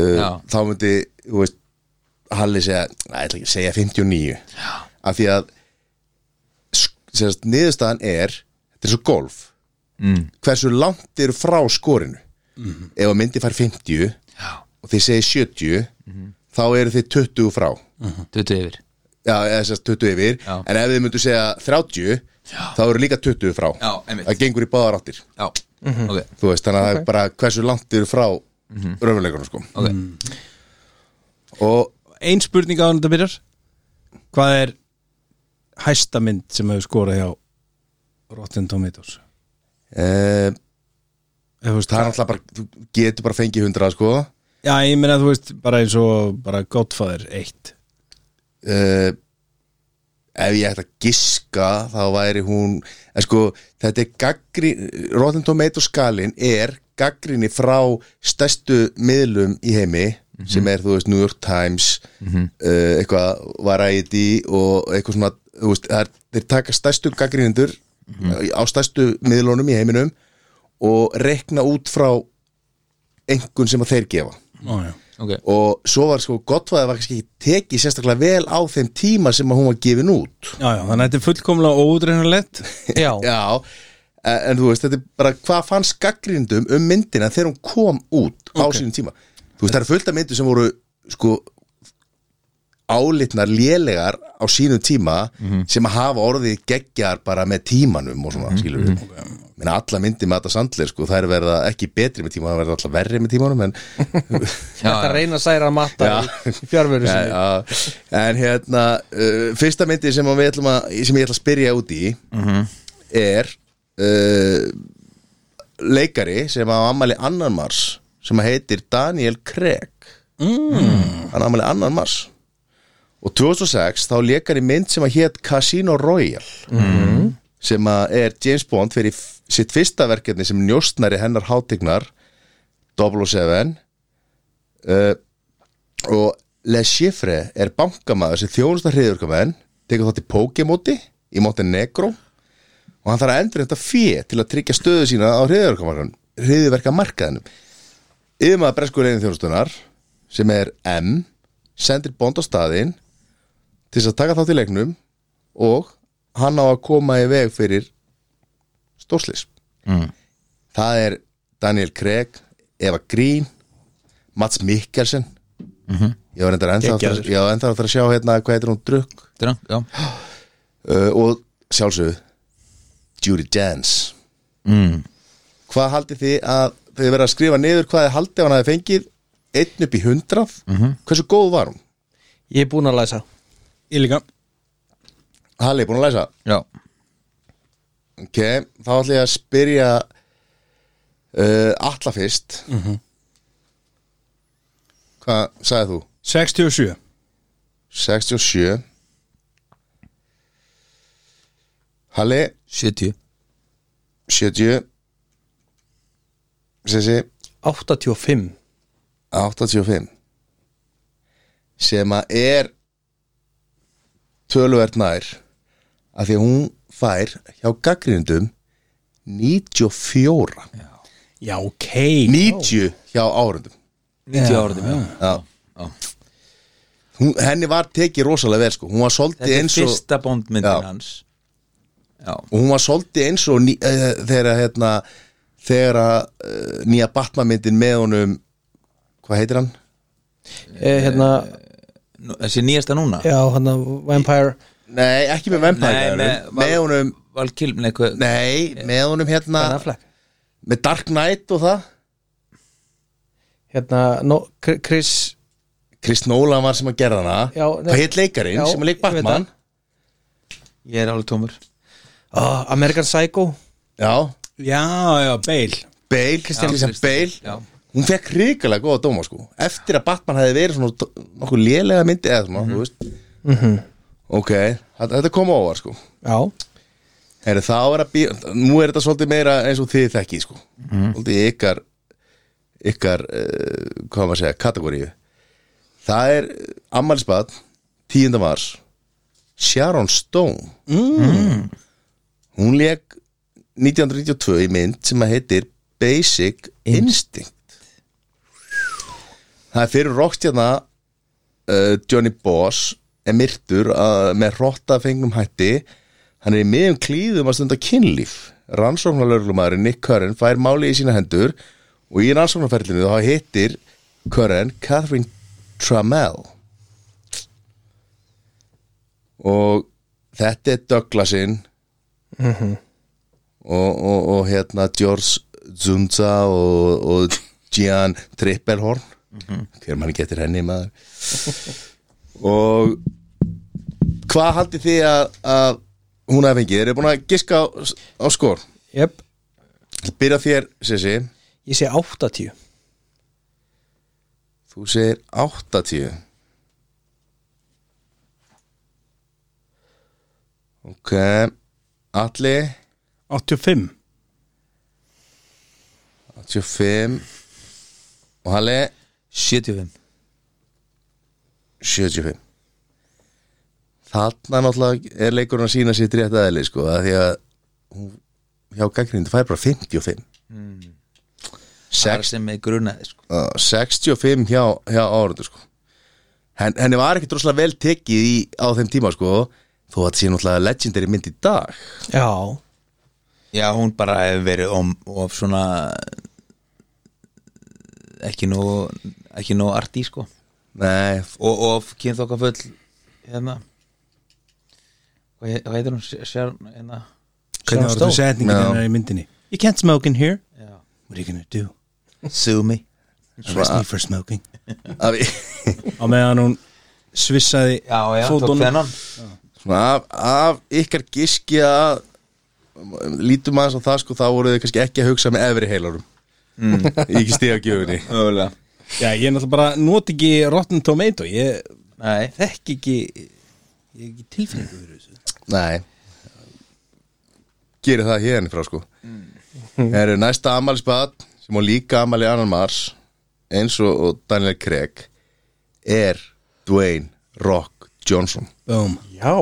[SPEAKER 1] uh, þá myndi, þú veist Halli segja, að ég ætla ekki að segja 59 Já. af því að sk- sem sagt, niðurstaðan er þetta er svo golf
[SPEAKER 4] mm,
[SPEAKER 1] hversu langt eru frá skorinu ef að myndi fær 50
[SPEAKER 4] já,
[SPEAKER 1] og þið segir 70
[SPEAKER 4] Mhm.
[SPEAKER 1] þá eru þið 20 frá
[SPEAKER 4] tuttu yfir
[SPEAKER 1] já, eða sérst 20 yfir
[SPEAKER 4] Já.
[SPEAKER 1] en ef þið myndu segja 30 þá eru líka 20 frá
[SPEAKER 4] Já, einmitt.
[SPEAKER 1] það gengur í báðar áttir
[SPEAKER 4] Já, ok,
[SPEAKER 1] þú veist, þannig að það er bara hversu langt þið eru frá mm sko
[SPEAKER 4] ok
[SPEAKER 1] og
[SPEAKER 3] Ein spurning á þetta byrjar Hvað er hæsta mynd sem hefur skorað hjá Rotten Tomatoes?
[SPEAKER 1] e,
[SPEAKER 3] Ef, þú veist,
[SPEAKER 1] það er alltaf bara þú getur bara fengið 100 sko
[SPEAKER 3] Já, ég meina þú veist, bara eins og bara Godfather 1
[SPEAKER 1] uh, ef ég ætti að giska þá væri hún en sko, þetta er gaggrín Rotten Tomatoes skalin er gaggrinni frá stærstu miðlum í heimi sem er, þú veist, New York Times uh, eitthvað Variety og eitthvað svona þú veist, það er, þeir taka stærstu gaggrinendur á stærstu miðlunum í heiminum og rekna út frá engun sem að þeir gefa
[SPEAKER 3] Ó, já.
[SPEAKER 4] Ok,
[SPEAKER 1] og svo var sko Gottfæði var kannski ekki tekið sérstaklega vel á þeim tíma sem að hún var gefin út
[SPEAKER 3] já, já, þannig að þetta er fullkomlega óútreinarlegt
[SPEAKER 2] Já,
[SPEAKER 1] Já, en, E, en þú veist, þetta er bara hvað fannst gaggrindum um myndina þegar hún kom út á sínum tíma Þú veist, það eru fullt af myndir sem voru sko álitnar lélegar á sínum tíma sem að hafa orðið geggjar bara með tímanum og svona, skilur við Menna, alla myndir með þetta sandlir, sko, það er verða ekki betri með tímanum, það er verða alltaf verri með tímanum en
[SPEAKER 2] þetta reyna að særa að matta í- í fjárveru
[SPEAKER 1] Já,
[SPEAKER 2] sinni
[SPEAKER 1] já. En hérna uh, Fyrsta myndi sem, að við ætlum að, sem ég ætla að spyrja út í Er uh, Leikari sem á ammæli annan mars Sem að heitir Daniel Craig mm. Hann á ammæli annan mars Og 2006 þá leikari mynd sem að hét Casino Royale Sem að er James Bond fyrir f- sitt fyrsta verkefni sem njóstnari hennar hátignar 007 uh, og Le Chiffre er bankamaður sem þjónusta hriðurkamenn tekur þátt í Pokémóti í Montenegro og hann þarf að endur þetta fjö til að tryggja stöðu sína á hriðurkamenn hriðurverka markaðinum yfirmaður bresku reyðin þjónustunar sem er M sendir bond á staðinn til þess að taka þátt í leiknum og hann á að koma í veg fyrir stórslis
[SPEAKER 4] Mm.
[SPEAKER 1] það er Daniel Craig Eva Green Mats Mikkelsen ég var enda ennþá aftur,
[SPEAKER 3] Geggjaður.
[SPEAKER 1] ég var ennþá aftur að sjá hérna hvað heitir hún drukk
[SPEAKER 4] drang, já
[SPEAKER 1] uh, og sjálfsögðu Judy Dance
[SPEAKER 4] mm.
[SPEAKER 1] hvað haldið þið að þið verða að skrifa niður hvað þið haldið að hann hafi fengið einn upp í hundrað hversu góð var hún?
[SPEAKER 2] Ég er búin að læsa
[SPEAKER 3] Ég líka
[SPEAKER 1] Halli, búin að læsa?
[SPEAKER 4] já,
[SPEAKER 1] Ok, þá ætla ég að spyrja uh, Alla fyrst Hvað sagði þú?
[SPEAKER 3] 67
[SPEAKER 1] 67 Halli
[SPEAKER 4] 70
[SPEAKER 1] 70 Sessi
[SPEAKER 2] 85
[SPEAKER 1] 85 sem að er töluvert nær af því að hún fær hjá gaggrindum 94
[SPEAKER 3] Já, ok
[SPEAKER 1] 90 hjá árundum
[SPEAKER 4] 90 áraðum, já
[SPEAKER 1] Já. Hún, henni var tekið rosalega vel sko hún var svolítið
[SPEAKER 4] Þetta er
[SPEAKER 1] eins og
[SPEAKER 4] fyrsta
[SPEAKER 1] Já.
[SPEAKER 4] bondmyndin hans Já,
[SPEAKER 1] og hún var svolítið eins og ný, uh, þegar að, hérna, þegar að uh, nýja Batman-myndin með honum hvað heitir hann?
[SPEAKER 2] eh, hérna,
[SPEAKER 4] nú- þessi nýjasta núna
[SPEAKER 2] já, hérna Vampire
[SPEAKER 1] Nei, ekki með Vampire
[SPEAKER 4] Nei, með-
[SPEAKER 1] Diaries. með honum,
[SPEAKER 4] Valkil, nei, hvað
[SPEAKER 1] nei, með honum hérna
[SPEAKER 2] Ben Affleck
[SPEAKER 1] með Dark Knight og það
[SPEAKER 2] hérna, no, Kr- Chris
[SPEAKER 1] Chris Nolan var sem að gera hana
[SPEAKER 2] Já, nei.
[SPEAKER 1] hvað heit leikarinn
[SPEAKER 2] Já,
[SPEAKER 1] sem að leik
[SPEAKER 2] ég veit
[SPEAKER 1] Batman
[SPEAKER 4] Ég er alveg tómur
[SPEAKER 2] oh, American Psycho
[SPEAKER 1] já,
[SPEAKER 3] Já, já, beil
[SPEAKER 1] Bale, Christian, Christian Bale
[SPEAKER 4] Já,
[SPEAKER 1] hún fekk ríkilega góða dóma sko eftir að Batman hefði verið svona t- nokkuð lélega myndi eða svona, þú veist
[SPEAKER 2] Mhm.
[SPEAKER 1] ok, þetta, þetta kom óvar sko
[SPEAKER 2] já,
[SPEAKER 1] Heri, þá er að bí... nú er þetta svolítið meira eins og þið þekki sko svolítið ykkar ykkar, uh, hvað á maður að segja, kategoríu það er ammælisbad 10. mars Sharon Stone mm. hún leik 1992 í mynd sem að heitir Basic Instinct það er fyrir rockstjarna uh, Johnny Boss er myrtur uh, með rottafengnum hætti Hann er í miðjum klíðum að stunda kynlíf. Rannsóknarlörglumæðurinn Nick Curran fær máli í sína hendur og í rannsóknarferlinu þá hittir Curran Catherine Trammell. Og þetta er Douglasinn og, og, og hérna George Zunza og, og Gian Trippelhorn. Hver mann getur henni maður. og hvað haldið þið að, að hún hafi fengið? Þeir eru búin að giska á, á skor.
[SPEAKER 2] jöp
[SPEAKER 1] Byrja þér, Sissi,
[SPEAKER 2] ég sé 80
[SPEAKER 1] þú segir 80. Ok, Alli,
[SPEAKER 3] 85
[SPEAKER 1] 85 og Halli,
[SPEAKER 4] 75
[SPEAKER 1] 75. Þarna náttúrulega er leikurinn að sína sitt rétt aðeili, sko, að því að hún hjá gaggrindi fær bara 55.
[SPEAKER 4] Það
[SPEAKER 1] 6
[SPEAKER 4] er sem með grunaði sko.
[SPEAKER 1] Uh, 65 hjá, hjá árundu sko. Hen, henni var ekkit droslega vel tekið í, á þeim tíma sko, þó að þetta sé náttúrulega legendary mynd í dag
[SPEAKER 2] já,
[SPEAKER 4] Já, hún bara hefur verið om, of svona ekki nóg ekki nóg arti sko
[SPEAKER 1] Nei, f-
[SPEAKER 4] og of kynþokka full hérna Hvað he- hvað heitir hún? Sh- Sharon, hérna
[SPEAKER 3] Hvernig var þetta setningin
[SPEAKER 1] Já.
[SPEAKER 3] hennar í myndinni? You can't smoke in here
[SPEAKER 4] Já.
[SPEAKER 3] What are you gonna do?
[SPEAKER 4] Sue me
[SPEAKER 3] Arrest me for smoking
[SPEAKER 1] af,
[SPEAKER 3] Á meðan hún svissaði
[SPEAKER 4] Já, já, tók
[SPEAKER 3] fótunum.
[SPEAKER 4] þennan
[SPEAKER 1] svona, af, af ykkar giski að um, lítum aðeins á það sko þá voru þið kannski ekki að hugsa með efri heilarum mm. ekki stiga gjöfunni
[SPEAKER 4] Mögulega
[SPEAKER 3] Já, ég er náttúrulega bara noti ekki Rotten Tomato Ég
[SPEAKER 4] Nei,
[SPEAKER 3] þekki ekki Ég er ekki tilfinningu fyrir þessu
[SPEAKER 1] Nei Gerir það hérna frá sko Það eru næsta amalisbad sem á líka amali annan mars eins og, og Daniel Craig er Dwayne Rock Johnson
[SPEAKER 3] Boom
[SPEAKER 2] já,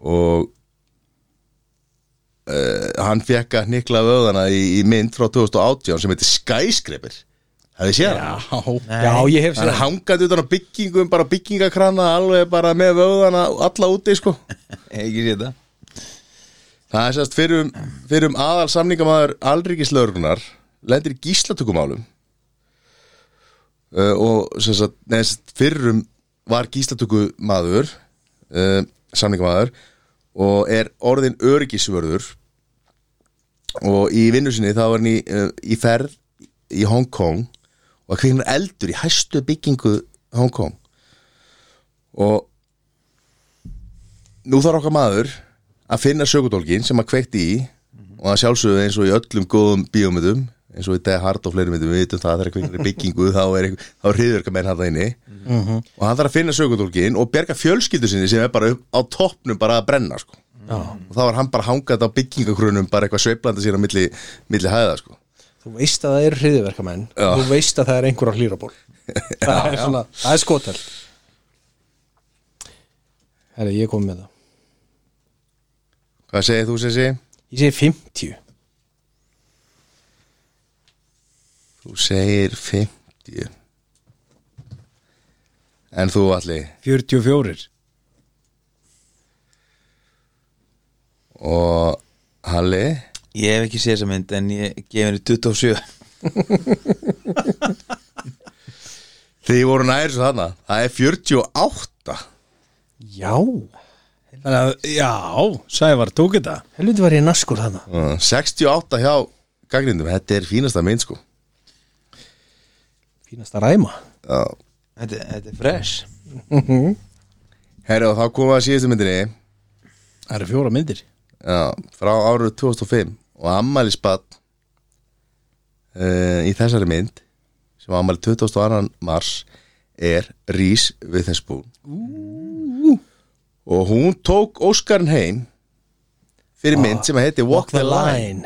[SPEAKER 1] og uh, hann fekk að hnykla vöðana í, í mynd frá 2018 sem heitir Skyscraper Hefði séð hann?
[SPEAKER 2] já ég hef
[SPEAKER 1] Hann
[SPEAKER 2] sér
[SPEAKER 1] er hangandi utan á byggingum, bara byggingakrana alveg bara með vöðana alla úti sko
[SPEAKER 4] ekki sé þetta
[SPEAKER 1] Það er sérst fyrir um, fyrir um aðal samningamæður alríkislaugunar lendir í gíslatökumálum uh, og sérst, neðst, fyrir um var gíslatökumæður uh, samningamæður og er orðin öryggisvörður og í vinnu sinni þá var hann í, uh, í ferð í Hong Kong og að kviknar eldur í hæstu byggingu Hong Kong og nú þarf okkar maður að finna sögudólgin sem að kveikti í og að sjálfsögðu eins og í öllum góðum bíómyndum eins og í dag hard og fleiri myndum við vitum það þegar kveikir í byggingu þá er einhver- þá er hriðurka menn hann það inni og hann þarf að finna sögudólgin og berga fjölskyldu sinni sem er bara upp, á toppnum bara að brenna sko. og þá er hann bara hangað á byggingakrunum bara eitthvað sveiplanda sér á milli, milli hæða sko.
[SPEAKER 2] þú veist að það eru hriðiverkamenn
[SPEAKER 1] Já.
[SPEAKER 2] þú veist að það er einhver á hlýraból það er svona, það er skotel herri, ég kom með það
[SPEAKER 1] hvað segir þú Sessi?
[SPEAKER 2] ég segi 50
[SPEAKER 1] þú segir 50 en þú allir
[SPEAKER 3] 44
[SPEAKER 1] og Halli
[SPEAKER 4] Ég hef ekki séð þessa mynd en ég gef henni 27
[SPEAKER 1] Þið voru nær svo þarna Það er 48
[SPEAKER 2] já,
[SPEAKER 3] Þannig að, já, Sævar tók þetta
[SPEAKER 2] helviti var ég naskur þarna
[SPEAKER 1] Uh, 68 hjá gangrindum Þetta er fínasta mynd sko
[SPEAKER 2] fínasta ræma
[SPEAKER 1] Já.
[SPEAKER 4] Þetta, þetta er fresh
[SPEAKER 1] Herra og þá komum við að síðustu myndinni
[SPEAKER 3] Það eru fjóra myndir
[SPEAKER 1] Já, Frá árið 2005 Og ammælisbad uh, Í þessari mynd Sem var ammæli 22. mars Er Rís Viðhensbún Og hún tók Óskarinn heim Fyrir mynd sem að heiti Ah. Walk the Line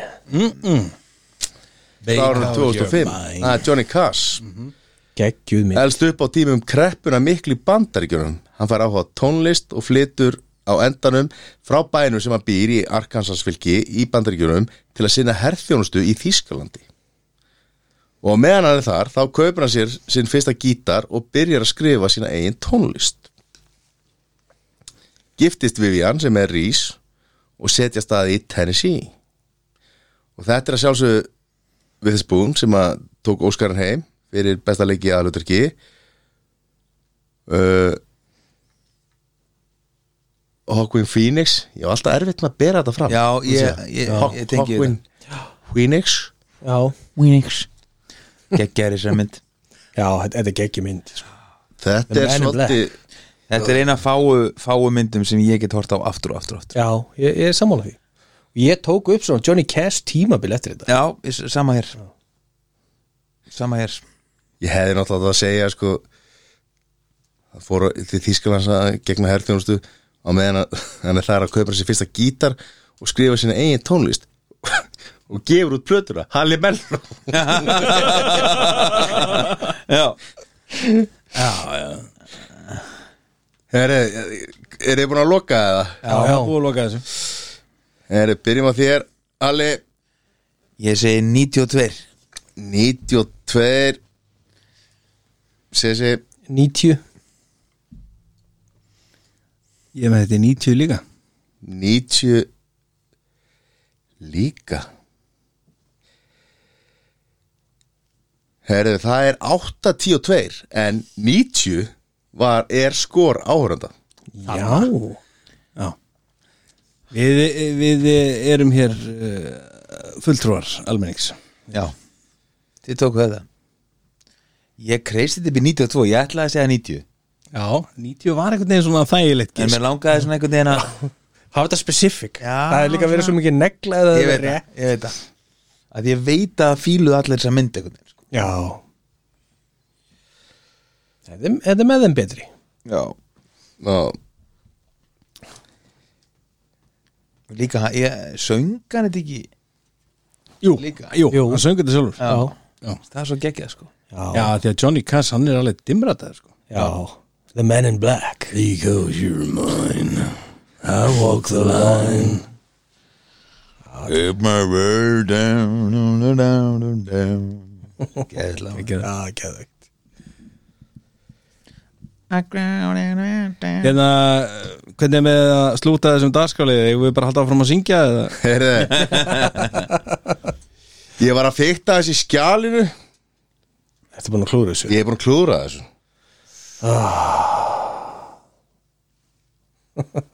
[SPEAKER 1] Frá árið 2005 Það er Ah, Johnny Cass
[SPEAKER 2] geggjuð minn
[SPEAKER 1] Elst upp á tímum kreppuna miklu í bandaríkjunum. Hann fær áhuga á tónlist og flytur á endanum frá bænum sem hann býr í Arkansasfylki í bandaríkjunum til að sinna herþjónustu í Þýskalandi. Og á meðan hann er þar, þá kaupir hann sér sinn fyrsta gítar og byrjar að skrifa sína eigin tónlist. Giftist Vivian sem er Rís og setja staði í Tennessee. Og þetta er að sjálfsögðu við þess búum sem að tók Óskarinn heim fyrir besta leiki aðluturki uh, Hawkwind Phoenix ég var alltaf erfitt með að bera þetta fram
[SPEAKER 4] Já, ég, ég,
[SPEAKER 1] Hawk-
[SPEAKER 4] ég tengi við
[SPEAKER 1] Hawkwind Phoenix
[SPEAKER 2] já,
[SPEAKER 4] Winix Geggjær þessar mynd
[SPEAKER 2] já þetta þetta er geggjuð mynd sko.
[SPEAKER 1] þetta
[SPEAKER 2] The
[SPEAKER 1] er
[SPEAKER 2] Man in
[SPEAKER 1] svolítið
[SPEAKER 4] Þetta er eina fáu, fáu myndum sem ég get hort á aftur og aftur og aftur
[SPEAKER 2] já, ég, ég er sammála því og ég tók upp svona Johnny Cash tímabil eftir þetta
[SPEAKER 4] Já, ég s- sama hér Sama hér
[SPEAKER 1] ég hefði náttúrulega átt að segja sko það fór til Þýskalands að gegna herþjónustu á meðan að- hann er þar að kaupa sér fyrsta gítar og skrifa sína eigin tónlist og gefur út plötuna Halli Melló
[SPEAKER 4] Já,
[SPEAKER 1] er þið búin að loka eða?
[SPEAKER 3] Já, já, búið að loka þessu
[SPEAKER 1] Herri, byrjum á þér Alli
[SPEAKER 4] ég segi 92
[SPEAKER 1] 92 Sessi
[SPEAKER 2] 90
[SPEAKER 3] Ég er með þetta í 90 líka
[SPEAKER 1] 90 Líka Herri, það er 8, 10 og 2 En 90 var, er skor áhöranda
[SPEAKER 2] já,
[SPEAKER 3] Við, við erum hér uh, fulltrúar almennings
[SPEAKER 4] Já, þið tóku þetta Ég kreist þetta upp í 92, ég ætlaði að segja 90
[SPEAKER 3] Já, 90 var einhvern veginn svona þægilegt
[SPEAKER 4] En mér langaði svona einhvern veginn að
[SPEAKER 2] hafa þetta specific
[SPEAKER 4] Já,
[SPEAKER 2] það er líka verið svo mikið negla eða
[SPEAKER 4] Ég
[SPEAKER 2] það
[SPEAKER 4] veit
[SPEAKER 2] er rétt.
[SPEAKER 4] það, ég veit það Að ég veit að fíluð allir þessar mynd einhvern veginn sko.
[SPEAKER 2] já þetta er- þetta er með þeim betri
[SPEAKER 4] Já
[SPEAKER 1] Ná,
[SPEAKER 4] Líka, hann- ég söngan þetta ekki
[SPEAKER 3] Jú,
[SPEAKER 4] Líka.
[SPEAKER 3] jú,
[SPEAKER 2] Jú.
[SPEAKER 3] hann söngur þetta sjálfur
[SPEAKER 2] já,
[SPEAKER 3] Já.
[SPEAKER 4] Það er svo geggjað sko
[SPEAKER 3] Já, því að Johnny Cass, hann er alveg dimrataður sko
[SPEAKER 2] já. the man in black
[SPEAKER 3] He goes, you're mine I walk the line
[SPEAKER 4] Take my way down, down, down, down Gæðla
[SPEAKER 2] já, geðvegt
[SPEAKER 3] Hérna, hvernig er með að slúta þessum dagskrálið? Ég vil bara halda áfram að syngja eða?
[SPEAKER 1] Herri Ég var að fykta þessi skjálinu
[SPEAKER 2] þetta er búin að klúra þessu
[SPEAKER 1] Ég er búin að klúra þessu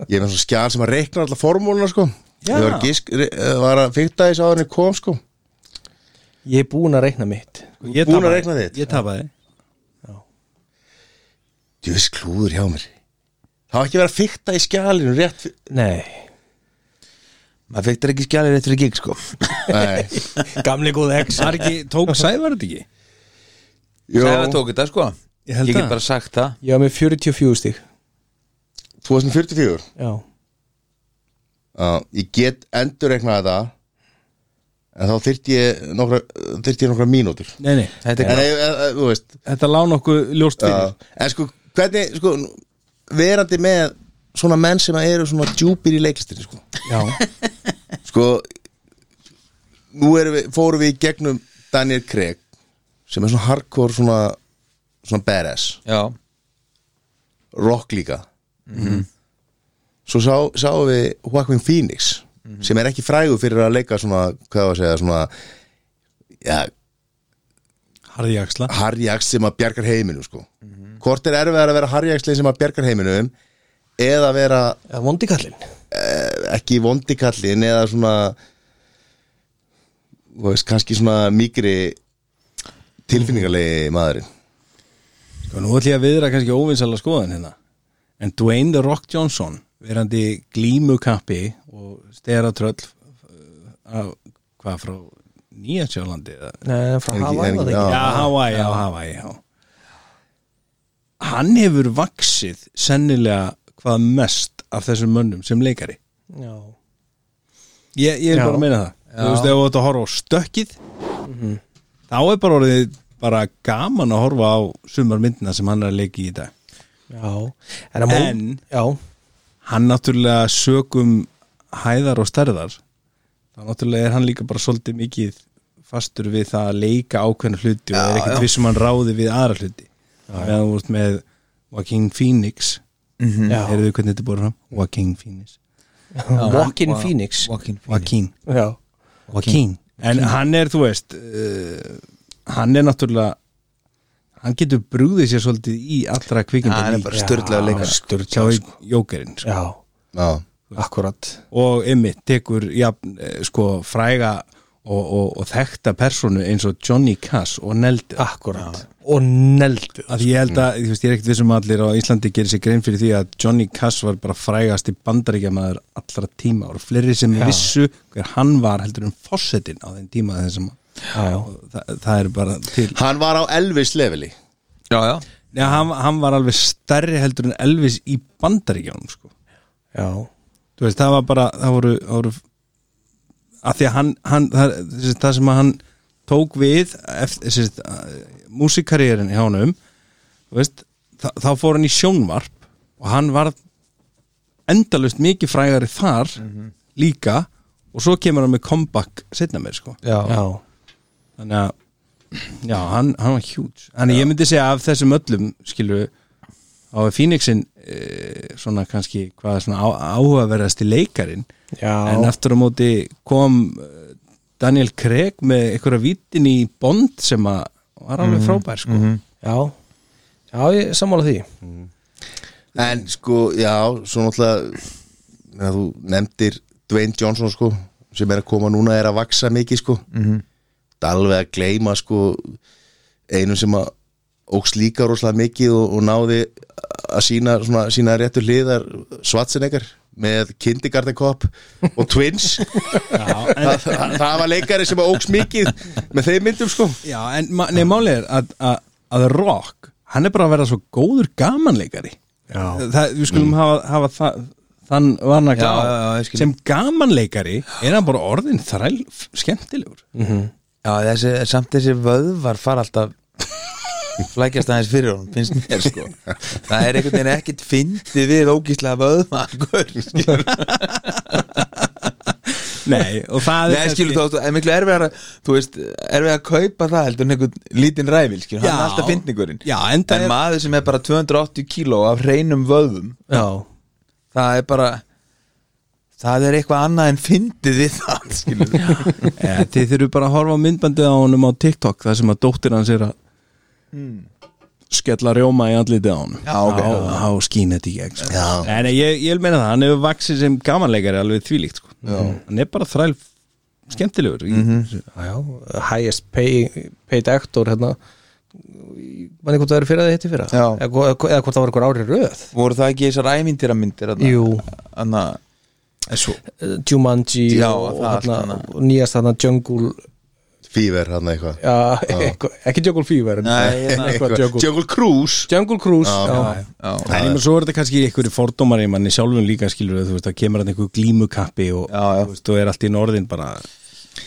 [SPEAKER 1] Ég er með svona skjál sem að reikna alltaf formúluna sko
[SPEAKER 3] Já.
[SPEAKER 1] Ég var að, gisk, re- eh, var að fyrta þess að henni kom sko
[SPEAKER 2] ég er búin að reikna mitt
[SPEAKER 3] Ég
[SPEAKER 1] Búin að
[SPEAKER 3] tapaði.
[SPEAKER 1] reikna þitt?
[SPEAKER 3] Ég tapaði
[SPEAKER 1] Djöfis klúður hjá mér Það var ekki verið að fykta í skjalinu rétt fyrir
[SPEAKER 2] Nei,
[SPEAKER 4] maður fekk þér ekki skjælir eftir í gig sko
[SPEAKER 1] Nei,
[SPEAKER 2] gamli góð ex
[SPEAKER 3] Var ekki, tók Sævar þetta ekki?
[SPEAKER 1] Jó.
[SPEAKER 4] Sæfa tók þetta sko
[SPEAKER 3] Ég
[SPEAKER 4] ég,
[SPEAKER 3] held
[SPEAKER 4] get
[SPEAKER 3] það.
[SPEAKER 4] bara sagt það
[SPEAKER 2] Ég var með 44 stík
[SPEAKER 1] 2044
[SPEAKER 2] Já,
[SPEAKER 1] uh, Ég get endurreiknaði það En þá þyrfti ég nokkra, þyrfti ég nokkra mínútur
[SPEAKER 3] Nei, nei,
[SPEAKER 4] þetta
[SPEAKER 1] En
[SPEAKER 4] er
[SPEAKER 1] ef- ef- ef- þú veist
[SPEAKER 3] þetta lán okkur ljóst fyrir
[SPEAKER 1] Já. En sko, hvernig, sko Verandi með svona menn sem eru svona djúpir í leiklistinni, sko
[SPEAKER 2] já,
[SPEAKER 1] Sko Nú erum við, fórum við í gegnum Daniel Craig Sem er svona hardcore, svona Svona badass
[SPEAKER 4] já,
[SPEAKER 1] rock líka svo sá, sáum við Joaquin Phoenix sem er ekki frægur fyrir að leika svona, hvað var að segja, svona ja,
[SPEAKER 3] Harði Jaksla
[SPEAKER 1] harjaks sem að bjargar heiminu sko. hvort er erfiðar að vera harjaksli sem að bjargar heiminu eða vera
[SPEAKER 2] eða vondi kallinn
[SPEAKER 1] ekki vondikallin eða svona þú veist, kannski svona mýgri tilfinningarlegi maðurinn
[SPEAKER 3] Sko, nú ætlum ég að viðra kannski óvinsala skoðan hérna En Dwayne The Rock Johnson verandi glímukappi og steratröll af, hvað frá Nýja Sjálandi eða
[SPEAKER 2] Nei, frá
[SPEAKER 1] Er ekki-
[SPEAKER 2] Hawaii
[SPEAKER 1] er
[SPEAKER 2] var
[SPEAKER 1] ekki-
[SPEAKER 2] það ekki
[SPEAKER 1] Já,
[SPEAKER 3] Já, Hawaii, já, Hawaii, já Hann hefur vaksið sennilega hvað mest af þessum mönnum sem leikari
[SPEAKER 2] Já,
[SPEAKER 3] Ég, ég er
[SPEAKER 2] Já.
[SPEAKER 3] bara að meina það Þú veist, ef þú ert að horfa á stökkið þá er bara orðið bara gaman að horfa á sumar myndina sem hann er að leiki í dag
[SPEAKER 2] já En, að mó-
[SPEAKER 3] En-
[SPEAKER 2] Já,
[SPEAKER 3] Hann náttúrulega sögum hæðar og stærðar þá náttúrulega er hann líka bara svolítið mikið fastur við það að leika ákveðna hluti og er ekkert vissum hann ráði við aðra hluti meðan þú vart með Joaquin Phoenix
[SPEAKER 4] Mhm.
[SPEAKER 2] já
[SPEAKER 3] Heyrðu hvernig þetta búið fram? Joaquin Phoenix
[SPEAKER 2] Walking Phoenix
[SPEAKER 4] Joaquin Phoenix.
[SPEAKER 3] Joaquin
[SPEAKER 2] Já,
[SPEAKER 3] Joaquin En hann er, þú veist uh, hann er náttúrulega hann getur brúðið sér svolítið í allra kvikinda
[SPEAKER 4] Já, hann er bara sturlaður leikari.
[SPEAKER 3] Sturlaður sko. jókerinn sko.
[SPEAKER 2] já,
[SPEAKER 1] já,
[SPEAKER 2] akkurat
[SPEAKER 3] og ymmið tekur jafn, eh, sko, fræga og, og, og þekta personu eins og Johnny Cass og Neldur
[SPEAKER 2] Akkurat Og neldu
[SPEAKER 3] að ég
[SPEAKER 2] Mm.
[SPEAKER 3] held að, þú veist, ég er ekkert vissum að allir á Íslandi gerir sér grein fyrir því að Johnny Cass var bara frægasti bandaríkjamaður allra tíma og fleiri sem vissu hver hann var heldur um fósettin á þeim tíma þessum
[SPEAKER 2] Já, já
[SPEAKER 3] það, það er bara til
[SPEAKER 1] hann var á Elvis leveli
[SPEAKER 4] já, já,
[SPEAKER 3] Nei, hann, hann var alveg stærri heldur en Elvis í bandaríkjánum sko.
[SPEAKER 2] Já,
[SPEAKER 3] þú veist, það var bara það voru, það voru að því að hann, hann það, þessi, það sem að hann tók við eftir, þessi, músikarriðin hjá honum þú veist, þá, þá fór hann í sjónvarp og hann var endalust mikið frægari þar líka og svo kemur hann með comeback setna meir sko
[SPEAKER 4] já.
[SPEAKER 2] já,
[SPEAKER 3] þannig að já, hann, hann var huge þannig að ég myndi segja af þessum öllum skilu á Phoenixin e, svona kannski hvað er svona á, áhugaverðasti leikarin
[SPEAKER 2] já
[SPEAKER 3] en aftur á móti kom eh, Daniel Craig með einhverja vítin í Bond sem að var alveg
[SPEAKER 4] Mhm,
[SPEAKER 3] frábær sko
[SPEAKER 2] Já, já, ég sammála því
[SPEAKER 1] En sko, já, svo náttúrulega meina, þú nefndir Dwayne Johnson sko, sem er að koma núna er að vaksa mikið sko mm
[SPEAKER 2] Mhm.
[SPEAKER 1] -hmm. alveg að gleyma sko einum sem að óks líka rosalega mikið og, og náði að sína, svona, sína réttu hliðar Schwarzenegger með Kindergarten Cop og Twins það, það, það var leikari sem að óks mikið með þeim myndum sko
[SPEAKER 3] já, en ma- nei, málið er að, að, að Rock, hann er bara að vera svo góður gamanleikari
[SPEAKER 2] Já,
[SPEAKER 3] það, við skulum hafa, hafa það, þann varna
[SPEAKER 4] Mm. Já, já, já, ég skil.
[SPEAKER 3] sem gamanleikari er hann bara orðin þræl skemmtilegur
[SPEAKER 4] já þessi, samt þessi vöðvar fara alltaf flækjast aðeins fyrir honum finnst mér sko það er einhvern veginn ekkert fyndið við ógíslega vöðvar sko.
[SPEAKER 3] nei, og það
[SPEAKER 4] Nei, skilur þú, þú- er miklu erfiðar að þú veist, erfiðar að kaupa það heldur en einhvern lítinn ræfil, skilur, hann er
[SPEAKER 3] Já.
[SPEAKER 4] alltaf fyndningurinn
[SPEAKER 3] Já, enda
[SPEAKER 4] en
[SPEAKER 3] er-
[SPEAKER 4] maður sem er bara 280 kíló af hreinum vöðum
[SPEAKER 2] já,
[SPEAKER 4] það er bara það er eitthvað annað en fyndið við það, skilur
[SPEAKER 3] e, þið þurfum bara að horfa á myndbandið á honum á TikTok þar sem að dóttir hans er að
[SPEAKER 1] Hmm.
[SPEAKER 3] skella rjóma í andlitið á honum
[SPEAKER 4] Já, ok.
[SPEAKER 3] á, á skín þetta í gegn sko.
[SPEAKER 1] Já.
[SPEAKER 3] Nei, nei, ég, ég vil meina það, hann hefur vaksið sem gamanleikari alveg þvílíkt sko. hann er bara þræl
[SPEAKER 1] Mhm.
[SPEAKER 3] skemmtilegur mm
[SPEAKER 2] já,
[SPEAKER 3] -hmm.
[SPEAKER 2] já Highest pay, paid actor hérna manni hvort það eru fyrir að þið hitti fyrir
[SPEAKER 4] Já.
[SPEAKER 2] eða, hvo- eða hvort það var einhver ári röð
[SPEAKER 4] voru það ekki þessar æmyndiramyndir
[SPEAKER 2] Jú.
[SPEAKER 4] anna, en svo
[SPEAKER 2] Eh, Jumanji
[SPEAKER 4] Já,
[SPEAKER 2] og,
[SPEAKER 4] það allt
[SPEAKER 2] hana,
[SPEAKER 4] annað.
[SPEAKER 2] og nýjast þarna Jungle
[SPEAKER 1] Fever, hann eitthvað
[SPEAKER 2] já, eitthvað, ekki Jungle Fever en
[SPEAKER 4] Nei, hérna,
[SPEAKER 2] eitthvað
[SPEAKER 1] Eitthvað.
[SPEAKER 2] Jungle,
[SPEAKER 1] Jungle Cruise
[SPEAKER 2] Jungle Cruise
[SPEAKER 1] Já,
[SPEAKER 2] já,
[SPEAKER 1] já.
[SPEAKER 4] já,
[SPEAKER 3] En ég með svo er þetta kannski einhverju fordómar í manni sjálfum líka skilur þú veist, það kemur hann einhver glímukappi og
[SPEAKER 4] Já, já.
[SPEAKER 3] þú veist, þú er allt í norðin bara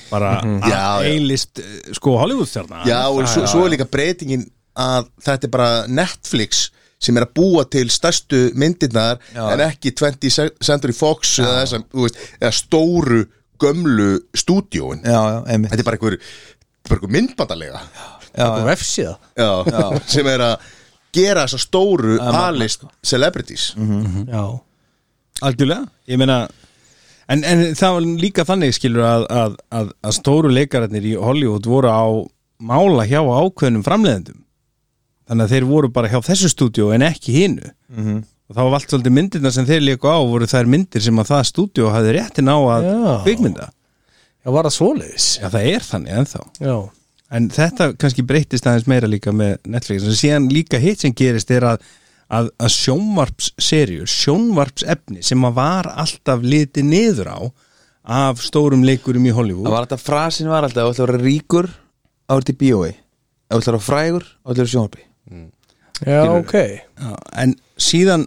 [SPEAKER 3] bara mm
[SPEAKER 1] Mhm. Já, já.
[SPEAKER 3] eilist sko Hollywood-stjarnar
[SPEAKER 1] Já, og svo, svo er líka breytingin að þetta er bara Netflix sem er að búa til stærstu myndirnar
[SPEAKER 4] Já.
[SPEAKER 1] en ekki 20 Century Fox eða, þessam, þú veist, eða stóru gömlu stúdíóin
[SPEAKER 4] já, já, einmitt
[SPEAKER 1] Þetta er bara einhver, bara einhver myndbandalega
[SPEAKER 2] og vefsíða
[SPEAKER 1] já, sem er að gera þessa stóru
[SPEAKER 4] maður-
[SPEAKER 1] A-list celebrities
[SPEAKER 2] já,
[SPEAKER 3] Algjörlega, ég meina en, en það var líka þannig skilur að, að, að, að stóru leikararnir í Hollywood voru á mála hjá ákveðnum framleiðendum þannig að þeir voru bara hjá þessu stúdíu en ekki hinu og þá var allt svolítið myndirna sem þeir leiku á voru þær myndir sem að það stúdíu hafði réttin á að
[SPEAKER 2] Já.
[SPEAKER 3] kvikmynda
[SPEAKER 2] já var það svoleiðis
[SPEAKER 3] Já, það er þannig ennþá
[SPEAKER 2] já,
[SPEAKER 3] En þetta kannski breyttist aðeins meira líka með Netflix en síðan líka hitt sem gerist er að, að, að sjónvarpsserjur sjónvarpsefni sem að var alltaf litið niður á af stórum leikurum í
[SPEAKER 4] það
[SPEAKER 3] Hollywood
[SPEAKER 4] var alltaf frasin var alltaf, ef þú ætlar að vera ríkur þá ertu í bíói, ef þú ætlar að vera frægur þá ætlar að sjónarbi
[SPEAKER 2] já ok
[SPEAKER 3] Já, en síðan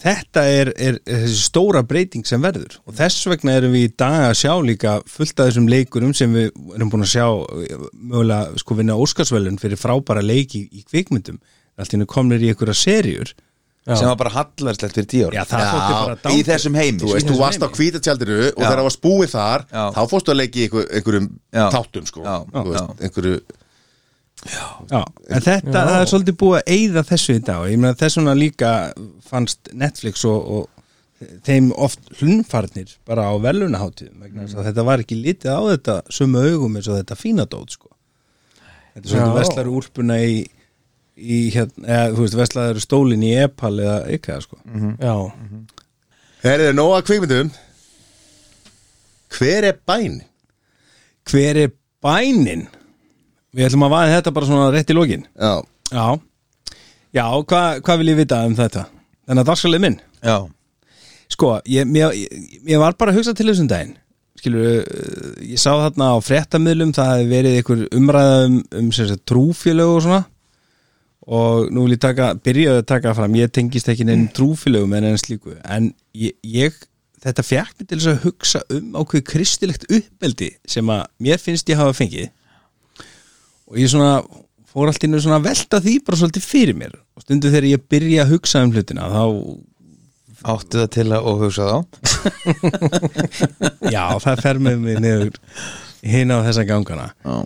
[SPEAKER 3] þetta er, er, er þessi stóra breyting sem verður og þess vegna erum við í dag að sjá líka fullt af þessum leikurum sem við erum búin að sjá eh, mögulega sko vinna Óskarsvelun fyrir frábæra leiki í kvikmyndum allt í hennu komnir í einhverja serjur
[SPEAKER 4] sem var bara hallarslegt fyrir tíu ára
[SPEAKER 3] Já, það þótti bara
[SPEAKER 4] í
[SPEAKER 3] dándið.
[SPEAKER 4] þessum heimi sko.
[SPEAKER 1] Þú veist, þú varst á kvítatjaldiru og
[SPEAKER 4] Já.
[SPEAKER 1] þegar það varst búið þar
[SPEAKER 4] Já.
[SPEAKER 1] þá fórstu að leiki einhver, einhverjum
[SPEAKER 4] Já.
[SPEAKER 1] tátum sko,
[SPEAKER 4] Já.
[SPEAKER 1] Þú
[SPEAKER 4] Já.
[SPEAKER 1] veist, einhverju
[SPEAKER 3] Já, en þetta það er svolítið búið að eyða þessu í dag ég meina þess vegna líka fannst Netflix og, og þeim oft hlunfarnir bara á velunaháttíðum vegna þess að þetta var ekki litið á þetta sömu augum eins og þetta fína dót sko. þetta er svolítið
[SPEAKER 2] Já.
[SPEAKER 3] veslar úlpuna í, í hérna, eða, þú veist veslaður stólin í Epal eða eitthvað sko.
[SPEAKER 2] já,
[SPEAKER 1] Herðið, nóga kvikmyndum Hver er bæn?
[SPEAKER 3] hver er bænin við ætlum að vaða þetta bara svona rétt í lokin
[SPEAKER 1] Já,
[SPEAKER 3] já, já hvað hva vil ég vita um þetta þannig að dagskalið minn
[SPEAKER 4] já,
[SPEAKER 3] Sko, ég, mér, ég, ég var bara að hugsa til þessum daginn Skilur, eh, ég sá þarna á fréttamiðlum Það hefði verið einhver umræða um, um sem sagt, trúfélög og svona Og nú vil ég taka, byrjaði að taka fram Ég tengist ekki neinn trúfélögum en enn slíku En ég, ég þetta fekk mig til þess að hugsa um ákveð kristilegt uppbeldi sem að mér finnst ég hafa fengið og ég svona fór allt innu svona að velta því bara svolítið fyrir mér og stundu þegar ég byrja að hugsa um hlutina þá
[SPEAKER 4] áttu það til að og hugsa þá
[SPEAKER 3] Já, það fer með mig niður hinn á þessa gangana
[SPEAKER 4] Já.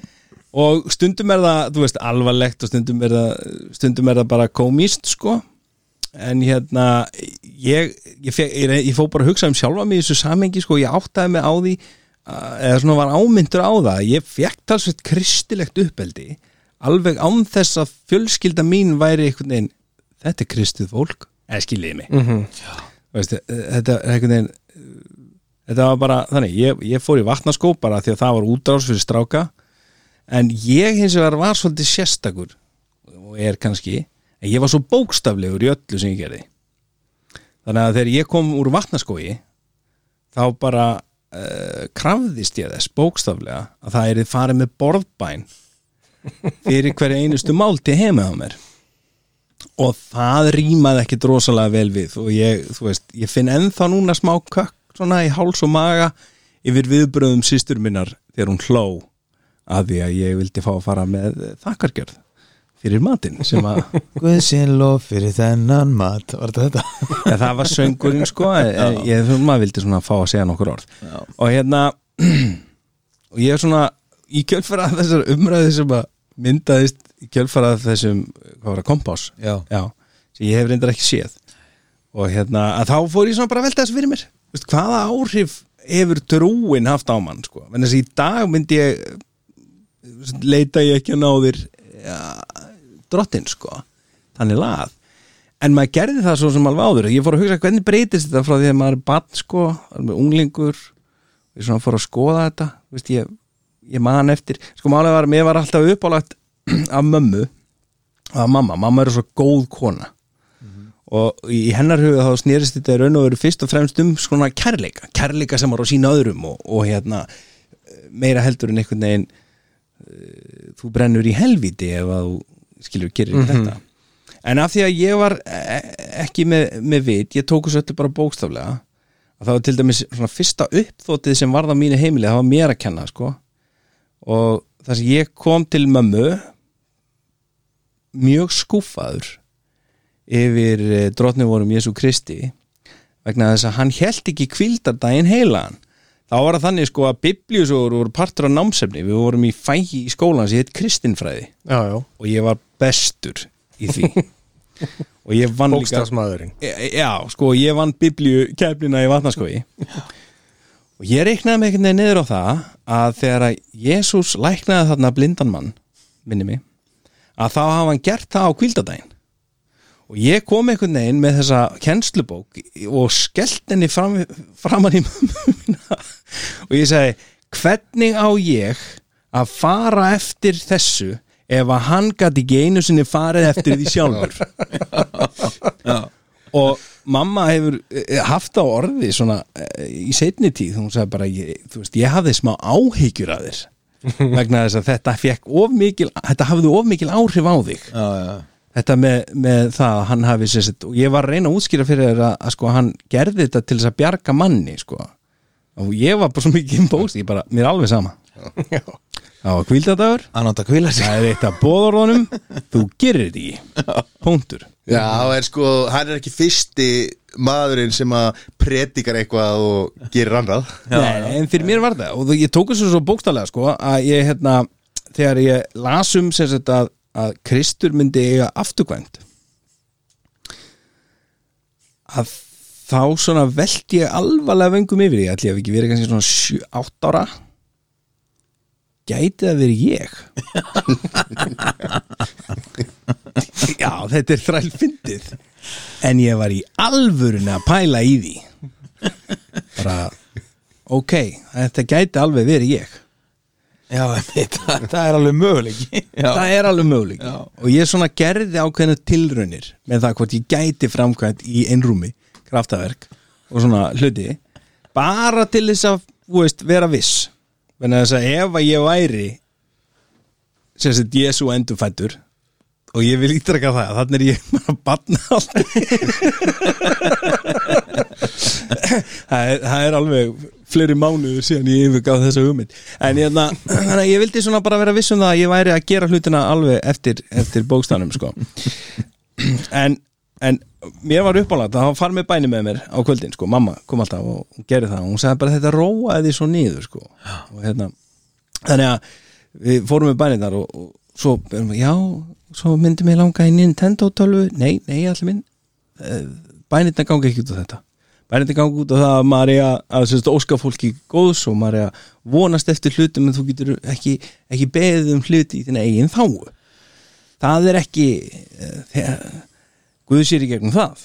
[SPEAKER 3] og stundum er það, þú veist, alvarlegt og stundum er það, stundum er það bara komist, sko en hérna, ég ég, fek, ég, ég fó bara að hugsa um sjálfa mig í þessu samengi, sko, ég áttaði mig á því að- eða svona var ámyndur á það ég fekk talsveit kristilegt uppeldi alveg án þess að fjölskylda mín væri einhvern veginn þetta er kristið fólk, eða skiljiði mig mm -hmm. veist, eh, þetta er einhvern veginn e, þetta var bara, þannig, ég, ég fór í vatnaskó bara því að það var útrás fyrir stráka en ég hins vegar var svolítið sérstakur og er kannski, en ég var svo bókstaflegur í öllu sem ég gerði þannig að þegar ég kom úr vatnaskói þá bara uh, krafðist ég þess bókstaflega að það er farið með borðbæn fyrir hverja einustu málti heima á mér og það rýmaði ekki drosalega vel við og ég, þú veist, ég finn ennþá núna smá kökk svona í háls og maga yfir viðbröðum sístur minnar þegar hún hló að því að ég vildi fá að fara með þakkargjörð fyrir matinn sem að
[SPEAKER 4] Guðsinn lof fyrir þennan mat var þetta þetta?
[SPEAKER 3] ja, það var söngurinn sko en- en ég, maður vildi svona fá að segja nokkur orð
[SPEAKER 4] Já.
[SPEAKER 3] og hérna og ég er svona í kjölfara þessar umræði sem að myndaðist í kjölfara þessum hvað var það, kompás
[SPEAKER 4] Já.
[SPEAKER 3] sem ég hef reyndar ekki séð og hérna, að þá fór ég svona bara að velta þessu fyrir mér Vist, hvaða áhrif hefur trúin haft á mann sko, en þess að í dag myndi ég eh, leita ég ekki að náðir ja, drottin sko, þannig lað en maður gerði það svo sem alveg áður ég fór að hugsa hvernig breytist þetta frá því að maður er bann sko, er með unglingur ég svona fór að skoða þetta Vist, ég, ég man eftir, sko málega var að mér var alltaf uppálagt af mömmu að mamma, mamma er svo góð kona og í hennar huga þá snerist þetta í raun og veru fyrst og fremst um svona kærleika, kærleika sem var á sína öðrum og, og hérna eh, meira heldur en einhvern veginn eh, þú brennur í helvíti ef að þú skilur gerir mm þetta en af því að ég var eh, ekki með, með vit, ég tók þessu öllu bara bókstaflega að það var til dæmis svona fyrsta uppþótið sem varð á mínu heimili það var mér að kenna sko og það sem ég kom til mömmu mjög skúfaður yfir eh, drotnivorum Jésu Kristi vegna þess að hann held ekki kvildardaginn heilaðan þá var það þannig sko að biblíusögur voru partur á námsefni, við vorum í fægi í skólan sem hétt kristinfræði
[SPEAKER 2] já, já,
[SPEAKER 3] og ég var bestur í því og ég vann líka
[SPEAKER 2] bókstafsmaðurinn
[SPEAKER 3] E- Já, sko, ég vann biblíu keflina í vatnaskoði og ég reiknaði mig einhvern veginn niður á það að þegar að Jésús læknaði þarna blindan mann, minni mig að þá hafa hann gert það á kvíldadaginn og ég kom einhvern veginn með þessa kennslubók og skellt henni fram, framan í mömmu mína og ég sagði hvernig á ég að fara eftir þessu ef að hann gat ekki einu sinni farið eftir því sjálfur og mamma hefur eh, haft á orði svona eh, í seinni tíð hún sagði bara, ég, þú veist, ég hafði smá áhyggjur að þér vegna þess að þetta fekk of mikil þetta hafði of mikil áhrif á þig
[SPEAKER 4] já, já,
[SPEAKER 3] þetta með, með það að hann hafi sér sett, og ég var að reyna að útskýra fyrir þér að, að sko, hann gerði þetta til þess að bjarga manni sko. og ég var bara svo mikið bóst, ég bara, mér er alveg sama það var kvíldadagur
[SPEAKER 4] hann átt að kvíla sig
[SPEAKER 3] það er eitt af bóðorðunum þú gerir þetta ekki, punktur
[SPEAKER 1] Já, það er sko, hann er ekki fyrsti maðurinn sem að predikar eitthvað og gerir annað
[SPEAKER 3] Nei, nei, en fyrir mér var það og þú- ég tók þessu svo bókstallega sko að ég hérna, þegar ég las um sem sagt að, að Kristur myndi eiga afturkvæmt að þá svona velti ég alvarlega vengum yfir ég ætli ég hef ekki verið kannski svona 7-8 ára gæti það verið ég Já, þetta er þræl fyndið en ég var í alvöruna að pæla í því bara ok, þetta gæti alveg verið ég
[SPEAKER 4] já, einmitt, það, það er alveg möguleiki já,
[SPEAKER 3] það er alveg möguleik
[SPEAKER 4] Já.
[SPEAKER 3] og ég svona gerði ákveðna tilraunir með það hvort ég gæti framkvæmt í einrúmi kraftaverk og svona hluti bara til þess að þú veist, vera viss Vegna þess að ef að ég væri sem sagt Jésu endurfættur og ég vil ítraka það þannig er ég bara að batna aldrei það, er, það er alveg fleiri mánuður síðan ég yfirgáð þessa hugmynd en ég, þannig að ég vildi svona bara vera viss um það að ég væri að gera hlutina alveg eftir, eftir bókstænum sko. en, en mér var uppálagt að hann far með bæni með mér á kvöldin sko. mamma kom alltaf og hún gerði það og hún sagði bara þetta róaði því svo niður sko. og hérna þannig að við fórum með bænir þar og, og svo, erum við, já, svo myndi mig langa í Nintendo tölvu, nei, nei, allir minn bænirna ganga ekki út á þetta bænirna ganga út á það að maður er að, að sérst, óska fólki góðs og maður er að vonast eftir hlutum en þú getur ekki, ekki beðið um hluti í þinn eigin þáu það er ekki eh, þegar, Guð sér í gegnum það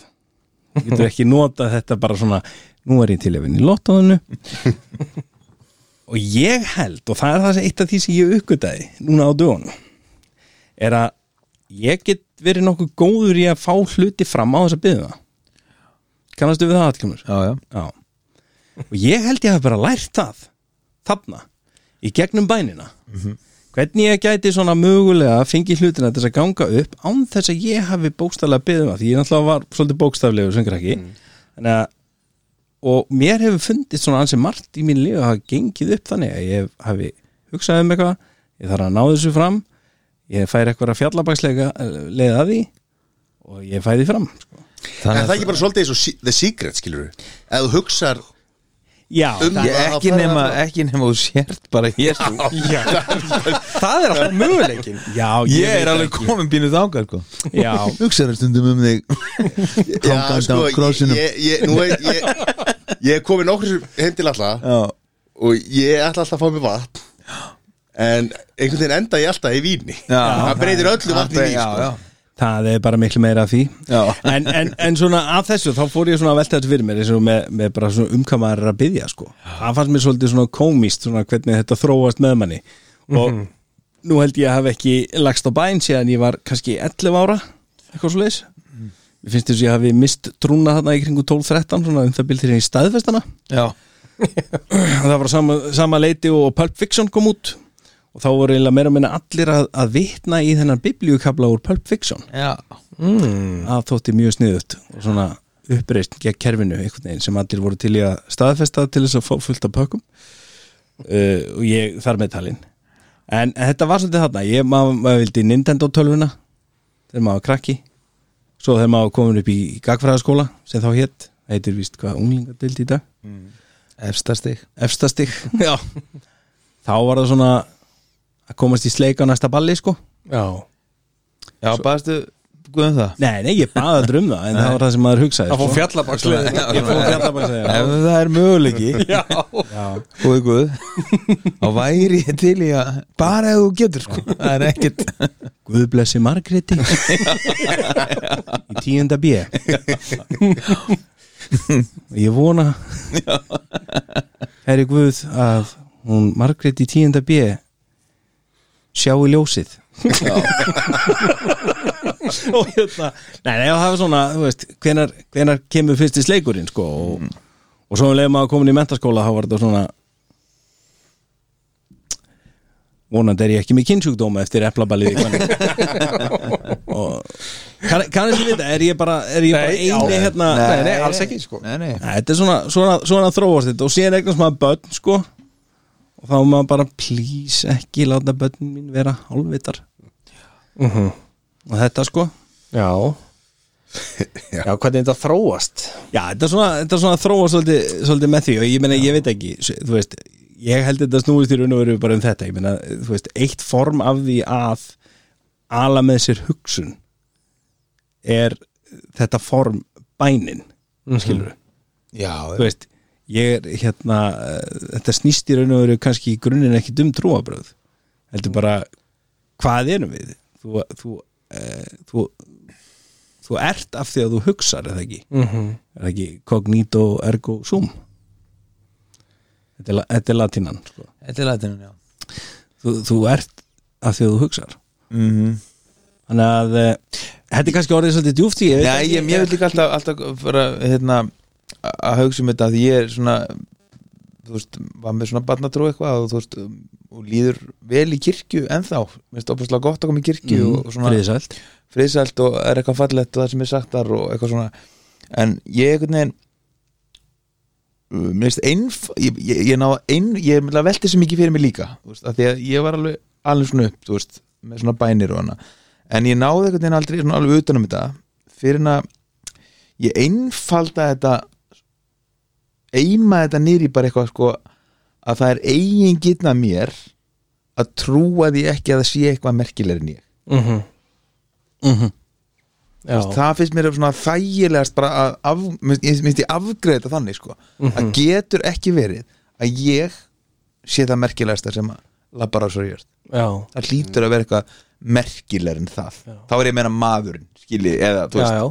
[SPEAKER 3] Þú getur ekki notað þetta bara svona nú er ég til að vinna í lottóðinu og ég held og það er það sem eitt af því sem ég uppgötaði núna á dögunum er að ég get verið nokkuð góður í að fá hluti fram á þess að byggja kannastu við það atkjumur?
[SPEAKER 4] já, já.
[SPEAKER 3] Já. og ég held ég hafi bara lært það þarna, í gegnum bænina hvernig ég gæti svona mögulega að fengi hlutina til þess að ganga upp án þess að ég hafi bókstaflega byggðum það, því ég náttúrulega var svolítið bókstaflegu sem krakki þannig að og mér hefur fundist svona ansið margt í mín líf að hafa gengið upp þannig að ég hafi hugsað um eitthvað ég þarf að ná þessu fram ég fær eitthvað að fjallabakslega leiða því og ég fæði fram sko.
[SPEAKER 1] En
[SPEAKER 4] þannig
[SPEAKER 1] það er
[SPEAKER 4] að
[SPEAKER 1] ekki bara svolítið eins og Se- The Secret, skilur við Ef þú hugsar
[SPEAKER 3] Já,
[SPEAKER 1] Um
[SPEAKER 3] það-
[SPEAKER 1] ég-
[SPEAKER 4] Ég, ekki,
[SPEAKER 1] Það-
[SPEAKER 4] nema, ekki nema þú sért bara hér sko.
[SPEAKER 1] Já,
[SPEAKER 4] það er alltaf möguleikin
[SPEAKER 3] já,
[SPEAKER 4] ég,
[SPEAKER 3] veit
[SPEAKER 4] er alveg
[SPEAKER 3] ekki.
[SPEAKER 4] komin bínu þangar sko.
[SPEAKER 3] Já,
[SPEAKER 4] hugsaðar stundum um þig hangandi
[SPEAKER 1] sko,
[SPEAKER 4] á krossinum
[SPEAKER 1] ég, ég, nú er ég, ég er komin okkur heim til alltaf
[SPEAKER 4] já,
[SPEAKER 1] og ég ætla alltaf að fá mér vatn en einhvern veginn enda ég alltaf í víni
[SPEAKER 4] Já.
[SPEAKER 1] það breytir öllu vatni í vín
[SPEAKER 4] já,
[SPEAKER 1] sko.
[SPEAKER 4] já,
[SPEAKER 3] það er bara miklu meira af því
[SPEAKER 4] Já.
[SPEAKER 3] en, en, en svona af þessu þá fór ég svona að velta þetta fyrir mér eins og með, með bara svona umkamarar að byggja sko. það fannst mér svolítið svona komist svona hvernig þetta þróast með manni og nú held ég að hafa ekki lagst á bæn síðan ég var kannski 11 ára eitthvað svo leis Mér finnst þess að ég hafi mist trúna þarna í kringu 12-13 svona um það byldir ég staðfestana
[SPEAKER 4] já,
[SPEAKER 3] og það var á sama, sama leiti og Pulp Fiction kom út og þá voru eiginlega meira að minna allir að, að vitna í þennan biblíukabla úr Pulp Fiction
[SPEAKER 4] já,
[SPEAKER 2] mm.
[SPEAKER 3] að þótti mjög sniðut og svona uppreist gegn kerfinu einhvern veginn sem allir voru til í að staðfesta til þess að fá fullt af pökkum uh, og ég þar með talin en þetta var svolítið þarna ég, maður, maður vildi Nintendo tölvuna þegar maður var krakki svo þegar maður var komin upp í gagfræðaskóla sem þá hétt, það heitir víst hvað unglingadildi í dag
[SPEAKER 2] Mm.
[SPEAKER 4] efstastig
[SPEAKER 3] efstastig Já. þá var það svona að komast í sleik á næsta balli sko
[SPEAKER 2] Já,
[SPEAKER 4] já, baðstu guðum það
[SPEAKER 3] nei, nei, ég baði aldrei um það en það var það sem maður hugsaði
[SPEAKER 2] það fór
[SPEAKER 3] sko.
[SPEAKER 2] fjallabakslega
[SPEAKER 3] Ég fór fjallabaksleið, já.
[SPEAKER 4] ef það er möguleiki góði guð þá væri ég til í að bara ef þú getur sko það er ekkert
[SPEAKER 3] Guð blessi Margréti í tíunda B ég vona herri Guð að hún Margréti í tíunda B sjáu ljósið og hérna nei, nei, og það var svona, þú veist hvenar, hvenar kemur fyrst í sleikurinn sko og,
[SPEAKER 2] Mm.
[SPEAKER 3] og svo um leið maður komin í mentaskóla þá var þetta svona vonandi er ég ekki með kynnsjúkdóma eftir eflabalið í hvernig og kann, kannast ég vita, er ég bara, er ég bara
[SPEAKER 2] Nei, já.
[SPEAKER 3] eini hérna
[SPEAKER 2] Nei, nei, alls ekki sko
[SPEAKER 4] nei, nei.
[SPEAKER 3] Nei, þetta er svona, svona, svona þróast þetta og síðan eignast maður börn sko og þá er maður bara please ekki láta börnin mín vera hálfvitar
[SPEAKER 2] Mhm.
[SPEAKER 3] og þetta sko
[SPEAKER 2] Já
[SPEAKER 1] Já.
[SPEAKER 2] Já, hvernig þetta þróast
[SPEAKER 3] já, þetta er svona, þetta er svona þróast svolítið, svolítið með því og ég meina, ég veit ekki s- þú veist, ég held þetta snúist í raun og veru bara um þetta, ég meina, þú veist eitt form af því að ala með sér hugsun er þetta form bænin, skilur
[SPEAKER 4] Mhm. já,
[SPEAKER 3] þú veist, ég er hérna eh, þetta snýst í raun og veru kannski í grunninn ekki dum trúabröð heldur bara, hvað erum við þú, þú, eh, þú þú ert af því að þú hugsar eða ekki,
[SPEAKER 2] mm -hmm.
[SPEAKER 3] er það ekki cognito ergo sum þetta er, la- þetta er latinan sko.
[SPEAKER 4] þetta er latinum já
[SPEAKER 3] þú, þú ert af því að þú hugsar
[SPEAKER 4] mm
[SPEAKER 3] þannig að eh, þetta er kannski orðið svolítið djúft í
[SPEAKER 4] Nei, ég, ég vil líka alltaf, alltaf fara, hérna, að- að hugsa um þetta því ég er svona þú veist, var með svona barnatrú eitthvað og þú veist, um, og líður vel í kirkju ennþá, minnst opaslega gott að koma í kirkju
[SPEAKER 1] Mhm.
[SPEAKER 4] og, og svona
[SPEAKER 3] Mm, friðsælt
[SPEAKER 4] friðsælt og er eitthvað fallegt og það sem er sagt þar og eitthvað svona en ég einhvern veginn uh, mér finnst einf ég, ég, ég ná ein, ég er meðlega veltið sem ekki fyrir mig líka þú veist, af því að ég var alveg alveg svona upp, þú veist, með svona bænir og hana en ég náði einhvern veginn aldrei svona alveg utanum þetta fyrir en að ég einfalda þetta eima þetta niður í bara eitthvað sko að það er eigin gitna mér að trúa því ekki að það sé eitthvað merkilegri en ég
[SPEAKER 2] Mm -hmm.
[SPEAKER 4] Mhm. Þú veist, það finnst mér svona þægilegast bara að af, minnst, ég- minnst ég afgreita þannig sko að getur ekki verið að ég sé það merkilegasta sem að labbar á svo jörð
[SPEAKER 2] Já,
[SPEAKER 4] það hlýtur að vera eitthvað merkilegur en það
[SPEAKER 2] Já.
[SPEAKER 4] þá er ég að meina maðurinn skilji eða þú
[SPEAKER 2] já,
[SPEAKER 4] veist,
[SPEAKER 2] já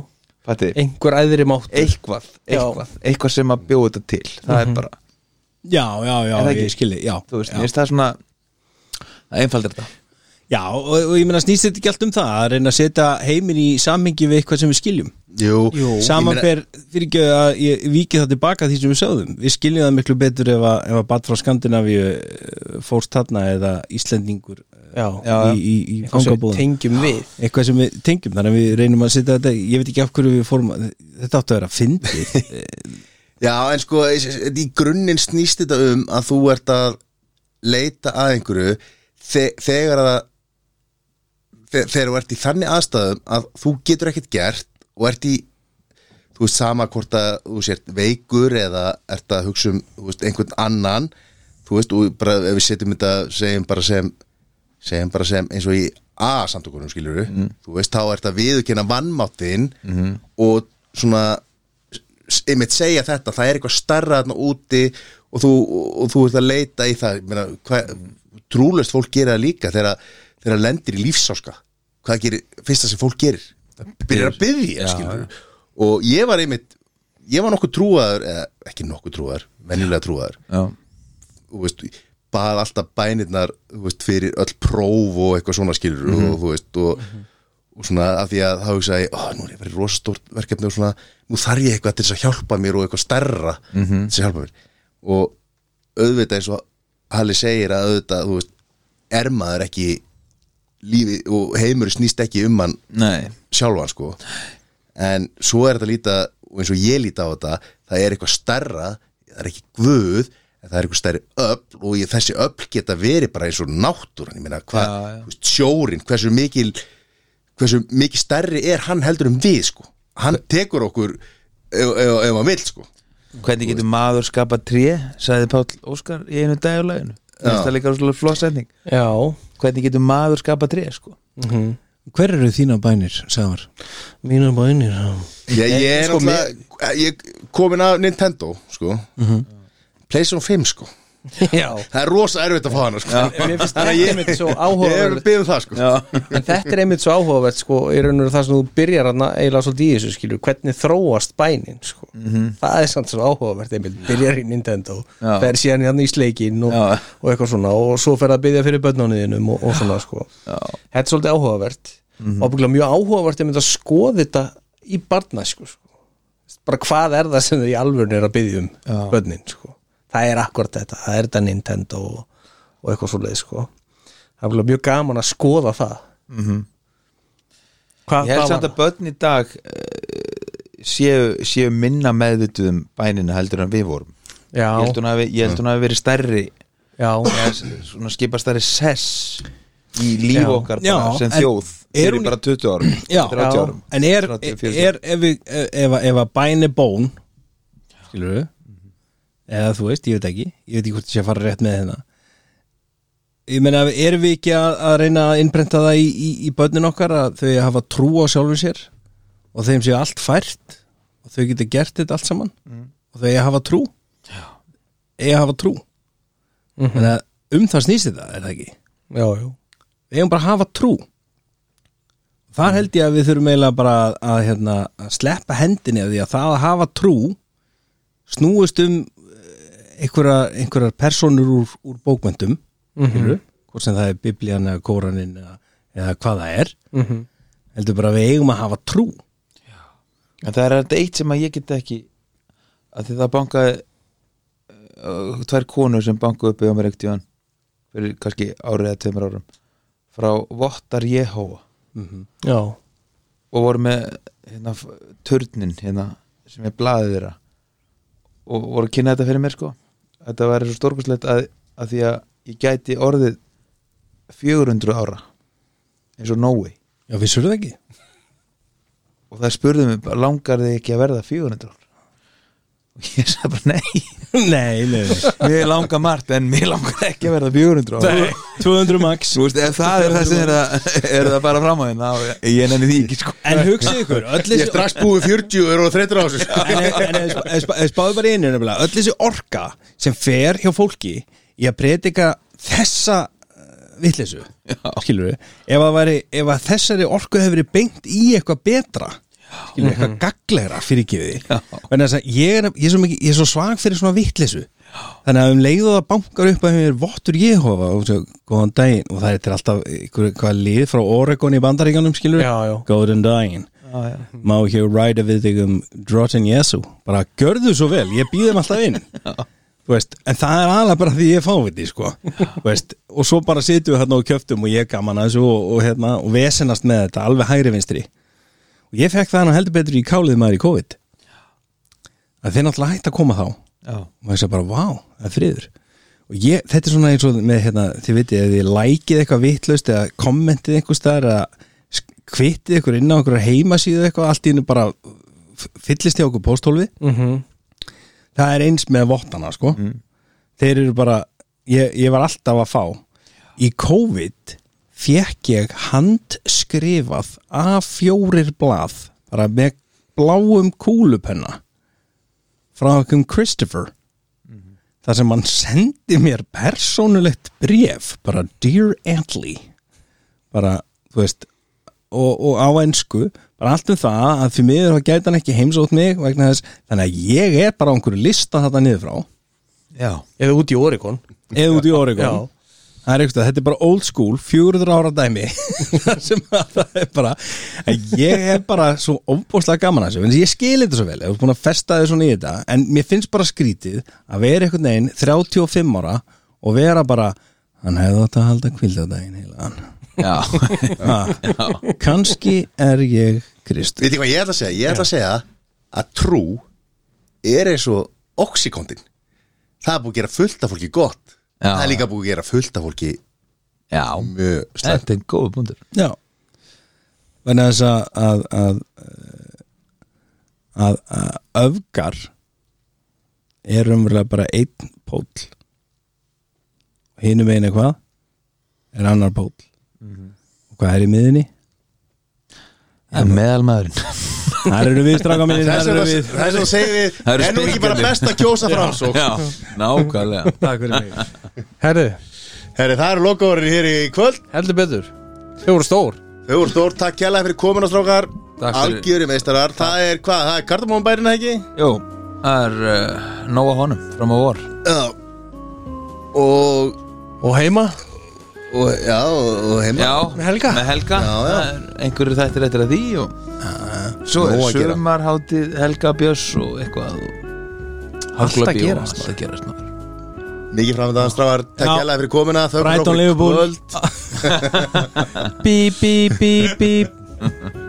[SPEAKER 4] fattiði,
[SPEAKER 2] Einhver æðri mátt
[SPEAKER 4] eitthvað
[SPEAKER 2] Já.
[SPEAKER 4] eitthvað, eitthvað sem að bjóða þetta til það er bara,
[SPEAKER 3] já, já, já,
[SPEAKER 4] Er það ekki?
[SPEAKER 3] ég skilji já,
[SPEAKER 4] þú veist,
[SPEAKER 3] já.
[SPEAKER 4] mér finnst það svona það einfaldir þetta
[SPEAKER 3] Já, og, og ég meina snýst þetta ekki allt um það að reyna að setja heiminn í samhengi við eitthvað sem við skiljum
[SPEAKER 1] Jú,
[SPEAKER 3] samanfer fyrir ekki að ég viki það tilbaka því sem við sögðum við skiljum það miklu betur ef að, ef að bat frá Skandinavíu eh, fórst þarna eða Íslendingur eh,
[SPEAKER 2] Já,
[SPEAKER 4] Já, já.
[SPEAKER 3] í, í, í
[SPEAKER 2] Eitthvað sem við
[SPEAKER 3] fangabúðum
[SPEAKER 2] tengjum við
[SPEAKER 3] eitthvað sem við tengjum þannig að við reynum að setja þetta ég veit ekki af hverju við fórum að- þetta áttu að vera fyndið
[SPEAKER 1] já, en sko í grunninn snýst þetta um að þú ert að leita að einhverju þe þegar að þe þegar þú ert í þannig aðstæðum að þú getur ekkert gert og ert í þú veist sama hvort að þú sért veikur eða ert að hugsa um þú veist, einhvern annan þú veist, og bara ef við setjum þetta segjum bara sem, segjum bara sem eins og í A-samtökunum skilur þú veist, þá ert að viðurkenna vannmáttin og svona s- einmitt segja þetta, það er eitthvað starra þarna úti og þú, og þú ert að leita í það Ég meina, hvað, trúlust fólk gera það líka þegar þegar það lendir í lífsáska hvað gerir, fyrsta sem fólk gerir byrjar að byggja, skilur og ég var einmitt, ég var nokkuð trúaður eða ekki nokkuð trúaður, venjulega trúaður
[SPEAKER 4] já,
[SPEAKER 1] og veist, bað alltaf bænirnar þú veist, fyrir öll próf og eitthvað svona skilur og þú veist og, og svona af því að þá hugsaði ég, ó, nú er ég verið rosastórt verkefni og svona nú þarf ég eitthvað til þess að hjálpa mér og eitthvað stærra til þess að hjálpa mér og auðvitað eins og Halli segir að auðvitað, þú veist er maður ekki lífi og heimur snýst ekki um hann
[SPEAKER 4] Nei,
[SPEAKER 1] sjálfan sko en svo er þetta líta og eins og ég líta á þetta það er eitthvað starra, það er ekki guð en það er eitthvað stærri öfl og ég, þessi öfl geta verið bara eins og náttúran ég meina hvað,
[SPEAKER 4] Já, já.
[SPEAKER 1] þú veist, sjórin hversu mikil hversu mikil stærri er hann heldur um við sko hann tekur okkur ef, ef, ef hann vill sko
[SPEAKER 4] hvernig getur maður skapað tré sagði Páll Óskar í einu dag á laginu þetta er líka rosalega flott setning
[SPEAKER 2] Já
[SPEAKER 4] hvernig getur maður skapað tré sko
[SPEAKER 3] Hver eru þína bænir, sagðar?
[SPEAKER 2] Mínar bænir
[SPEAKER 1] ég, ég er
[SPEAKER 3] Sko,
[SPEAKER 1] náttúrulega eh, ég komin af Nintendo sko Playstation 5 sko
[SPEAKER 2] Já
[SPEAKER 1] það er rosa erfitt að fá hana sko
[SPEAKER 2] En Mér finnst þetta einmitt svo áhugavert
[SPEAKER 1] ég er að byggja um það sko
[SPEAKER 2] En þetta er einmitt svo áhugavert sko, í raun og veru það sem þú byrjar hann eiginlega svolítið í þessu skilur, hvernig þróast bænin sko. það er samt svo áhugavert einmitt, byrjar í Nintendo,
[SPEAKER 4] Mhm. Já.
[SPEAKER 2] fer síðan hann í sleikinn og,
[SPEAKER 4] Já.
[SPEAKER 2] og eitthvað svona og svo fer að byrja fyrir börnunniðinum og, og svona sko. þetta er svolítið áhugavert
[SPEAKER 4] Mhm.
[SPEAKER 2] og byggla mjög áhugavert einmitt að skoða þetta í barnæsku sko. bara hvað er það sem þau í alvörun er að byggja um börnin sko. það er akkurat þetta, það er þetta Nintendo og, og eitthvað svoleið sko. það er byggla mjög gaman að skoða það Hva,
[SPEAKER 4] Mhm. ég held samt að börn í dag eh, séu, séu minna meðvituð um bænina heldur en við vorum
[SPEAKER 2] já,
[SPEAKER 4] ég held hún hafi, ég held hún hafi verið stærri
[SPEAKER 2] já,
[SPEAKER 4] eða s- svona skipa stærri sess í líf
[SPEAKER 2] Já.
[SPEAKER 4] okkar bara,
[SPEAKER 3] Já,
[SPEAKER 4] sem
[SPEAKER 3] en
[SPEAKER 4] þjóð
[SPEAKER 3] er
[SPEAKER 4] fyrir
[SPEAKER 3] hún-
[SPEAKER 4] bara 20 árum
[SPEAKER 3] Já,
[SPEAKER 4] 30 árum
[SPEAKER 3] En er,
[SPEAKER 4] 30, 40.
[SPEAKER 3] er ef, við, ef, að- ef að bæni bón skilur við eða þú veist, ég veit ekki ég veit ekki hvort ég sé að fara rétt með hérna ég meina, erum við ekki að, að reyna að innprenta það í, í, í börnin okkar að þau hafa trú á sjálfum sér og þeim séu allt fært og þau geta gert þetta allt saman og þau eiga að hafa trú eiga að hafa trú mm -hmm. um það snýst þetta, er það ekki?
[SPEAKER 2] já, já.
[SPEAKER 3] við eigum bara að hafa trú þar held ég að við þurfum eiginlega bara að, að, hérna, að sleppa hendinni af því að það að hafa trú snúist um eh, einhverja, einhverjar personur úr, úr bókmyndum mm hvort sem það er biblían eða kóranin eða, eða hvað það er heldur bara að við eigum að hafa trú
[SPEAKER 4] En það er þetta eitt sem að ég get ekki að því það bankaði uh, tvær konur sem bankuð upp í mér ekkert í hann fyrir kannski árið eða tveimur árum frá Vottar Jehóa Mhm.
[SPEAKER 2] já,
[SPEAKER 4] og voru með hérna, f- turnin hérna, sem ég blaðið þeirra og voru að kynna þetta fyrir mér sko þetta væri svo stórkustlegt að, að því að ég gæti orðið 400 ára eins og Nói
[SPEAKER 3] já, við surðum ekki
[SPEAKER 4] og það spurði mig, bara, langar þið ekki að verða 400 ára og ég sagði bara nei
[SPEAKER 3] nei, nei, nei.
[SPEAKER 4] mér langar margt en mér langar ekki að verða 400 ára
[SPEAKER 3] 200 max
[SPEAKER 4] Þú veist, ef það er það sem er að, er það bara fram á hérna þá- ég nenni því ekki sko
[SPEAKER 3] en hugsið ykkur, öll
[SPEAKER 1] Ég
[SPEAKER 3] þessi
[SPEAKER 1] er strax búið 40 og eru á 30 ára sko.
[SPEAKER 3] en, en ef spá- ef spá- ef spáðu bara í einu nefnilega, öll þessi orka sem fer hjá fólki í að predika þessa vittlesu, skilur við ef, að væri, ef að þessari orku hefur verið beint í eitthvað betra skilur við, eitthvað
[SPEAKER 2] Mhm.
[SPEAKER 3] gagglegra fyrir gefiði en þess að ég er, ég, er svo mikið, ég er svo svag fyrir svona vittlesu þannig að um leiðu það bankar upp að hefur vottur Jehova og svo, góðan daginn og það er til alltaf ykkur, hvað lið frá Oregon í bandaríkanum skilur
[SPEAKER 2] Já, já.
[SPEAKER 3] góðan daginn
[SPEAKER 4] já, já.
[SPEAKER 3] má ekki ræða við þig um Drotin Jesu, bara görðu svo vel ég býðum alltaf inn Þú veist, en það er alveg bara því ég er fáviti sko. Þú veist, og svo bara sitjum við hérna og kjöftum og ég er gaman að þessu og, og, hérna, og vesenast með þetta, alveg hægri vinstri og ég fekk það hann heldur betur í kálið maður í COVID að þeir náttúrulega hægt að koma þá og
[SPEAKER 4] já,
[SPEAKER 3] maður segir bara, vá, það er friður og ég, þetta er svona eins og með hérna, þið vitið, ef þið lækið eitthvað vitlaust eða kommentið einhvers staðar eða sk- kvittið ykkur inn á einhverja heimasíðu eitthvað, allt í hennu bara f- fyllist hjá okkur pósthólfið það er eins með vottana sko þeir eru bara ég, ég var alltaf að fá í COVID fekk ég handskrifað A4 blað bara með bláum kúlupenna frá okkur Christopher þar sem hann sendi mér persónulegt bref bara Dear Antley bara, þú veist og, og á ensku, bara allt um það að fyrir miður þá gæti hann ekki heimsótt mig vegna þess, þannig að ég er bara á einhverju lista þetta niður frá
[SPEAKER 4] já,
[SPEAKER 2] eða út í Oregon
[SPEAKER 3] eða út í Oregon
[SPEAKER 2] Já.
[SPEAKER 3] það er eitthvað, þetta er bara old school 400 ára dæmi þar sem að það er bara að ég er bara svo óbúslega gaman að þessu en ég skil þetta svo vel, ég er búin að festa þið svona í þetta en mér finnst bara skrítið að vera einhvern veginn 35 ára og vera bara, hann hefði átt að halda kvildadaginn heila
[SPEAKER 4] já
[SPEAKER 3] hann kannski er ég Kristi
[SPEAKER 1] Vitið hvað ég ætla að segja? Ég ætla að segja að trú er eins og oxykondin Það er búið að gera fullt af fólki gott
[SPEAKER 4] Já.
[SPEAKER 1] Það er líka búið að gera fullt af fólki
[SPEAKER 4] já,
[SPEAKER 1] mjög slæmt
[SPEAKER 4] þetta er góð búndur
[SPEAKER 3] Já Þannig að þess að að, að, að, að öfgar er umverulega bara einn pól og hinum einu hvað er annar pól
[SPEAKER 1] Mhm.
[SPEAKER 3] og hvað er í miðinni?
[SPEAKER 4] meðalmaðurinn
[SPEAKER 3] Þar eru við stráka mínir
[SPEAKER 1] Þess
[SPEAKER 3] þar
[SPEAKER 1] vegna
[SPEAKER 3] eru við
[SPEAKER 1] þess vegna segir við
[SPEAKER 4] Það eru
[SPEAKER 1] Er nú ekki bara
[SPEAKER 4] spegilin.
[SPEAKER 1] best að kjósa sko. framsók
[SPEAKER 4] já, nákvæmlega
[SPEAKER 3] Takk fyrir mig
[SPEAKER 2] herðu,
[SPEAKER 1] Herri, það eru lokaðurinn hér í kvöld
[SPEAKER 2] heldur betur þau voru stór
[SPEAKER 1] Þau voru stór, takk kjærlega fyrir komin á strákar
[SPEAKER 4] Takk fyrir.
[SPEAKER 1] Algjöri meistarar, það er hvað? Það er kardamónbærin ekki?
[SPEAKER 4] Jú, það er uh, nóga honum fram á vor
[SPEAKER 1] Já Og,
[SPEAKER 2] og heima
[SPEAKER 1] og já, og og heima
[SPEAKER 4] Já,
[SPEAKER 2] Með Helga.
[SPEAKER 4] með Helga.
[SPEAKER 1] Já, já.
[SPEAKER 4] Það er Einhverju þættir eftir að því og svo er
[SPEAKER 1] nóg að gera.
[SPEAKER 4] sömarhátið Helga Björns og eitthvað og
[SPEAKER 2] Allt að
[SPEAKER 4] Hagla bíó,
[SPEAKER 2] gerast,
[SPEAKER 4] Allt að gerast maður.
[SPEAKER 1] Mikið framöndaðan strákar, takk
[SPEAKER 3] Já.
[SPEAKER 1] kjærlega fyrir komina Þau voru
[SPEAKER 3] Brighton
[SPEAKER 1] okkur í
[SPEAKER 3] Liverpool
[SPEAKER 1] kvöld
[SPEAKER 3] Bíp, bíp, bíp,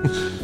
[SPEAKER 3] bíp